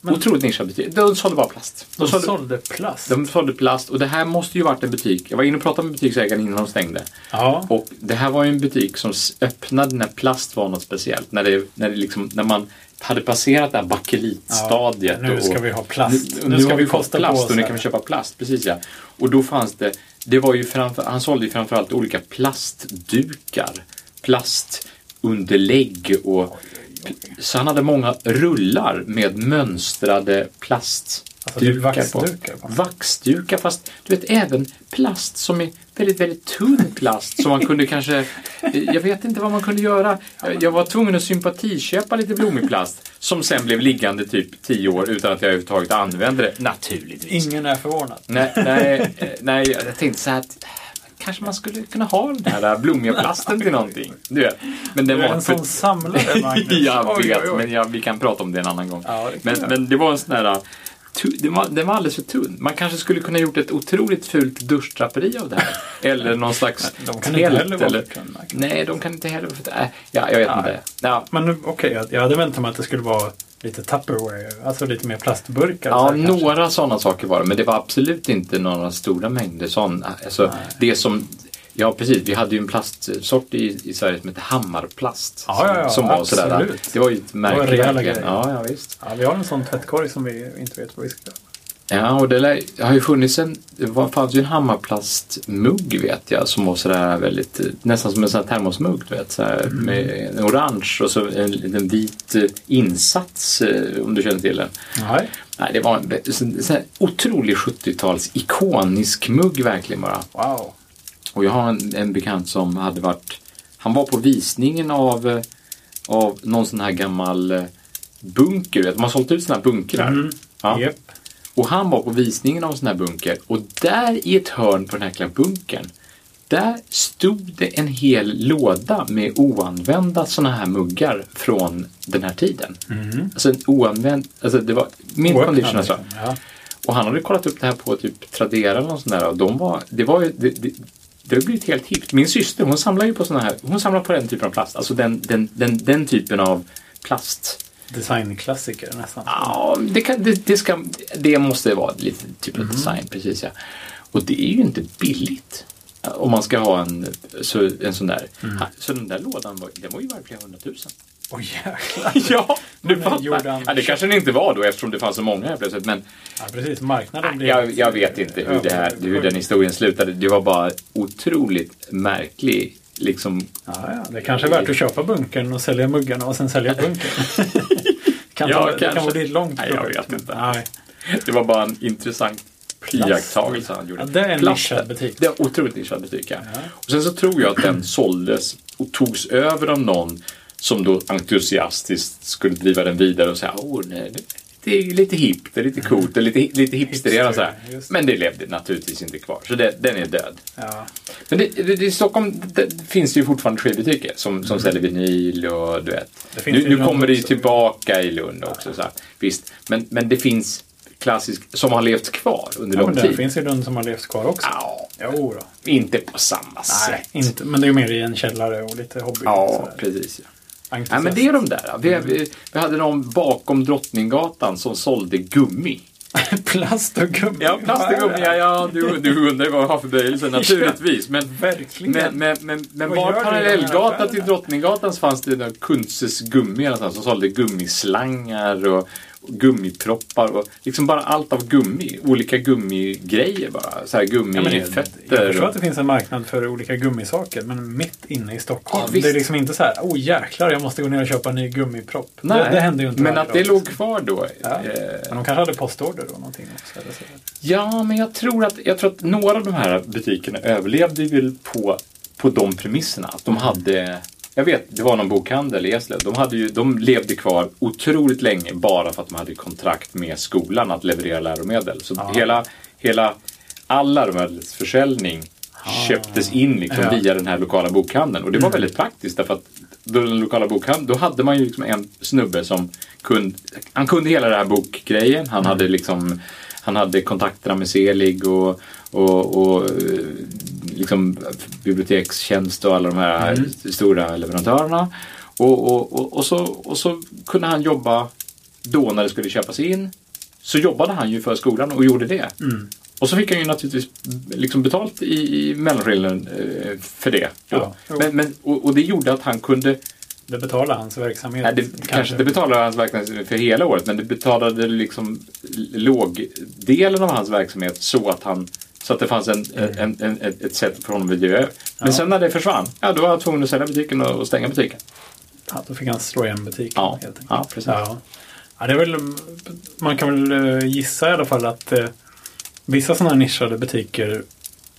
S1: otroligt nischad butik. De sålde bara plast.
S2: De sålde plast.
S1: de sålde plast och det här måste ju varit en butik. Jag var inne och pratade med butiksägaren innan de stängde.
S2: Ja.
S1: Och det här var ju en butik som s- öppnade när plast var något speciellt. När, det, när, det liksom, när man hade passerat det här bakelitstadiet.
S2: Ja, nu ska
S1: och-
S2: vi ha plast.
S1: Nu,
S2: Nu
S1: nu
S2: ska
S1: har
S2: vi
S1: vi fått
S2: kosta på
S1: plast
S2: oss
S1: och nu
S2: här.
S1: kan vi köpa plast. Precis ja. Och då fanns det, det var ju framför, han sålde ju framförallt olika plastdukar. Plastunderlägg och... Så han hade många rullar med mönstrade
S2: Alltså, det är
S1: plastdukar.
S2: vaxdukar, va?
S1: Vaxdukar, fast du vet även plast som är väldigt, väldigt tunn plast som man kunde kanske... Jag vet inte vad man kunde göra. Jag var tvungen att sympatiköpa lite blommig plast som sen blev liggande typ tio år utan att jag överhuvudtaget använde det. Naturligtvis.
S2: Ingen är förvånad.
S1: Nej, nej, eh, nej, jag tänkte så här att eh, kanske man skulle kunna ha den här där blommiga plasten till någonting. Du vet. Men den
S2: Du
S1: var
S2: är en
S1: för-
S2: sån samlare, Magnus.
S1: jag
S2: Oj,
S1: vet,
S2: oj, oj.
S1: men ja, vi kan prata om det en annan gång.
S2: Ja, det kan
S1: men,
S2: vi göra.
S1: men det var en sån här... tu- Den var, den var alldeles för tunn. Man kanske skulle kunna gjort ett otroligt fult duschdraperi av det här. Eller någon slags
S2: De kan inte heller vara
S1: eller...
S2: för tunna, kanske.
S1: Nej, de kan inte heller vara för tunna. Äh, ja, jag vet
S2: Nej.
S1: inte. Ja,
S2: Men nu- okej, jag- jag hade väntat mig att det skulle vara lite Tupperware, alltså lite mer plastburkar. och
S1: ja
S2: så här kanske.
S1: några sådana saker var det. Men det var absolut inte några stora mängder sådana. Alltså, det som... Ja, precis. Vi hade ju en plastsort i, i Sverige som hette Hammarplast.
S2: Ja, ja, ja,
S1: som var sådär.
S2: absolut.
S1: Det var ju ett
S2: var
S1: märke.
S2: rejäla
S1: verkligen.
S2: grejer.
S1: Ja, ja, visst.
S2: Ja, vi har en sån tvättkorg som vi inte vet vad vi ska göra.
S1: Ja, och det lär- har ju funnits en, det var- fanns ju en hammarplastmugg vet jag som var sådär väldigt, eh, nästan som en sån här termosmugg du vet, sådär, med en orange och så en liten vit eh, insats eh, om du känner till den.
S2: Nej.
S1: Nej, det var en be- sån sån här otrolig 70-tals ikonisk mugg verkligen bara.
S2: Wow.
S1: Och jag har en, en bekant som hade varit, han var på visningen av, eh, av någon sån här gammal eh, bunker, du vet, de har sålt ut såna här bunkrar.
S2: Mm.
S1: Ja.
S2: Japp.
S1: Och han var på visningen av en sån här bunker och där i ett hörn på den här jäkla bunkern där stod det en hel låda med oanvända såna här muggar från den här tiden. Mm. Alltså en oanvänd, alltså det var mint condition alltså.
S2: liksom. Ja.
S1: Och han hade kollat upp det här på typ Tradera eller något sånt där och de var, det var ju, det, det, det har blivit helt hippt. Min syster hon samlar ju på såna här, hon samlar på den typen av plast, alltså den, den, den, den typen av plast.
S2: Designklassiker nästan.
S1: Ja, det, kan, det, det, ska, det måste vara lite typ av design, precis ja. Och det är ju inte billigt. eh, Om man ska ha en, så, en sån där. Ha, Så den där lådan var, den var ju värd flera hundratusen.
S2: Åh jäklar.
S1: Ja, du
S2: Men gjorde
S1: fattar.
S2: han-
S1: Ja, det kanske den inte var då eftersom det fanns så många här plötsligt. Men
S2: Ja, precis. Marknaden blir...
S1: Ah, jag, jag vet inte hur, det här, hur den historien slutade. Det var bara otroligt märklig liksom,
S2: Ja, ja. Det kanske är värt att köpa bunkern och sälja muggarna och sen sälja bunkern. kan
S1: Ja,
S2: ta, det kan
S1: kanske.
S2: vara ett långt
S1: Nej, jag
S2: projekt.
S1: vet inte.
S2: Nej.
S1: Det var bara en intressant iakttagelse han gjorde.
S2: Ja, det är en
S1: Plast.
S2: nischad butik.
S1: Det är en otroligt nischad butik, ja. Och sen så tror jag att den såldes och togs över av någon som då entusiastiskt skulle driva den vidare och säga åh nej, det- det är lite hippt, det är lite coolt, det är lite, lite hipsterigare och så här.
S2: Hipster, just det.
S1: Men det levde naturligtvis inte kvar, så det, den är död.
S2: Ja.
S1: Men det, det, det, i Stockholm det, finns ju fortfarande skivbutiker som, som säljer vinyl och du vet.
S2: Mm. Det finns
S1: Nu,
S2: det i
S1: nu
S2: Lund
S1: kommer det ju
S2: också.
S1: tillbaka i Lund också. Så här. Visst, men, men det finns klassisk som har levt kvar under
S2: Ja, men
S1: lång
S2: den
S1: tid.
S2: finns ju den som har levt kvar också.
S1: Ja,
S2: Jo då.
S1: inte på samma
S2: Nej,
S1: sätt.
S2: inte, men det är ju mer i en källare och lite hobby.
S1: Ja,
S2: sådär.
S1: precis. Ja. Nej,
S2: Entusiast.
S1: men det är de där. Vi,
S2: Mm.
S1: vi, vi hade någon bakom Drottninggatan som sålde gummi.
S2: Plast och gummi.
S1: Ja, plast och gummi. Ja, ja, du, du undrar vad jag har för böjelse, naturligtvis. Men
S2: Verkligen.
S1: Men, men, men, men
S2: Vad gör
S1: var
S2: du i de här
S1: parallellgata till
S2: affärerna?
S1: Drottninggatan så fanns det någon Kunzes gummi någonstans som sålde gummislangar och och gummiproppar och liksom bara allt av gummi. Olika gummigrejer bara. Så här
S2: Ja, men det- Jag
S1: gummifötter.
S2: förstår att det finns en marknad för olika gummisaker, men mitt inne i Stockholm.
S1: Ja, visst.
S2: det är liksom inte så här, oh jäklar, jag måste gå ner och köpa en ny gummipropp.
S1: Nej,
S2: det, det hände ju inte.
S1: men
S2: varje
S1: att
S2: dag.
S1: det låg kvar då.
S2: Ja.
S1: eh,
S2: Men de kanske hade postorder då, någonting också. Eller så.
S1: Ja, men jag tror att, jag tror att några av de här butikerna överlevde väl på, på de premisserna. Att de hade, jag vet, det var någon bokhandel i Eslöv. De, hade ju, de levde kvar otroligt länge bara för att de hade kontrakt med skolan att leverera läromedel. Så hela, hela all läromedelsförsäljning köptes in liksom
S2: Ja.
S1: via den här lokala bokhandeln. Och det var väldigt praktiskt därför att då den lokala bokhandeln, då hade man ju liksom en snubbe som kunde, han kunde hela den här bokgrejen. Han hade liksom, han hade kontakterna med Selig och, och, och eh, liksom bibliotekstjänst och alla de här stora leverantörerna. Och, och, och, och, så, och så kunde han jobba då när det skulle köpas in. Så jobbade han ju för skolan och gjorde det. Och så fick han ju naturligtvis liksom betalt i, i mellanskillnaden eh, för det.
S2: Ja.
S1: Men, men, och, och det gjorde att han kunde,
S2: Det betalar hans verksamhet.
S1: nej, det, kanske. inte betalade hans verksamhet för hela året, men det betalade liksom lågdelen av hans verksamhet så att han så att det fanns en,
S2: Mm.
S1: en, en, ett- ett sätt för honom att göra. Men sen när det försvann, ja då var han tvungen att sälja butiken och, och stänga butiken.
S2: ja, då fick han slå igen butiken
S1: Ja,
S2: helt enkelt.
S1: ja precis.
S2: Ja. Ja, det är väl, man kan väl eh, gissa i alla fall att eh, vissa sådana här nischade butiker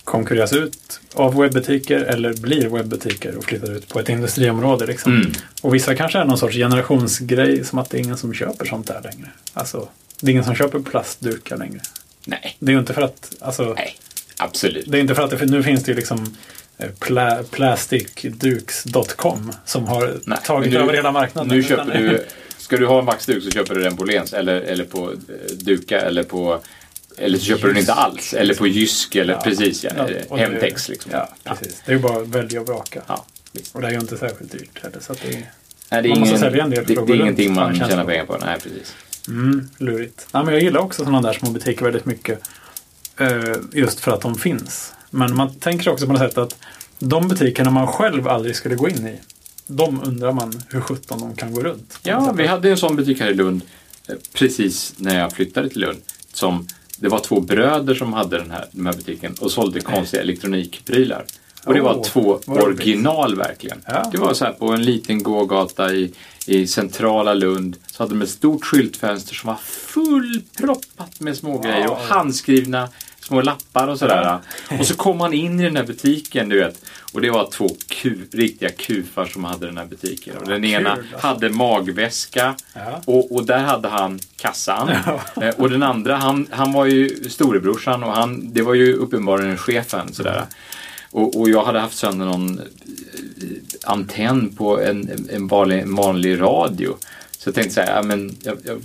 S2: konkurreras ut av webbutiker eller blir webbutiker och flyttar ut på ett industriområde. Liksom.
S1: Mm.
S2: Och vissa kanske är någon sorts generationsgrej som att det är ingen som köper sånt där längre. Alltså, det är ingen som köper plastdukar längre.
S1: Nej,
S2: Det är ju inte för att, alltså,
S1: nej, absolut.
S2: det är inte för att det, för nu finns det ju liksom eh, pla, plasticdukes.com som har
S1: Nej,
S2: tagit
S1: men nu-
S2: över hela marknaden.
S1: Nu
S2: Utan-
S1: köper du, ska du ha en vaxduk så köper du den på Åhléns eller, eller på eh, Duka eller på eller så köper du den inte alls. Eller på Jysk eller precis, ja,
S2: Ja, och det-
S1: Hemtex liksom.
S2: Ja, precis. Det är ju bara att välja och vraka.
S1: Ja.
S2: Och det är ju inte särskilt dyrt heller. Så att det är
S1: Nej, det är
S2: Man måste
S1: ingen-
S2: sälja en del för
S1: det,
S2: att
S1: det
S2: gå
S1: är
S2: runt,
S1: ingenting
S2: har en
S1: man
S2: känsla
S1: tjänar
S2: av.
S1: pengar på. Nej, precis.
S2: mm, lurigt. Nej, men jag gillar också sådana där små butiker väldigt mycket. eh, Just för att de finns. Men man tänker också på något sätt att de butikerna man själv aldrig skulle gå in i. De undrar man hur sjutton de kan gå runt.
S1: Ja, vi hade en sån butik här i Lund eh, precis när jag flyttade till Lund. Som, det var två bröder som hade den här, den här butiken och sålde konstiga elektronikprylar. Och det var
S2: Oh,
S1: två
S2: vad roligt.
S1: original verkligen.
S2: Ja.
S1: Det var så här på en liten gågata i, i centrala Lund så hade de ett stort skyltfönster som var fullproppat med små grejer och handskrivna små lappar och sådär. Och så kom man in i den här butiken, du vet. Och det var två ku, riktiga kufar som hade den här butiken. Och den
S2: kul,
S1: ena
S2: alltså.
S1: hade magväska
S2: Ja.
S1: och, och där hade han kassan. Eh, Och den andra, han, han var ju storebrorsan och han, det var ju uppenbarligen chefen. Sådär.
S2: Mm.
S1: Och, och jag hade haft sönder någon eh, antenn på en, en, vanlig, en vanlig radio. Så jag tänkte så här, ja, men jag, jag,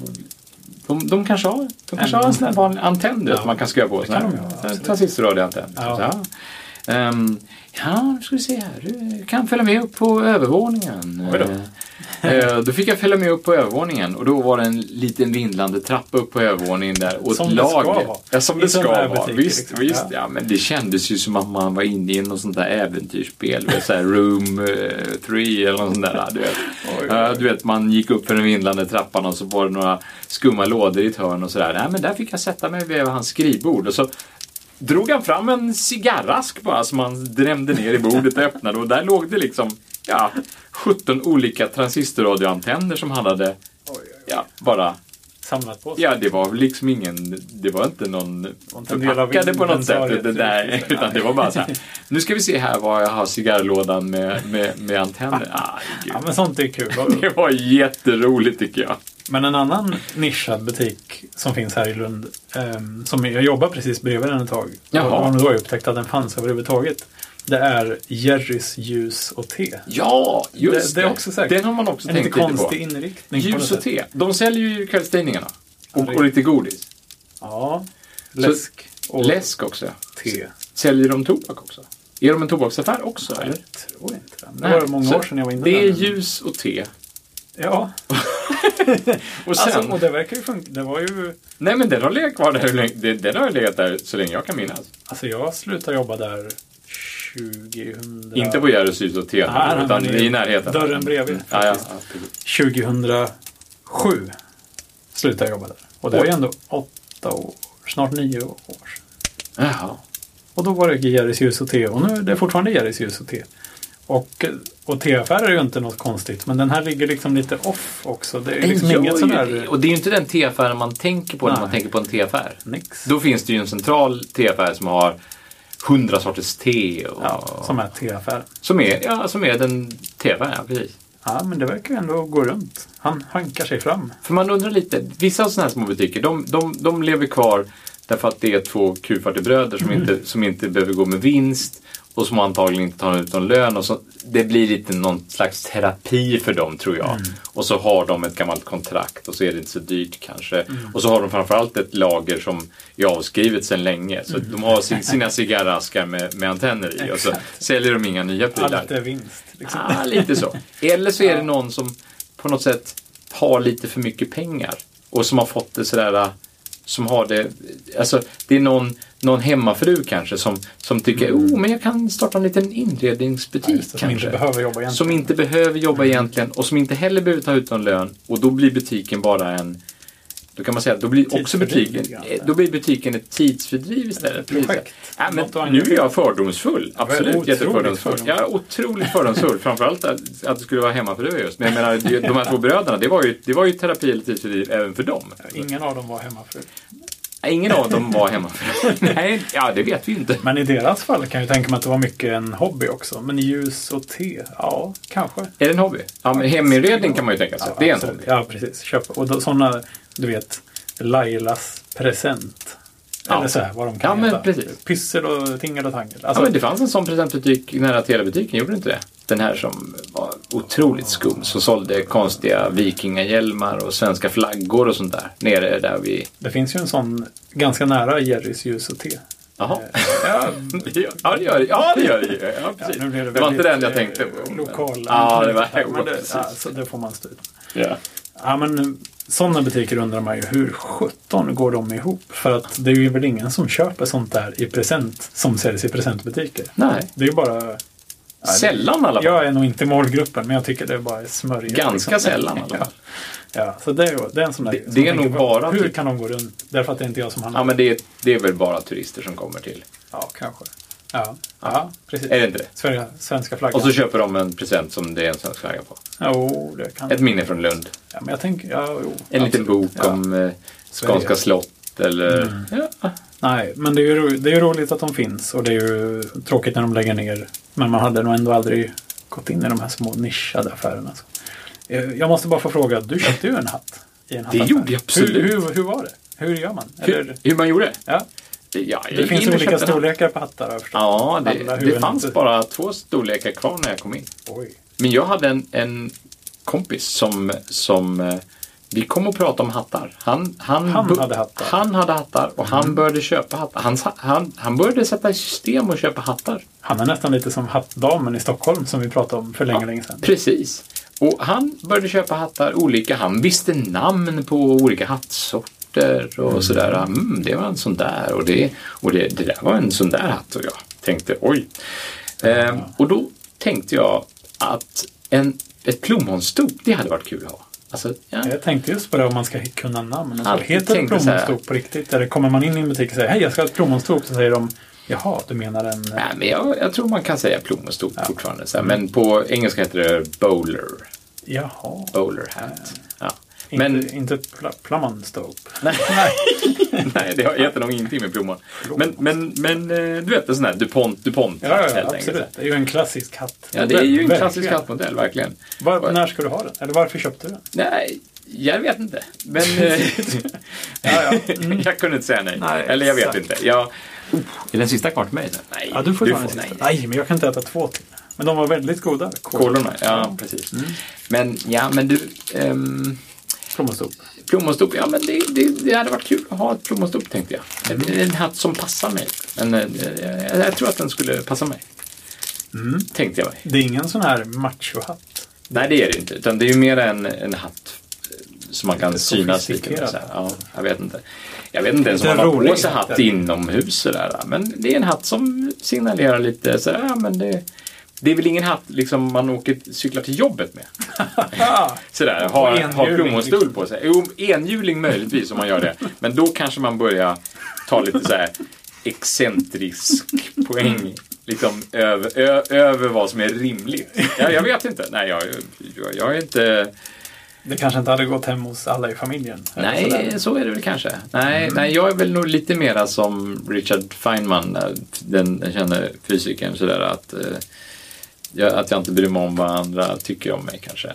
S1: de, de kanske har, de kanske har en sån här vanlig antenn du vet,
S2: Mm. Ja.
S1: man kan skruva på. sån
S2: kan
S1: här.
S2: de ju ha,
S1: Så här,
S2: absolut.
S1: Transistorradioantenn.
S2: Ja.
S1: Så, ja. Ehm, ja, nu ska vi se här. Du kan följa med upp på övervåningen.
S2: Oj då.
S1: Eh, Eh, då fick jag följa med upp på övervåningen och då var det en liten vindlande trappa upp på övervåningen där. Och
S2: Som
S1: ett
S2: det
S1: lag.
S2: ska vara.
S1: Ja, som
S2: I
S1: det ska
S2: sådana här
S1: vara.
S2: butiker,
S1: Visst,
S2: liksom.
S1: visst.
S2: Ja.
S1: Ja, men det kändes ju som att man var inne i något sånt där äventyrsspel. du vet, Så här room 3 eller något sånt där. Du vet.
S2: Oj,
S1: Eh,
S2: oj.
S1: du vet, man gick upp för den vindlande trappan och så var det några skumma lådor i ett hörn och sådär. Nej, men där fick jag sätta mig vid hans skrivbord. Och så drog han fram en cigarrask bara som han drämde ner i bordet och öppnade och där låg det liksom ja, 17 olika transistorradioantenner som han hade ja, bara
S2: Samlat på sig.
S1: Ja, det var liksom ingen, det var inte någon
S2: inte en del av
S1: förpackade på något sätt.
S2: inventariet,
S1: Det där,
S2: liksom.
S1: utan det var bara så här, nu ska vi se här vad jag har cigarrlådan med, med, med antenner. Ah, gud.
S2: Ja, men sånt är kul.
S1: Det var jätteroligt tycker jag.
S2: Men en annan nischad butik som finns här i Lund, ehm, som jag jobbade precis bredvid den ett tag,
S1: Jaha.
S2: och då jag upptäckte att den fanns överhuvudtaget, det är Jerrys ljus och te.
S1: Ja, just
S2: Det-
S1: det.
S2: det är också säkert.
S1: Den har man också
S2: En lite
S1: tänkt lite
S2: konstig
S1: på.
S2: inriktning. på något
S1: Ljus och
S2: sätt.
S1: te. De säljer ju kvällstidningarna.
S2: Ja,
S1: Och,
S2: det-
S1: och lite godis.
S2: Ja, läsk och
S1: Läsk också.
S2: te.
S1: Säljer de tobak också? Är de en tobaksaffär också?
S2: Nej,
S1: eller?
S2: Jag tror inte det. Men Det var
S1: Nej.
S2: många
S1: Så
S2: år sedan jag var inne
S1: Det
S2: där,
S1: är
S2: men-
S1: ljus och te.
S2: Ja,
S1: Och sen,
S2: alltså, och det verkar ju funka. Det var ju...
S1: nej men den har legat kvar där hur länge, den- den har legat där så länge jag kan minnas.
S2: Alltså jag slutade jobba där 2000...
S1: Inte på Jerrys ljus och te,
S2: Nej, nej,
S1: utan
S2: men det är
S1: i närheten.
S2: dörren bredvid,
S1: Mm. Ja, ja,
S2: faktiskt.
S1: ja, precis.
S2: 2007 slutade jag jobba där. Och det var ju
S1: Oj.
S2: ändå åtta år, snart nio år sedan.
S1: Jaha.
S2: Och då var det Jerrys ljus och te och nu är det fortfarande Jerrys ljus och te. Och, och teaffärer är ju inte något konstigt men den här ligger liksom lite off också. Det är liksom
S1: Ja,
S2: inget
S1: ju-
S2: sådär...
S1: Och det är ju inte den teaffären man tänker på när man
S2: Nej.
S1: tänker på en teaffär.
S2: Nix.
S1: Då finns det ju en central teaffär som har hundra sorters te. Och,
S2: Ja, som är teaffär.
S1: som, är, ja, som är den teaffären, ja, precis.
S2: Ja, men det verkar ju ändå gå runt. Han hankar sig fram.
S1: För man undrar lite, vissa sådana här små butiker, de, de, de lever kvar därför att det är två kufar till bröder som, inte, som inte behöver gå med vinst och som antagligen inte tar ut någon lön. Och så, det blir lite någon slags terapi för dem tror jag. Och så har de ett gammalt kontrakt och så är det inte så dyrt kanske. Och så har de framförallt ett lager som är avskrivet sedan länge. Så de har sin, sina cigarraskar med, med antenner i och så säljer de inga nya prylar.
S2: Allt är vinst. Liksom.
S1: Ah, lite så. Eller så är det någon som på något sätt har lite för mycket pengar och som har fått det sådär, äh, som har det, alltså det är någon, någon hemmafru kanske som, som tycker, oh men jag kan starta en liten
S2: Mm. Ja,
S1: inredningsbutik
S2: just det, som
S1: kanske.
S2: inte behöver jobba egentligen.
S1: som inte behöver jobba egentligen och som inte heller behöver ta ut någon lön och då blir butiken bara en då kan man säga att då blir också
S2: Tidsfördriv
S1: butiken,
S2: lite grann.
S1: eh, då blir butiken ett tidsfördriv istället.
S2: Ett projekt.
S1: Ja, men
S2: Något att
S1: nu är jag fördomsfull. Absolut
S2: otroligt
S1: jättefördomsfull.
S2: fördomsfull.
S1: Jag är otroligt fördomsfull. Framförallt att, att det skulle vara hemmafruar just. Men jag menar, det- de här två bröderna, det var ju, det var ju terapi eller tidsfördriv även för dem.
S2: Ingen av dem var hemmafru.
S1: Ingen av dem var hemmafruar. Nej, ja det vet vi inte.
S2: Men i deras fall kan jag tänka mig att det var mycket en hobby också. Men ljus och te, ja, kanske.
S1: Är det en hobby? Ja, men heminredning kan man ju tänka sig. det är en hobby.
S2: Ja, precis. Köpa. Och då, sådana, du vet, Lailas present.
S1: Ja.
S2: Eller så här, vad de
S1: Ja,
S2: kan
S1: men
S2: heta.
S1: precis.
S2: Pyssel och tingel och tangel.
S1: Ja,
S2: Alltså,
S1: men det fanns en sån presentbutik nära Telebutiken, gjorde det inte det? Den här som var otroligt skum, som sålde konstiga vikingahjälmar och svenska flaggor och sånt där. Nere där vi...
S2: det finns ju en sån ganska nära Jerrys ljus och te.
S1: Jaha. Ja, det gör det. Ja, det gör det ju. ja, precis.
S2: Ja, nu blev
S1: det, var inte den
S2: väldigt,
S1: jag
S2: eh,
S1: tänkte på.
S2: Lokal.
S1: Ja, det var...
S2: men det,
S1: precis.
S2: ja, så det får man stå ut.
S1: Ja.
S2: Ja, men sådana butiker undrar man ju hur 17 går de ihop? För att det är ju väl ingen som köper sånt där i present som säljs i presentbutiker.
S1: Nej.
S2: Det är ju bara...
S1: Sällan i alla fall.
S2: Jag är nog inte i målgruppen, men jag tycker det är bara är smörja.
S1: Ganska sällan i alla
S2: Ja.
S1: fall.
S2: ja, så det är, ju- det är en sån där...
S1: Det-
S2: som
S1: det är
S2: jag
S1: nog
S2: tänker på,
S1: bara
S2: Hur
S1: typ-
S2: kan de gå runt? Därför att det är inte jag som handlar.
S1: Ja, men det är, det är väl bara turister som kommer till.
S2: Ja, kanske. Ja, ja precis.
S1: Är det inte det?
S2: Svenska, svenska flaggan.
S1: Och så köper de en present som det är en svensk flagga på.
S2: Jo, det kan...
S1: Ett minne från Lund.
S2: Ja, men jag tänker... Ja, jo,
S1: En liten
S2: absolut.
S1: bok
S2: Ja.
S1: om eh, Skånska
S2: Sverige.
S1: slott eller... Ja.
S2: Nej, men det är, ju ro, det är ju roligt att de finns och det är ju tråkigt när de lägger ner. Men man hade nog ändå aldrig gått in i de här små nischade affärerna. Så. Eh, Jag måste bara få fråga, du köpte ju en hatt. I en hattaffär.
S1: gjorde jag absolut.
S2: Hur, hur, hur var det? Hur gör man? Eller,
S1: Hur, hur man gjorde?
S2: ja,
S1: Ja, jag
S2: det
S1: gick
S2: finns
S1: in och
S2: olika
S1: köpte den.
S2: storlekar på hattar har jag förstått.
S1: Ja,
S2: Alla
S1: det,
S2: huvuden
S1: det fanns
S2: inte-
S1: bara två storlekar kvar när jag kom in.
S2: Oj.
S1: Men jag hade en, en kompis som, som... eh, Vi kom och pratade om hattar. Han, han,
S2: Han
S1: bu-
S2: hade hattar. Mm.
S1: Han hade hattar och han började köpa hattar. Han, sa- han, han började sätta i system och köpa hattar.
S2: Han är nästan lite som hattdamen i Stockholm som vi pratade om för länge, länge sedan.
S1: Precis. Och han började köpa hattar olika. Han visste namn på olika hattsorter och sådär. Mm, det var en sån där och, det, och det, det där var en sån där hatt. Och jag tänkte oj. Ehm, och då tänkte jag att en, ett plommonstop, det hade varit kul att ha. Alltså, ja,
S2: Jag tänkte just på det om man ska kunna namn. Alltså,
S1: Alltid
S2: heter det
S1: tänkte så här.
S2: plommonstop på riktigt? Eller kommer man in i en butik och säger hej, jag ska ha ett plommonstop? Så säger de jaha, du menar en...
S1: nej, men jag, jag tror man kan säga plommonstop fortfarande. Så här, Men på engelska heter det bowler.
S2: Jaha.
S1: Bowler hat. Ja.
S2: Men,
S1: Men
S2: inte inte pl- plommonstop.
S1: Nej, det har- heter nog ingenting med plommon. Men, men, men eh, du vet en sån här DuPont, DuPont
S2: Ja, ja,
S1: helt
S2: absolut.
S1: enkelt.
S2: Det är ju en klassisk hatt.
S1: Ja, det är ju en
S2: Verkligen.
S1: klassisk kattmodell, verkligen.
S2: Var, när ska du ha den? Eller varför köpte du den?
S1: Nej, jag vet inte. Men eh, Mm.
S2: Ja, ja.
S1: jag kunde inte säga nej.
S2: Nej,
S1: Eller jag vet
S2: exakt. Oh,
S1: inte. Jag,
S3: Är den sista kvar till mig? sen?
S1: nej,
S2: Ja, du får ta den
S1: nej.
S2: sista. Nej, men jag kan inte äta två till. Men de var väldigt goda. Kol-
S1: Kolorna,
S2: Mm.
S1: ja precis. Men, ja, men du. ehm,
S2: Plommonstop.
S1: plommonstop, ja men det, det, det hade varit kul att ha ett plommonstop tänkte jag.
S2: Mm.
S1: En, en hatt som passar mig. Men, eh, jag, jag tror att den skulle passa mig.
S2: Mm.
S1: Tänkte jag mig.
S2: Det är ingen sån här machohatt.
S1: Nej, det är det inte. Utan det är ju mer en, en hatt eh, som man kan
S2: Lite
S1: synas lite med.
S2: sofistikerad.
S1: Så här. Ja, jag vet inte. Jag vet inte ens om
S2: Lite
S1: man har på
S2: rolig
S1: sig
S2: hatt,
S1: hatt
S2: eller?
S1: inomhus sådär. Men det är en hatt som signalerar lite sådär, ja, men det, det är väl ingen hatt liksom man åker, cyklar till jobbet med.
S2: Ja,
S1: Sådär, har, har
S2: enhjuling,
S1: plommonstol på sig. Jo, enhjuling möjligtvis om man gör det. Men då kanske man börjar ta lite så här excentrisk poäng. Liksom över, ö, över vad som är rimligt. Jag, jag vet inte. Nej, jag, jag, jag är inte...
S2: det kanske inte hade gått hem hos alla i familjen. Eller sådär.
S1: Nej, så är det väl kanske. Nej,
S2: Mm.
S1: nej jag är väl nog lite mera som Richard Feynman, eh, den, den kände fysikern, sådär att, eh, jag, att jag inte bryr mig om vad andra tycker om mig kanske. Eh,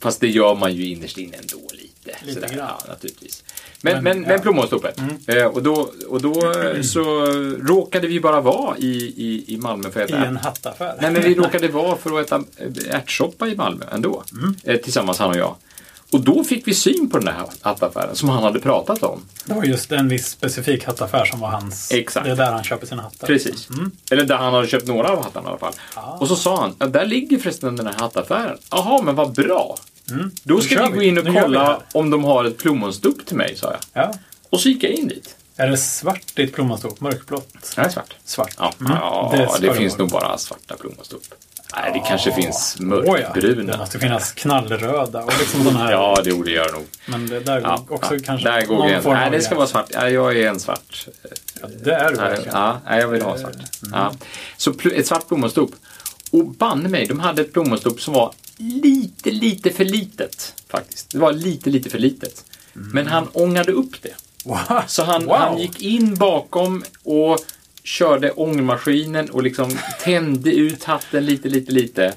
S1: fast det gör man ju innerst inne ändå lite. lite.
S2: Lite
S1: sådär.
S2: grann.
S1: Ja, naturligtvis. Men,
S2: Men,
S1: men,
S2: ja. Mm.
S1: men plommonstoppet. Eh, och då, och då eh, så råkade vi bara vara i, i, i Malmö för att
S2: I
S1: äta.
S2: en hattaffär.
S1: Nej, men vi råkade vara för att äta eh, ärtsoppa i Malmö ändå.
S2: Mm.
S1: Eh, tillsammans han och jag. Och då fick vi syn på den här hattaffären som han hade pratat om.
S2: Det var just en viss specifik hattaffär som var hans.
S1: Exakt.
S2: Det är där han köper sina hattar.
S1: Precis. Eller där han hade köpt några av hattarna i alla fall.
S2: Mm. Ah.
S1: Och så sa han, ja, där ligger förresten den här hattaffären. Jaha, men vad bra. Då
S2: Mm. Nu
S1: ska
S2: kör
S1: vi gå
S2: vi.
S1: in och
S2: Nu gör vi det här.
S1: kolla om de har ett plommonstupp till mig, sa jag.
S2: Ja.
S1: Och så gick jag in dit.
S2: Är det svart ditt plommonstop? Mörkblått?
S1: Nej, svart.
S2: Svart?
S1: Ja,
S2: Mm.
S1: ja
S2: ska
S1: det, finns
S2: vara.
S1: nog bara svarta plommonstupp. Nej, det kanske finns
S2: Åh ja, Det
S1: mörkbruna.
S2: måste finnas knallröda och liksom sådana här.
S1: Ja, det borde göra nog.
S2: Men det där
S1: Ja,
S2: går också
S1: ja.
S2: kanske
S1: Där går
S2: någon
S1: gränsen.
S2: form
S1: Nej,
S2: av
S1: det ska
S2: gräns.
S1: vara svart. Ja, jag är en svart.
S2: Ja, det är du
S1: Nej,
S2: verkligen.
S1: ja, nej, jag vill ha svart.
S2: Mm.
S1: Ja. Så pl- ett svart plommonstop. Och banne mig, de hade ett plommonstop som var lite, lite för litet. faktiskt. Det var lite, lite för litet.
S2: Mm.
S1: Men han ångade upp det.
S2: Wow.
S1: Så han,
S2: Wow.
S1: han gick in bakom och körde ångmaskinen och liksom tände ut hatten lite, lite, lite.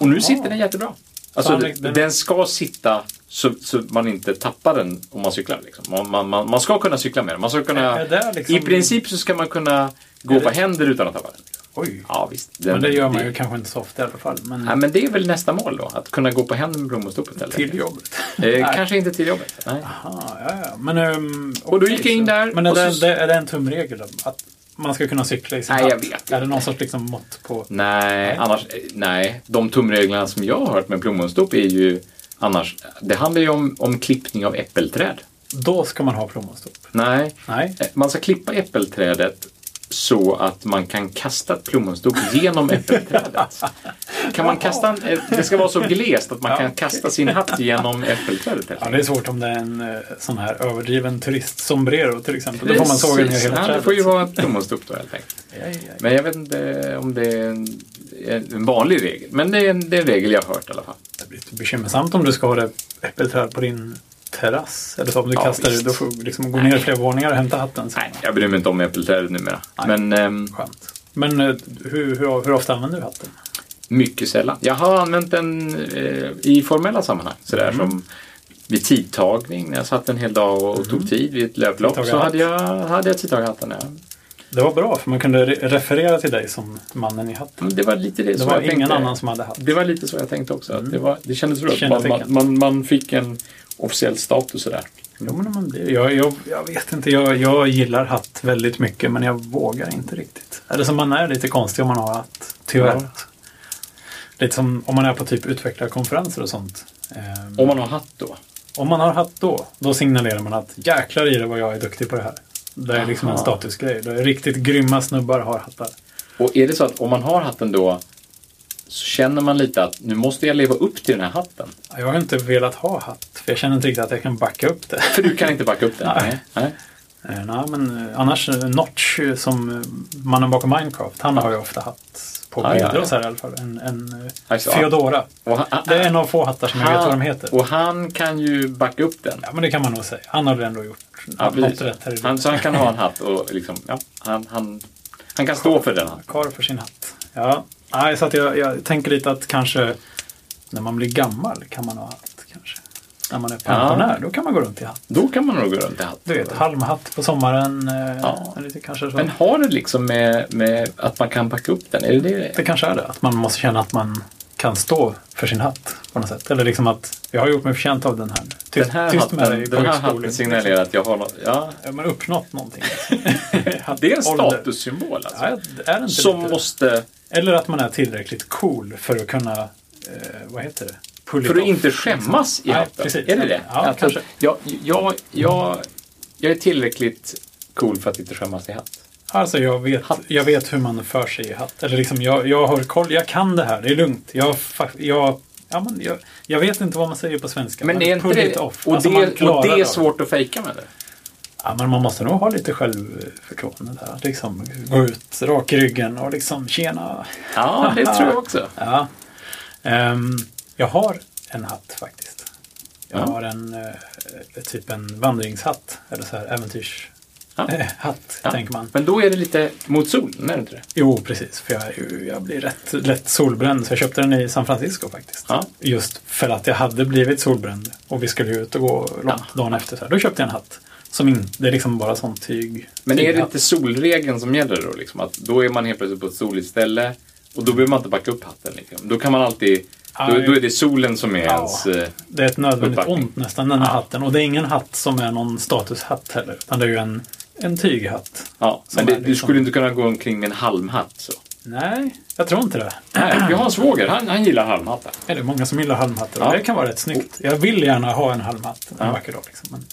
S1: Och nu sitter den jättebra. Alltså,
S2: han-
S1: den... den ska sitta så, så man inte tappar den om man cyklar. Liksom. Man, man, man, man ska kunna cykla med den. Man ska kunna,
S2: Är det liksom-
S1: I princip så ska man kunna gå på händer utan att tappa den.
S2: Oj.
S1: Ja, visst. Den,
S2: Men det gör man ju kanske inte så ofta i alla fall. Men
S1: Ja, men det är väl nästa mål då, att kunna gå på händer med blommonstoppet. eller?
S2: till jobbet.
S1: Eh, kanske inte till jobbet. Nej.
S2: Aha, ja, ja. Men, ehm,
S1: Och då
S2: okej,
S1: gick jag in
S2: så-
S1: där
S2: Men är
S1: och
S2: det,
S1: så-
S2: det, är det en tumregel? då? Att man ska kunna cykla i sin
S1: Nej, jag
S2: hatt?
S1: vet
S2: Är det någon sorts liksom, mått på...
S1: Nej, annars, nej, de tumreglerna som jag har hört med plommonstopp är ju annars, det handlar ju om, om klippning av äppelträd.
S2: Då ska man ha plommonstop.
S1: Nej,
S2: Nej.
S1: man ska klippa äppelträdet så att man kan kasta ett plommonstopp genom äppelträdet. Kan man kasta en, eh, det ska vara så glest att man kan kasta sin hatt genom äppelträdet. helt
S2: Ja,
S1: enkelt.
S2: det är svårt om det är en eh, sån här överdriven turistsombrero till exempel. Då får man såga ner
S1: Precis.
S2: hela
S1: Ja,
S2: trädet.
S1: Det får ju vara ett plommonstopp då helt enkelt.
S2: Ja, ja, ja.
S1: Men jag vet inte om det är en, en vanlig regel, men det är en, det är en regel jag har hört i alla fall.
S2: Det blir lite bekymmersamt om du ska ha det äppelträd på din terrass. Eller så om du
S1: Ja,
S2: kastar det,
S1: visst.
S2: då får du liksom gå ner flera våningar och hämta hatten. sen.
S1: Nej, jag bryr mig inte om äppelträdet numera. Men ehm,
S2: Skönt. Men eh, hur, hur, hur ofta använder du hatten?
S1: mycket sällan. Jag har använt den eh, i formella sammanhang. Sådär
S2: Mm.
S1: som vid tidtagning, när jag satt en hel dag och, och
S2: Mm.
S1: tog tid vid ett löplopp så
S2: Tidtagarhatt.
S1: hade jag, hade jag tidtagarhatten. Ja.
S2: Det var bra, för man kunde re- referera till dig som mannen i hatten.
S1: Men Det var lite det,
S2: Det
S1: som
S2: var
S1: Mm, jag
S2: ingen
S1: tänkte.
S2: annan som Mm. hade hatt.
S1: Det var lite så jag tänkte också. Att det, var, det kändes bra.
S2: Kände
S1: Man, man,
S2: tecken.
S1: man, man fick en officiell status sådär.
S2: Ja, men man blir, jag, jag, jag vet inte, jag, jag gillar hatt väldigt mycket men jag vågar inte riktigt. Eller som man är lite konstig om man har hatt, tyvärr.
S1: Ja.
S2: Lite som om man är på typ utvecklarkonferenser och sånt. Ehm,
S1: Om man har hatt då.
S2: Om man har hatt då, då signalerar man att jäklar i det vad jag är duktig på det här. Det är liksom en
S1: Aha.
S2: statusgrej. Det är riktigt grymma snubbar har hattar.
S1: Och är det så att om man har hatten då så känner man lite att nu måste jag leva upp till den här hatten.
S2: Jag har inte velat ha hatt, för jag känner inte riktigt att jag kan backa upp det.
S1: För du kan inte backa upp den.
S2: Nej.
S1: Nej.
S2: Eh, Nej, men eh, annars eh, Notch eh, som eh, mannen bakom Minecraft, han har ju ofta hatt på
S1: Ja,
S2: bilder
S1: ja, ja.
S2: och så här i alla fall. En, en eh,
S1: Alltså,
S2: Feodora.
S1: Och han,
S2: Det är en av få hattar som jag vet vad de heter.
S1: Och han kan ju backa upp den.
S2: Ja, men det kan man nog säga. Han har väl ändå gjort
S1: Ja,
S2: något
S1: precis.
S2: rätt här i livet.
S1: han, så han kan ha en hatt och liksom, ja, han, han, han kan stå för den. hatten.
S2: Karl för sin hatt. Ja, nej, så att jag, jag tänker lite att kanske när man blir gammal kan man ha hatt kanske. När man är pensionär, då kan man gå runt i hatt.
S1: Då kan man nog gå runt i hatt.
S2: Du vet, halmhatt på sommaren. eh,
S1: Ja.
S2: Lite kanske så.
S1: Men har det liksom med, med att man kan backa upp den? Är det det?
S2: Det kanske är det, att man måste känna att man kan stå för sin hatt på något sätt. Eller liksom att jag har gjort mig förtjänt av den här. Tyst,
S1: Den här
S2: tyst med
S1: hatten,
S2: dig på
S1: den här
S2: högskolan.
S1: hatten signalerar att jag har något. Ja,
S2: Ja, Man har uppnått någonting.
S1: det är en
S2: Ålder.
S1: statussymbol
S2: Ja,
S1: alltså.
S2: är det inte
S1: Som
S2: lite det?
S1: måste,
S2: Eller att man är tillräckligt cool för att kunna, eh, vad heter det? Pull it
S1: för att
S2: off.
S1: inte skämmas i
S2: Nej,
S1: hatten.
S2: precis.
S1: Är det det?
S2: Ja,
S1: Att-
S2: kanske.
S1: Jag, jag, jag, jag är tillräckligt cool för att inte skämmas i hatt.
S2: Alltså jag vet,
S1: Hatt.
S2: jag vet hur man för sig i hatt. Eller liksom jag, jag har koll, jag kan det här, det är lugnt. Jag, fa- jag, ja, men jag, jag vet inte vad man säger på svenska.
S1: Men är inte
S2: pull
S1: det,
S2: it off.
S1: och,
S2: Alltså, man
S1: det,
S2: klarar
S1: och det är
S2: av
S1: svårt att fejka med det?
S2: Ja, men man måste nog ha lite självförtroende där. Liksom, gå ut rak i ryggen och liksom tjena.
S1: Ja, det tror jag också.
S2: Ja. Ehm, jag har en hatt faktiskt. Jag
S1: Ja.
S2: har en eh, typ en vandringshatt. Eller så här äventyrs...
S1: Ja.
S2: eh, hatt,
S1: Ja.
S2: tänker man.
S1: Men då är det lite mot solen, är det inte det?
S2: Jo, precis. För jag, är ju- jag blir rätt lätt solbränd. Så jag köpte den i San Francisco faktiskt.
S1: Ja.
S2: Just för att jag hade blivit solbränd. Och vi skulle ju ut och gå långt dagen efter. Så här. Då köpte jag en hatt. Som in, det är liksom bara sån tyg.
S1: Men är det
S2: tyghatt.
S1: inte solregeln som gäller då? Liksom? Att då är man helt plötsligt på ett soligt ställe och då behöver man inte backa upp hatten. Liksom. Då kan man alltid... Då,
S2: Aj.
S1: då är det solen som är
S2: Ja.
S1: ens... eh,
S2: Det är ett nödvändigt
S1: Uppbackning.
S2: ont nästan, den här
S1: Ja.
S2: hatten. Och det är ingen hatt som är någon statushatt heller. Utan det är ju en, en tyghatt.
S1: Ja.
S2: Som
S1: Men det,
S2: är
S1: du
S2: liksom-
S1: skulle inte kunna gå omkring med en halmhatt. Så.
S2: Nej, jag tror inte det.
S1: Nej, vi har en svåger. Han, han gillar halmhattar.
S2: Det är det många som gillar halmhattar och
S1: Ja.
S2: det kan vara rätt snyggt. Jag vill gärna ha en halmhatt en
S1: Ja.
S2: vacker dag. Liksom. Men,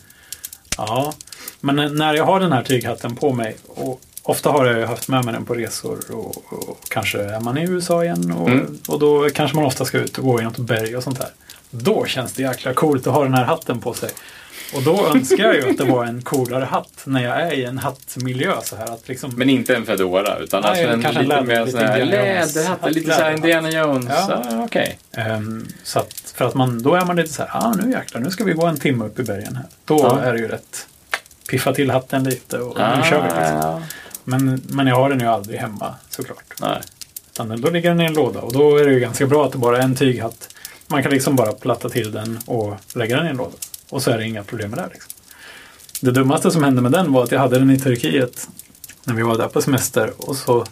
S2: ja. men när jag har den här tyghatten på mig, och ofta har jag ju haft med mig den på resor och, och kanske är man i USA igen och,
S1: Mm.
S2: och då kanske man ofta ska ut och gå i något berg och sånt där. Då känns det jäkla coolt att ha den här hatten på sig. Och då önskar jag ju att det var en coolare hatt när jag är i en hattmiljö så här. Att liksom,
S1: Men inte en Fedora, utan
S2: Nej,
S1: alltså en
S2: kanske en
S1: lite
S2: läder-
S1: mer
S2: lite
S1: sån här
S2: Indiana Jones.
S1: läderhatt. Lite såhär
S2: Läderhatt.
S1: Indiana Jones.
S2: Ja.
S1: Ja. Ah, Okej.
S2: Ehm, så att, för att man, då är man lite så här, ah, nu jäklar, nu ska vi gå en timme upp i bergen här. Då
S1: Ja.
S2: är det ju rätt, piffa till hatten lite och nu
S1: Ah,
S2: kör vi. Liksom.
S1: ja.
S2: Men, men jag har den ju aldrig hemma såklart.
S1: Nej.
S2: Utan den- då ligger den i en låda och då är det ju ganska bra att det bara är en tyghatt. Man kan liksom bara platta till den och lägga den i en låda. Och så är det inga problem med det. här, Liksom. Det dummaste som hände med den var att jag hade den i Turkiet när vi var där på semester och så,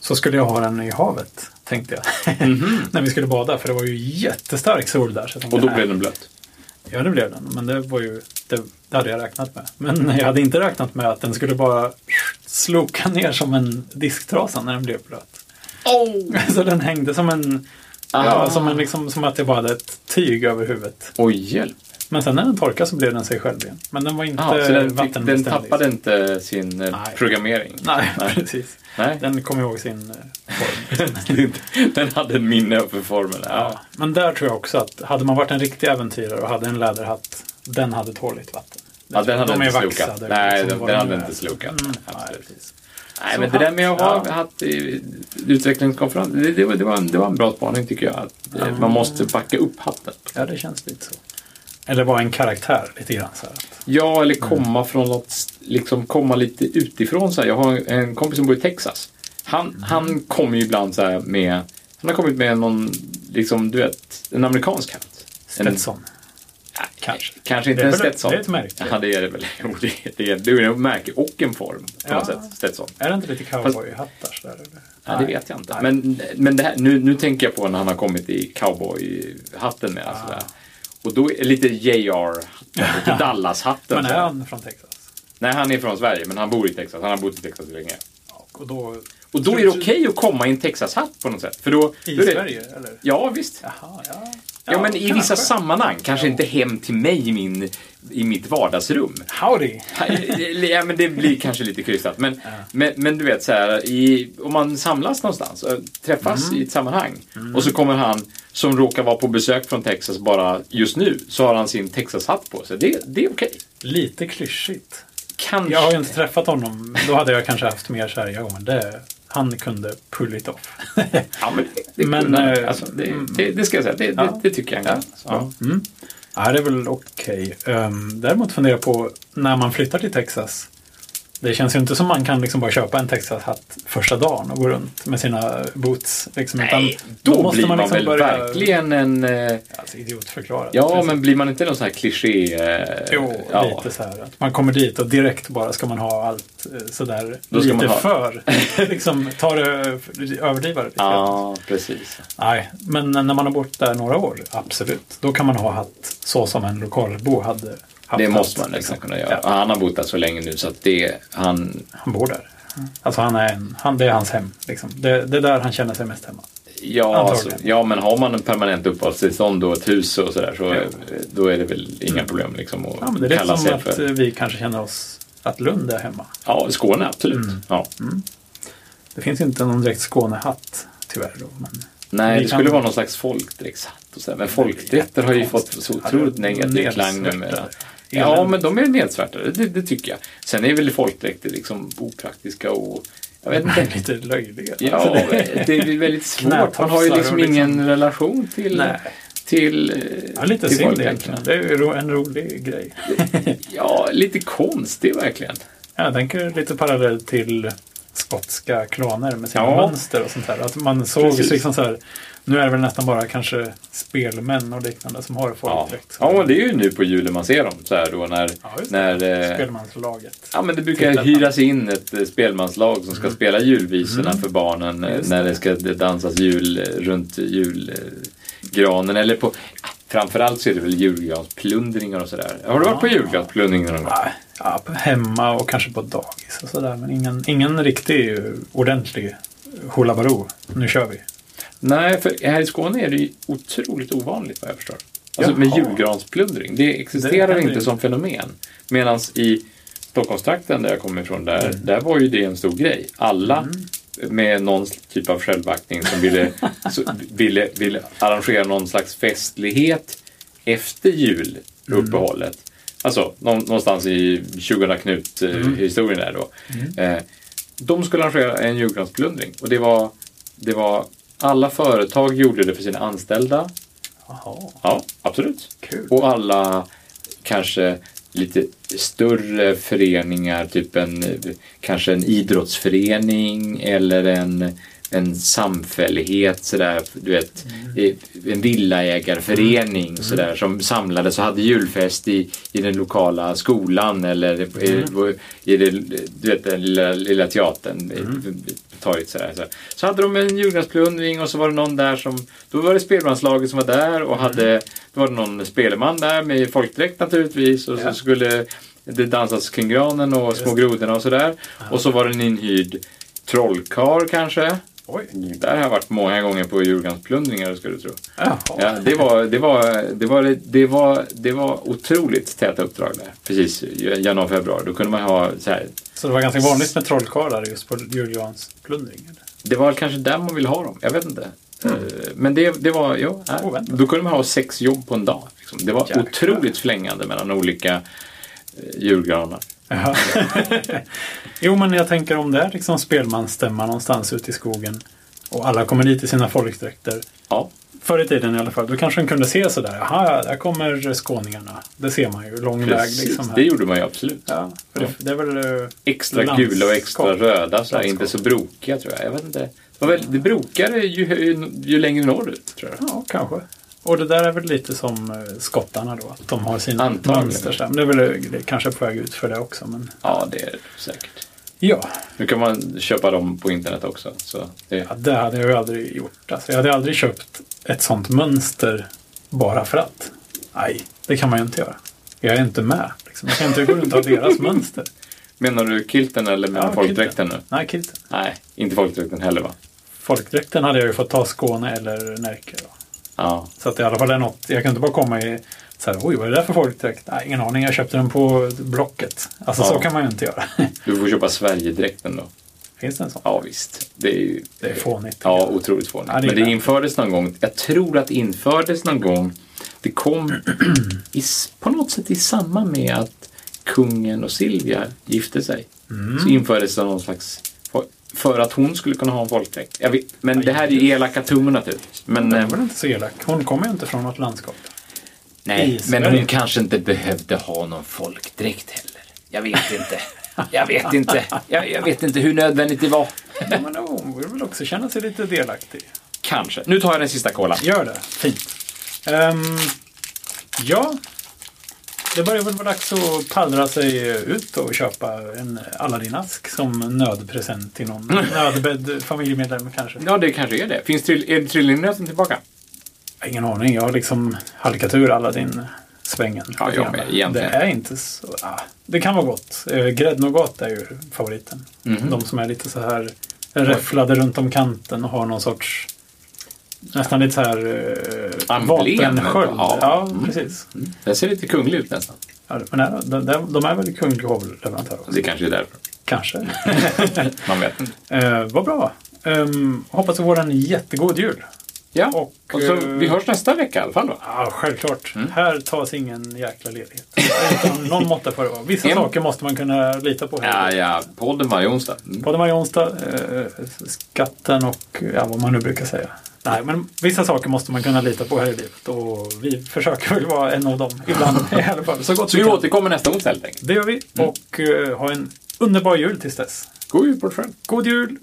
S2: så skulle jag ha den i havet, tänkte jag. när vi skulle bada, för det var ju jättestark sol där. Så jag tänkte,
S1: Mhm. Och då
S2: "Nej."
S1: blev den blöt.
S2: Ja, det blev den. Men det var ju... Det, det hade jag räknat med. Men jag hade inte räknat med att den skulle bara sloka ner som en disktrasa när den blev blöt. Så den hängde som en... Ja,
S1: Ah.
S2: som, en liksom, som att det bara hade ett tyg över huvudet.
S1: Oj, hjälp.
S2: Men sen när den torkade så blev den sig själv igen. Men den var inte
S1: Ah, så den, fick, den
S2: vattenbeständig.
S1: tappade inte sin eh,
S2: Nej.
S1: programmering?
S2: Nej,
S1: Nej.
S2: precis.
S1: Nej.
S2: Den kom ihåg sin eh, form.
S1: Den hade en minne för formen.
S2: Ja.
S1: Ja.
S2: Men där tror jag också att hade man varit en riktig äventyrare och hade en läderhatt, den hade tåligt vatten.
S1: Ja, den hade
S2: de är
S1: inte
S2: vaxade,
S1: slokat. Nej, den,
S2: liksom, vad
S1: den
S2: de
S1: hade
S2: nu är.
S1: inte slokat.
S2: Mm, nej,
S1: Absolut.
S2: precis.
S1: Nej,
S2: Så
S1: men det där med att ha
S2: hatt,
S1: hatt i utvecklingskonferens, det, det, var- det, var en, det var en bra spaning tycker jag. Att eh, Man måste backa upp hatten.
S2: Ja, det känns lite så. Eller vara en karaktär lite grann. Så här.
S1: Ja, eller komma från något, liksom komma lite utifrån. Så här. Jag har en kompis som bor i Texas. Han, han kommer ju ibland så här med, han har kommit med någon, liksom du vet, en amerikansk hatt. En-
S2: Stetson.
S1: Ja,
S2: Kanske.
S1: Kanske inte
S2: Det är
S1: en
S2: väl-
S1: Stetson.
S2: det är ett märke.
S1: Ja, det är det väl. Jo, det, är- det, är, det är en märke och en form på
S2: Ja.
S1: något sätt. Stetson.
S2: Är det inte lite cowboyhattar sådär? eller?
S1: Ja, det vet jag inte. Men, men det här, nu, nu tänker jag på när han har kommit i cowboyhatten med. Alltså, där. Och då är lite JR, lite Dallas-hatten.
S2: Men
S1: så här.
S2: är han från Texas?
S1: Nej, han är från Sverige, men han bor i Texas. Han har bott i Texas länge.
S2: Ja, Och då...
S1: Och då är det okej att komma i en Texas-hatt på något sätt. För då,
S2: I
S1: då är det,
S2: Sverige, eller?
S1: Ja, visst.
S2: Jaha, ja.
S1: Ja, men i
S2: kanske.
S1: vissa sammanhang. Kanske
S2: Ja.
S1: inte hem till mig i, min, i mitt vardagsrum.
S2: Howdy!
S1: ja, men det blir kanske lite krystat. Men, men, men du vet, så här, i, om man samlas någonstans, äh, träffas
S2: Mm.
S1: i ett sammanhang och så kommer han som råkar vara på besök från Texas bara just nu, så har han sin Texas-hatt på sig. Det, det är okej.
S2: Lite klyschigt.
S1: Kanske.
S2: Jag har ju inte träffat honom. Då hade jag kanske haft mer så här, ja men det... Han kunde pull it off.
S1: Ja, men det, det,
S2: Men,
S1: kunde han.
S2: eh,
S1: alltså, det, det, det ska jag säga, det,
S2: Ja.
S1: det, det tycker jag han kan. Ja.
S2: Ja, det är väl okej. Ehm, däremot funderar jag på när man flyttar till Texas. Det känns ju inte som man kan liksom bara köpa en Texas-hatt första dagen och gå runt med sina boots. Liksom,
S1: Nej, då, blir man, liksom väl verkligen en... eh,
S2: Alltså, idiotförklarad.
S1: Ja,
S2: Precis.
S1: men blir man inte någon sån här kliché... eh,
S2: Jo,
S1: ja.
S2: lite så här. Att man kommer dit och direkt bara ska man ha allt eh, sådär
S1: Då ska
S2: lite
S1: man ha-
S2: för. liksom, ta det, överdriva det lite.
S1: Ja, precis.
S2: Nej, men när man har bott där några år, absolut. Då kan man ha hatt så som en lokalbo hade haft.
S1: Det måste man
S2: hatt, liksom.
S1: nästan kunna
S2: Ja.
S1: göra. Och Han har bott där så länge nu så att det... Han,
S2: Han bor där. Alltså han är en, han, det är hans hem. Liksom. Det, det är där han känner sig mest hemma.
S1: ja,
S2: Antagligen.
S1: alltså, ja, men har man en permanent uppehållstillstånd och ett hus och sådär så eh, då är det väl inga problem liksom att
S2: Ja, men det är
S1: kalla
S2: lite som
S1: sig
S2: att
S1: för...
S2: eh, vi kanske känner oss att Lund är hemma.
S1: Ja, Skåne, absolut.
S2: Mm.
S1: Ja.
S2: Det finns inte någon direkt Skånehatt tyvärr. Då, men
S1: Nej,
S2: Vi
S1: det
S2: kan-
S1: skulle vara någon slags folkdräktshatt och så här. Men folkdräkter har ju fått så otroligt
S2: Ja,
S1: negativ klang numera.
S2: nedsvärtade.
S1: Ja, men de är nedsvärtade, det, det tycker jag. Sen är väl folkdräkter liksom opraktiska och... Jag vet inte.
S2: Lite löjliga. Alltså,
S1: Ja, det är ju väldigt svårt. Man har ju
S2: Knätofsar
S1: liksom
S2: och liksom-
S1: ingen relation till...
S2: Nej.
S1: Till, eh,
S2: Ja, lite
S1: till
S2: synd
S1: folkdräkterna.
S2: egentligen. Det är ju ro- en rolig grej.
S1: Ja, lite konstig verkligen.
S2: Jag tänker lite parallell till skotska klaner med sina
S1: Ja.
S2: mönster och sånt där. Att man såg
S1: Precis.
S2: liksom så här, nu är det väl nästan bara kanske spelmän och liknande som har
S1: Ja.
S2: folkdräkt.
S1: ja, men det är ju nu på julen man ser dem. Så här då när...
S2: Ja, just det.
S1: när eh,
S2: Spelmanslaget.
S1: Ja, men det brukar
S2: Tittar.
S1: hyras in ett eh, spelmanslag som ska spela julvisorna för barnen eh,
S2: Mm. Just
S1: när det ska dansas jul eh, runt julgranen. Eller på, framförallt så är det väl julgransplundringar och sådär. Har du varit på
S2: Ja.
S1: julgransplundringar någon gång?
S2: Ja, Ja, på- hemma och kanske på dagis och sådär. Men ingen, ingen riktig eh, ordentlig hullabaloo. Nu kör vi.
S1: Nej, för här i Skåne är det ju otroligt ovanligt vad jag förstår. Alltså med
S2: Jaha.
S1: julgransplundring. Det existerar
S2: händer
S1: inte
S2: ju.
S1: som fenomen. Medan i Stockholmstrakten där jag kommer ifrån, där, där var ju det en stor grej. Alla med någon typ av självaktning som ville, så, ville, ville arrangera någon slags festlighet efter juluppehållet. Alltså någon, någonstans i 2000 Knut-historien där då. Eh, de skulle arrangera en julgransplundring och det var, det var alla företag gjorde det för sina anställda.
S2: Jaha.
S1: Ja, absolut.
S2: Kul.
S1: Och alla kanske lite större föreningar, typ en, kanske en idrottsförening eller en, en samfällighet, sådär, du vet, eh, en villaägarförening sådär, som samlades och hade julfest i, i den lokala skolan eller i, i det, du vet, den lilla, lilla teatern, mm. torget sådär. Så. så hade de en julgransplundring och så var det någon där som, då var det spelmanslaget som var där och hade, då var det någon spelman där med folkdräkt naturligtvis och
S2: Ja.
S1: så skulle det dansas kring granen och små grodorna och sådär. Och så var det en inhyrd trollkarl kanske.
S2: Oj.
S1: Där har jag varit många gånger på julgransplundringar ska du tro.
S2: Jaha.
S1: Ja, det var, det var, det var, det var, det var otroligt täta uppdrag där. Precis i januari, februari. Då kunde man ha så här.
S2: Så det var ganska vanligt med trollkarlar just på julgransplundring? eller?
S1: Det var kanske där man ville ha dem. Jag vet inte.
S2: Mm.
S1: Eh, Men det, det var, jo, nej.
S2: Oväntat.
S1: då kunde man ha sex jobb på en dag. Liksom. Det var
S2: Oh, Jäklar.
S1: otroligt flängande mellan olika eh, julgranar.
S2: Ja. jo, men jag tänker om det är liksom spelmansstämma någonstans ute i skogen och alla kommer dit i sina folkdräkter.
S1: Ja,
S2: Förr i tiden i alla fall, då kanske de kunde se sådär, jaha, där kommer skåningarna. Det ser man ju, lång
S1: precis.
S2: väg liksom. Här.
S1: Det gjorde man ju absolut.
S2: ja, för det, det är väl... eh,
S1: Extra
S2: landskap.
S1: gula och extra röda, så här,
S2: Landskap.
S1: inte så brokiga tror jag. Jag vet inte. Det, var väl, det brokade ju, ju, ju längre norrut, tror jag.
S2: Ja, kanske. Och det där är väl lite som eh, skottarna då, att de har sina
S1: Antagligen.
S2: mönster. så här. Men det är väl det är kanske på väg ut för det också. Men...
S1: Ja, det är det säkert.
S2: Ja,
S1: Nu kan man köpa dem på internet också. Så det,
S2: Ja, det hade jag ju aldrig gjort. Alltså, jag hade aldrig köpt ett sånt mönster bara för att. Nej, det kan man ju inte göra. Jag är inte med. Liksom. Jag kan inte gå runt och ha deras mönster.
S1: menar du kilten eller menar
S2: Ja,
S1: folkdräkten
S2: kilten.
S1: nu?
S2: Nej, kilten.
S1: Nej, inte folkdräkten heller va?
S2: Folkdräkten hade jag ju fått ta Skåne eller Närke. Då.
S1: Ja,
S2: Så att det i alla fall är något. Jag kan inte bara komma i så här, oj, vad är det där för folkdräkt? Nej, ingen aning. Jag köpte den på Blocket. Alltså,
S1: Ja.
S2: så kan man ju inte göra.
S1: du får köpa Sverigedräkten då.
S2: Finns det en sån?
S1: Ja, visst. Det är ju...
S2: Det är fånigt.
S1: Ja, otroligt fånigt.
S2: Ja, det är
S1: Men det
S2: värt det.
S1: infördes någon gång. Jag tror att det infördes någon gång. Det kom i, s- på något sätt i samband med att kungen och Silvia gifte sig.
S2: Mm.
S1: Så infördes det någon slags... För att hon skulle kunna ha en folkdräkt. Jag vet, men det här är ju elaka tungor naturligtvis. Men,
S2: Den
S1: eh,
S2: var väl inte så elak. Hon kommer ju inte från något landskap.
S1: Nej,
S2: I
S1: men
S2: Sverige.
S1: hon kanske inte behövde ha någon folkdräkt heller. Jag vet inte. Jag vet inte. Jag, jag vet inte hur nödvändigt det var.
S2: Ja, men hon vill väl också känna sig lite delaktig.
S1: Kanske. Nu tar jag den sista kolan.
S2: Gör det. Fint. Ehm, ja, det börjar väl vara dags att pallra sig ut och köpa en Aladdin-ask som nödpresent till någon nödbädd familjemedlem kanske.
S1: Ja, det kanske är det. Finns trill, är trillingnöten tillbaka?
S2: Ingen aning, jag har liksom halkat ur Aladdin-svängen.
S1: Ja, jag med, egentligen.
S2: Det är inte så... Ah, det kan vara gott. Eh, Gräddnougat är ju favoriten.
S1: Mhm.
S2: De som är lite så här räfflade runt om kanten och har någon sorts... Nästan lite så här eh,
S1: Emblem.
S2: vapensköld.
S1: Ja. Mm.
S2: Ja, precis.
S1: Den ser lite kunglig ut nästan.
S2: Ja, men nej, de, de, de är väl kunglig hovleverantör också?
S1: Det kanske är därför.
S2: Kanske.
S1: Man vet inte.
S2: eh, vad bra. Ehm, hoppas du får en jättegod jul.
S1: Ja, och,
S2: Och,
S1: så,
S2: eh,
S1: vi hörs nästa vecka i alla fall då.
S2: Ja, självklart.
S1: Mm.
S2: Här tas ingen jäkla ledighet. Utan någon måtta får det vara. Vissa
S1: En-
S2: saker måste man kunna lita på.
S1: Ja, ja. Podden varje onsdag. Mm.
S2: Podden varje onsdag, eh, skatten och ja, vad man nu brukar säga. Nej, men vissa saker måste man kunna lita på här i livet och vi försöker väl vara en av dem ibland i alla fall. Så gott
S1: Så vi
S2: vi
S1: Mm.
S2: kan.
S1: återkommer nästa onsdag helt enkelt.
S2: Det gör vi och eh, ha en
S1: underbar jul tills dess.
S2: God jul på dig själv.
S1: God jul!